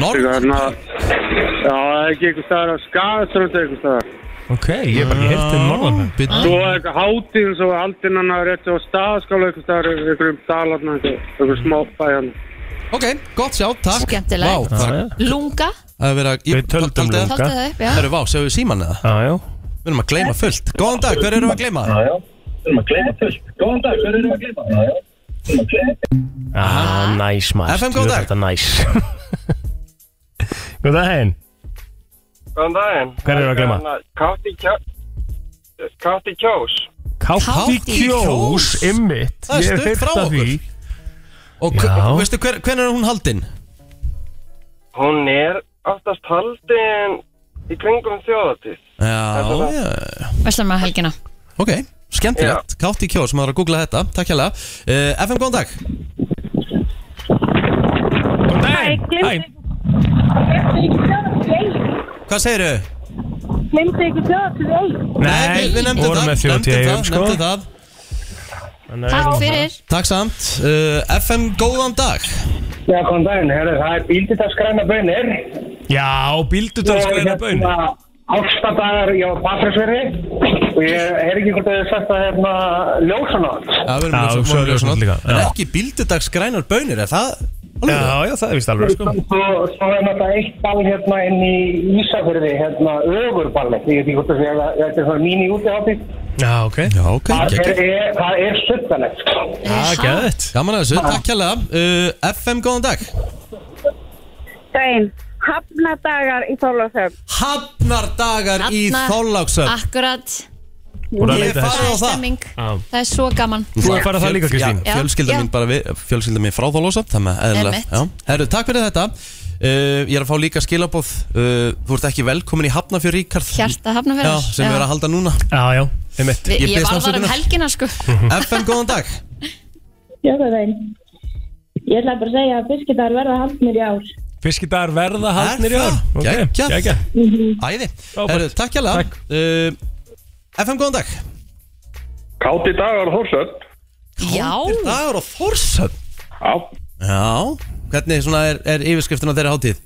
Norðan?
Já, það er ekki einhver staðar á skagaströndu einhver staðar.
Ok, ég er bara ekki hirt um norðan
Svo er eitthvað hátíð sem er haldin hann að rétti á staðaskála einhver staðar, einhverjum dalarna, einhver- einhver smá bæjan.
Ok, gott sjá, takk
Skemmtilegt.
Vá, það-
Lunga,
Það er verið að... Við töldum
lunga. Töldu það upp, já.
Það eru vá, séu við síman eða?
Já, já.
Við erum að gleyma fullt. Góðan dag, hver erum við að gleyma? Já, já. Við erum að gleyma fullt. Góðan dag, hver erum við að gleyma? Já, já.
Ah, næs maður
FM, góðan dag.
Þetta næs <laughs> Góð daginn
Góðan daginn.
Hver eru að gleyma?
Kátt í kjós. Kátt í kjós.
Kátt í kjós, ymmit
Það er stutt frá okkur.
Og
Já.
hver- veistu hver, hvernig er hún haldin?
Hún er oftast haldin í kringum þjóðatíð.
Já,
Þetta er
já.
verslar maður helgina
Ok, skemmtilegt. Kátt í kjós, maður er að googla þetta. Takk hérlega. Uh, FM, góðan dag.
Góðan dag.
Hæ. Hvað segirðu?
Glemdi ykkur þjóðatíð einn
Nei, við nefndum
vorum
það.
með þjóðatíð
nefndum
í
það,
eigum, sko.
nefndum það.
Takk fyrir.
Takk samt. Uh, FM, góðan dag.
Já, góðan daginn, herru, það er bíldutarsgræna bönir
Já, bíldutarsgræna bönn
hérna, Ástadagar, já, Patræsverði Og ég heyr ekki hvort þau hefur sagt að hérna ljósanátt
Já, við erum
Já,
með
svo
svo
er ljósnátt líka.
En
Já.
ekki bildudags grænar bönir, er það? Alveg?
Já, já, það er vist alveg sko
Svo, svo er náttúrulega eitt ball hérna inn í Ísafjörði, hérna ögurballi Ég veit ekki hvort þau hefur, þetta er svona mín í útiháttið
Já, ok
Já, ok,
Það er,
geggjað.
er, það er suttanett, sko
Já, gæðið Gaman að þessu, takk hérlega uh, FM, góðan dag
Daginn, hafnadagar í Þorlóðsöf
Hafnardagar í
Hafnar-
Þorláksöfn
Akkurat
Voru að leita þessu?
er
Það.
stemming Það er svo gaman
Þú hefur farið það líka, Kristín
Já,
Fjölskylda
já.
mín bara við Fjölskylda mín frá Þorláksöfn Þannig að
Einmitt.
eðlilega Já. Herru, takk fyrir þetta uh, Ég er að fá líka skilabóð uh, Þú ert ekki velkomin í Hafnafjör Ríkard
Hjarta Hafnarfjarðar.
Já, sem
Já.
við erum að halda núna
Já, já, einmitt
Ég, ég var þar um helgina
<laughs>
sko
FM, góðan dag
Já, það er Ég ætla bara að segja að fiskidagar verða haldnir í ár
<laughs> Fiskidagar verða haldnir í ár Ok,
Geggjað.
geggjað.
Æði Herru, takk hérlega uh, FM, góðan dag
Kátt í dagar hórsöld.
Já
Dagur og Þórsöfn
Já.
Já, hvernig svona er, er yfirskriftin á þeirra hátíð?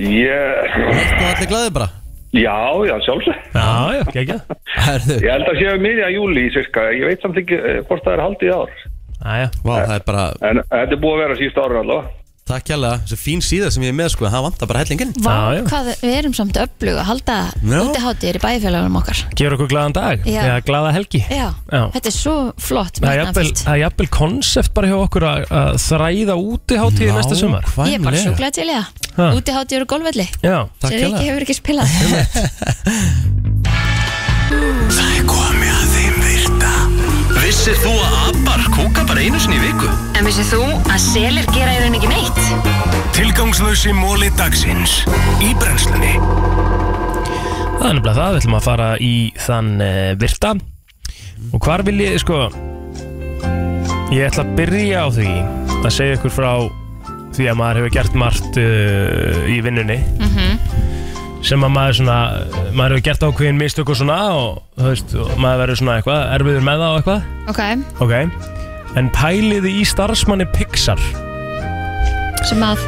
Ég...
Þú allir glæðið bara
Já, já, sjálfsög.
Já, já,
<laughs>
geggjað.
Ég held að séu um miðja júli, sirka. ég veit samt ekki eh, hvort það er haldið í ár.
Æja,
Vá, það er bara...
En þetta er búið að vera síst ára allavega.
Takk kjærlega, þessi fín síða sem ég er með sko, það vantar bara hellingin
Vá, hvað við erum samt öflug að halda
Já.
útiháttir í bæðifélagunum okkar
Gjör okkur glaðan dag,
Já.
eða glaða helgi
Já,
Já.
þetta er svo flott
Það er jafnvel-
metnaðarfullt.
það er jafnvel konsept bara hjá okkur að að þræða úti hátíð næsta sumar
Ég er bara sjúklað til í
Ha.
það Útiháttir og golfvelli
Já,
sem Ríkki hefur ekki spilað
Það er komið að þeim virta Vissir þú að abar kúka bara einu sinni í viku?
En vissið þú að selir gera í rauninni ekki neitt?
Tilgangslösi móli dagsins Í brennslunni
Það er nefnilega það, við ætlum að fara í þann uh, virta Og hvar vil ég, sko Ég ætla að byrja á því að segja ykkur frá því að maður hefur gert margt uh, í vinnunni
Mhm.
sem að maður svona maður hefur gert ákveðin mistök og svona og, þú veist, og maður verður svona eitthvað erfiður með það og eitthvað
Ok,
ok, en pæliði í starfsmanni Pixar
sem að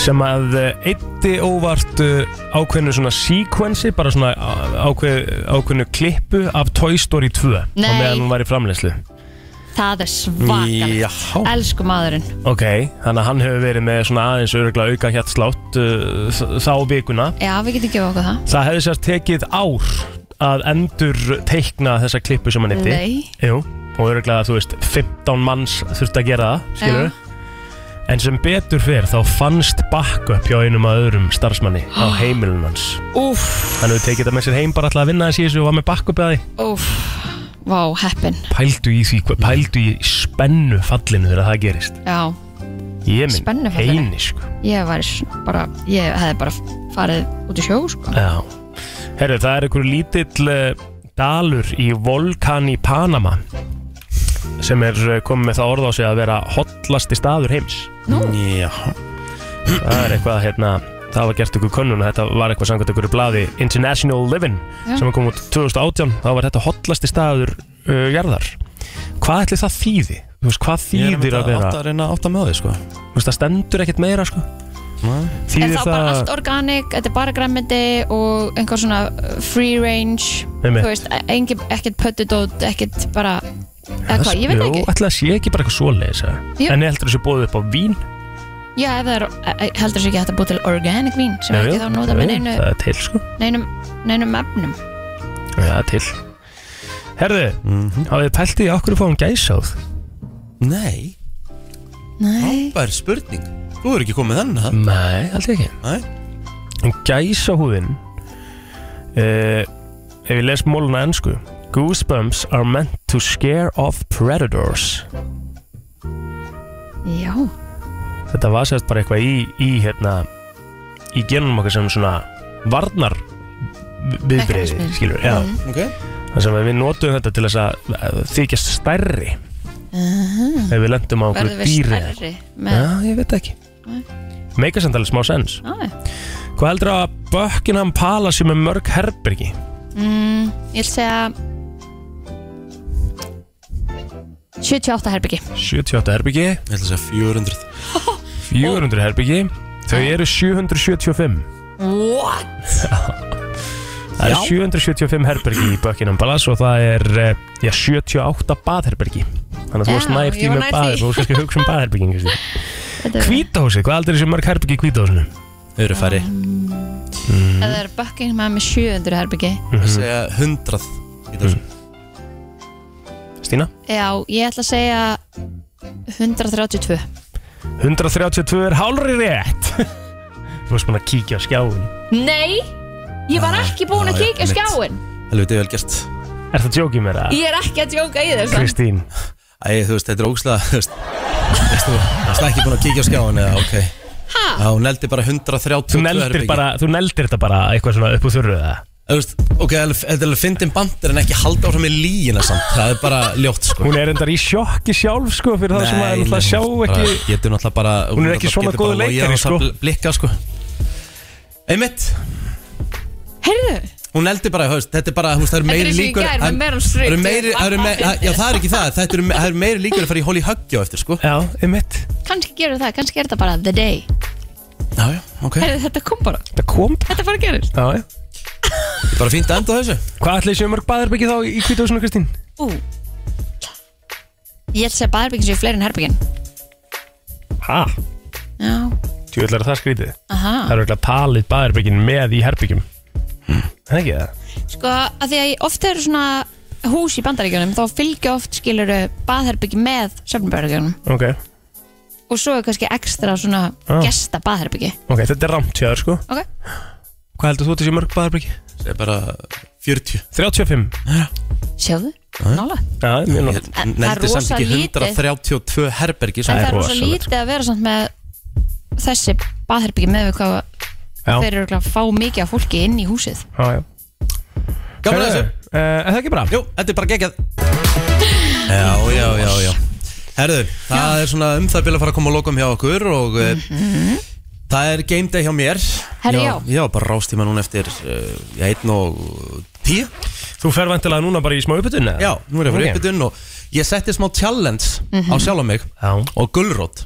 sem að eh, eitti óvart eh, ákveðnu svona sequensi bara svona á- ákveð, ákveðnu klippu af Toy Story 2
Nei.
á meðan hún var í framleyslu
það er svakar
Jaha.
Elsku maðurinn
ok, þannig að hann hefur verið með svona aðeins öruglega auka hjartslátt uh, þ- þá vikuna
Já, við getum gefið okkur það
það hefði sérst tekið ár að endur teikna þessa klippu sem hann
Nei.
eitti Jú, og öruglega þú veist 15 manns þurfti að gera það, skilur
Já.
En sem betur fyrr þá fannst backup hjá einum að öðrum starfsmanni
<gasps>
á heimilun hans.
Úff,
Þannig við tekið þetta með sér heim bara alltaf að vinna þessi þessu og var með bakkupið að því.
úff, vá, heppin
Pældu í því, hva- pældu í spennu fallinu þegar það gerist.
Já,
Ég minn
Spennu fallinu?
heini, sko.
ég var bara, ég hefði bara farið út í sjó, sko
Já. Herru, það er einhver lítill uh, dalur í Volkan í Panama sem er eh, komið með það orð á sig að vera hotlasti staður heims.
Nú?
Já. Það er eitthvað, hérna, það var gert ykkur könnun og þetta var eitthvað samkvæmt ykkur í blaði International Living
Já.
sem kom út 2018, þá var þetta hotlasti staður uh, jarðar. Hvað ætli það þýði? Þú veist, hvað
Ég er
þýðir
að
að vera?
átta að reyna að átta með á því sko
Þú veist, það stendur ekkert meira, sko.
Er
Þýðir
þá bara allt organik, þetta er bara græmiti og einhver svona uh, free range
Einmitt.
Þú veist, engi, ekkert pöttudót, ekkert bara eða hvað, ég veit það
Jú,
ekki
ætli það sé ekki bara eitthvað svoleiðis,
Jú.
eða? En ég heldur þessu bóðið upp á vín.
Já, ef það er, e- e- heldur þessu ekki hægt að búa til organic vín sem er
Jú,
ekki þá nota með
jú,
neinu,
Það er til, sko.
neinum, neinum efnum
Það er til. Herðu,
Mhm.
hafið þið pælt í okkur að fá um gæsáð?
Nei
Nei
Bár spurning, þú er ekki komið þannig að
Nei, aldrei ekki
Nei.
En gæsahúðin uh, Ef ég les móluna ennsku Goosebumps are meant to scare off predators
Já,
Þetta var sérst bara eitthvað í, í hérna Í genum okkar sem svona Varnar viðbreyði
Mekanismi.
Skilur, já
Mhm.
Ok.
Það sem að við notum þetta til þess að að þykjast stærri
Mhm.
Ef við lendum á okkur
verður við
dýri eða
stærri
Já,
með
ég veit ekki Meika samt alveg smá sens
Já, já.
Hvað heldur að Buckingham Palace sé með mörg herbergi?
mm, Ég vil segja 78 herbyggi
78 herbyggi Ég
ætla að segja 400
400 herbyggi Þau eru 775
What?
Það
Já.
eru 775 herbergi í Buckingham Palace og það er eh, já, 78 baðherbergi Þannig að þú
Já,
varst nær
ég
því
var
með
nær
baðherbergi
því.
Þú varst kannski að hugsa um baðherbergi
Þetta er-
Hvítahósi, hvað heldur þessi mörg herbergi í hvítahósinu?
Þau eru færri
Ef það er Buckingham með 700 herbyggi
Mm-hmm.
Ég segja 100 í þessu.
Mm-hmm. Stína?
Já, ég ætla að segja 132
132 er hálri rétt Þú varst búin að kíkja á skjáin
Nei, ég var ekki búin
já,
að kíkja á
mitt.
skjáin
Helviti vel gert
Er það djókið mér
Ég er ekki að djóka í þessu
Kristín
Æ, þú veist, þetta er ógslag Þú veist, þú veist ekki búin að kíkja á skjáin eða, ok
Ha?
Já, hún neldi bara 132
Þú neldir,
herbergi.
bara, þú neldir þetta bara eitthvað svona upp úr þurru eða?
Þú veist, ok, alveg- þetta er alveg fyndin bandir en ekki halda áfram í líina samt Það er bara ljótt, sko
Hún er endar í sjokki sjálf sko fyrir það sem að
Nei,
náttúrulega
nei,
sjá
hún bara
ekki
Getur náttúrulega bara
Hún er ekki svona
getur bara
góður
logið á
leikari,
þessa
sko.
bl- Blikka sko Einmitt
Heyrðu
Hún eldi bara, höfst, þetta er bara, þú veist, það eru
Þetta er
meiri
eins og í
líkur
gær með
það-
Meryl
það
Streep.
eru meiri, það eru meiri,
Ég-
já það er ekki það Þetta eru, það eru meiri líkur að fara í hól í höggja á eftir, sko
Já, einmitt
Kannski gerur það, kannski er þetta bara the day
Já, já, ok
Heyrðu, þetta kom bara
Þetta kom
Þetta bara gerist
Já, já
Ég bara fínt að enda á þessu
Hvað ætlaði séu mörg baðherbyggi þá í kvítahúsinu, Kristín?
Ú Ég ætla að segja baðherbyggin séu fleiri en herbyggin
Ha?
Já,
Þú ætlar að það skrítið
Aha.
Það eru eitthvað talið baðherbyggjum með í herbyggjum
Hmm.
Það er ekki það
sko að því að ofta eru svona hús í bandaríkjunum þá fylgja oft skiluru baðherbyggi með söfnbjörgjunum
Ok,
og svo er kannski ekstra svona
Ah.
gesta baðherbyggi
ok, þetta er ramt hjá þér sko
Ok.
Hvað heldur þú að þetta sé mörg baðherbyggi?
Það er bara 40
35 Já,
Sjáðu,
Já.
nála
það er mjög nátt
En- en það er
Nefndi samt
rosa
ekki
lítið.
132 herbergi
En það er
sko.
rosa lítið að vera samt með þessi baðherbyggi með við hvað
Já.
þeir eru örugglega að fá mikið af fólki inn í húsið
Já, já
Gaman að þessu
uh, Er það ekki bara?
Jú, þetta er bara geggjað Já, já, já, já Herðu, það er svona um það byrja að fara að koma að lokum hjá okkur og mm það er game day hjá mér
Mhm. Herri, já.
Já, bara rástíma núna eftir uh, já, einn og tíu
Þú fer vantilega núna bara í smá uppbytun
Já, nú er ég fyrir
Ok.
okay. uppbytun og ég setti smá challenge
Mhm.
á sjálf mig
já.
og gullrót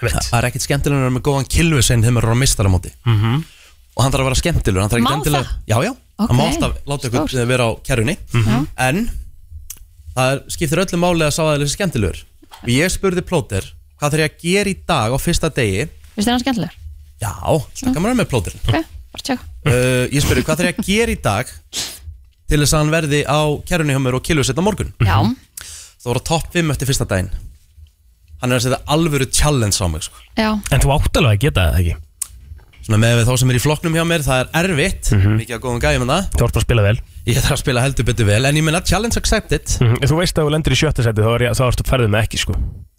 Þa-
Það er ekkert skemmtilegur en með góðan kilvusinn þegar maður er á mistaramóti
mm -hmm.
og hann þarf að vera skemmtilegur hann þarf
Má
ekki endilega
það?
já já
Ok,
hann má alltaf láta ykkur
stórt.
vera á kerjunni
Mhm.
en það er, skiptir öllu máli að sá aðeins er skemmtilegur og ég spurði plóter hvað þarf ég að gera í dag á fyrsta degi
Vistu það hann skemmtilegur?
já það kan maður með plóterin
Ok, bara tjekka
uh, ég spurði hvað þarf ég að gera í dag til þess að hann verði á kerjunni hjá mér og kilvið setja morgun
Já,
það voru topp 5 eftir fyrsta daginn hann er að setja alvöru challenge á mig sko.
já,
En þú átt alveg að geta það ekki
svona með við þá sem er í flokknum hjá mér það er erfitt mikið að góðum gæjum en það
Mhm. Þú ert bara að spila vel
Ég þarf að spila heldur betur vel En ég menna challenge accepted
mm Þú veist að ef þú lendir í sjötta seti þá, er ég- þá ertu ferðið með ekki sko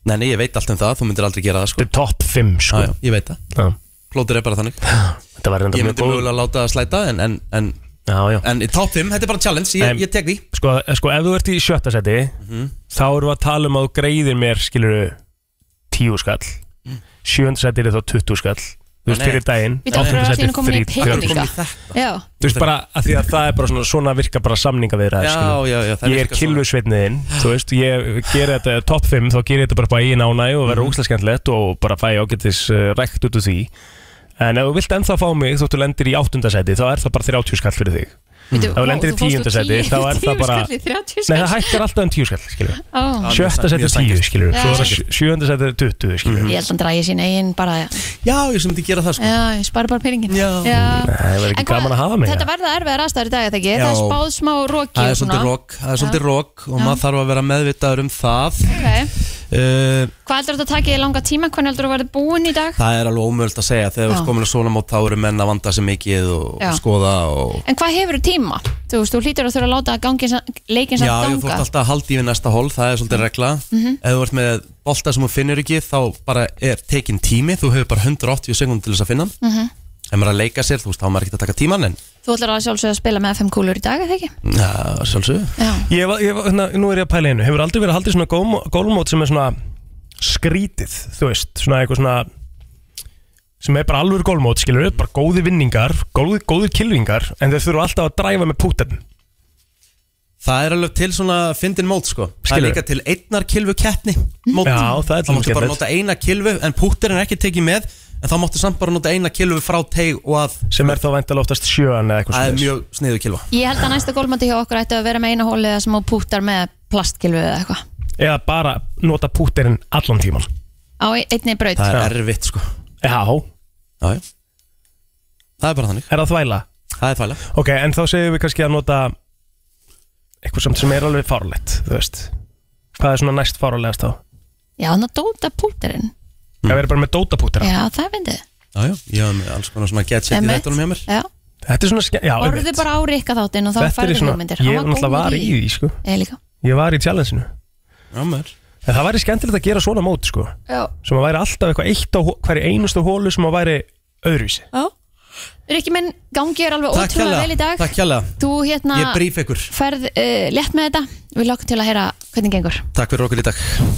Nei, nei, ég veit allt um það, þú myndir aldrei gera það sko
Þetta er topp 5 sko
Já, já, ég veit það
Já.
Plótur er bara þannig
Þetta var reynda
Ég
mjög
myndi
góð-
mögulega láta það slæta En, en, en,
já, já.
en í top 5, þetta er bara challenge Ég,
Nei.
ég tek því Mhm.
sko, sko, ef þú ert í sjötta seti þá erum við að tala um að þú greiðir mér skiluru tíu skall sjönda seti er þá 20 skall þú veist
Mm. Nei, nei.
fyrir daginn
við þurfum
áttunda
að
sæti
allir komin í
30.
peninga Já,
þú veist bara að því að það er bara svona, svona virka bara samninga við það
Já, já, já, það
ég er
virkar
kilvusveitniðinn þú veist, ég gerir þetta top 5 þá gerir þetta bara bara í nánaði og
Mhm.
verður mm skemmtilegt og bara fæ ágættis uh, rekt út úr því en ef þú vilt ennþá fá mig þóttu lendir í áttundasæti þá er það bara 30 skall fyrir þig
Bíddu,
ef þú
vá,
lendir í
þú fórst úr
tíundasæti
10
þá er það bara
skall í 30
nei,
skall.
það hækkar alltaf um 10 skall skilur
Ó.
við.
Já, mjög
sjötta
sann-
seti
mjög sanngjarnt.
10 skilur við.
Já.
svo er það sjöunda seti 20 skilur
ég held
við.
að hann dragi sín eigin bara
Já, ég sem myndi gera það sko.
Já, ég spara bara peningin Já,
það verður
En
ekki
hvað-
gaman að hafa mig
Þetta verða erfiðar aðstæður í dag, er það ekki?
Já.
Það er spáð smá roki
Það
og
er svolítið
svona.
rock, það er svolítið
Já.
rock Og
Já.
maður þarf að vera meðvitaður um það
<laughs> Ok.
uh,
Hvað heldur þetta að taka í langa tíma? Hvernig heldur þetta að verða búin í dag?
Það er alveg ómöld að segja Þegar þú ert
Já.
komin að svona mót þá eru menn að vanda sig mikið og
Já.
skoða og
En hvað hefur tíma? Þú veist, þú hlýtur að þurfa að láta gangin, leikin
Já,
samt
ég þú
ganga
ert alltaf að halda í við næsta hól, það er svolítið regla
Mhm.
Ef þú ert með bolta sem þú finnir ekki þá bara er tekin tími, þú hefur bara 180 sekundum til þess að finna hann
Mhm.
Ef maður er að leika sér, þú veist, þá er maður ekki að taka tíman en
Þú ætlar að sjálfsögða að spila með FM kúlur í dag, eða ekki?
Já, sjálfsög
Já.
Ég var, ég var, hérna, nú er ég að pæla í einu Hefur aldrei verið að haldið svona gólmó- gólmót sem er svona skrítið, þú veist svona eitthvað svona sem er bara alveg gólmót, skilur við, bara góði vinningar góði, góði kilvingar, en þeir þurfa alltaf að dræfa með pútan
Það er alveg til svona fyndin mót, sko Það er
Skilur.
líka til einnar kilvu keppni mót.
Já, það er
Þá máttu bara
skemmtilegt.
nota eina kilvu, en púttirinn er ekki tekið með En þá máttu samt bara nota eina kilvu frá teig og að
sem er þá væntalega oftast sjöan eða eitthvað
Það er
svoleiðis.
mjög sniðu kilva
Ég held að næsta gólmandi hjá okkur ætti að vera með eina hóliða sem þú pútar með plastkilfu eða eitthvað
Eða bara nota púterinn allan tíman
á einni braut
Það er erfitt, sko
Já
Já, já Það er bara þannig
Er það þvæla?
Það er þvæla
Ok, en þá segjum við kannski að nota eitthvað samt sem er alveg fárlegt, þú veist Hvað er svona næst fárlegast þá?
Já, þannig að dóta pútarinn
Hmm.
Það verður bara með dótapútera
Já, það er fyndið
Já, já, ég hef með alls konar svona gadget í
Einmitt.
þetta hjá mér
Já.
Þetta er svona ske- já,
Orðu bara á Rikka þáttinn og þá
Þetta er
færðu
svona-
hugmyndir
Ég náttúrulega var í því, sko
Ég líka
Ég var í challenge-inu
Já, maður
En það væri skemmtilegt að gera svona mót, sko
Já.
Sem að væri alltaf eitthvað eitt á hó- hverju einustu hólu sem að væri öðruvísi
Já. Rikki minn, gangi er alveg
Takk
ótrúlega
hérlega,
vel í dag
takk hérlega.
Þú hérna eh,
Ég bríf ykkur.
Ferð uh, létt með þetta Við lokum til að heyra hvernig gengur
Takk fyrir okkur í dag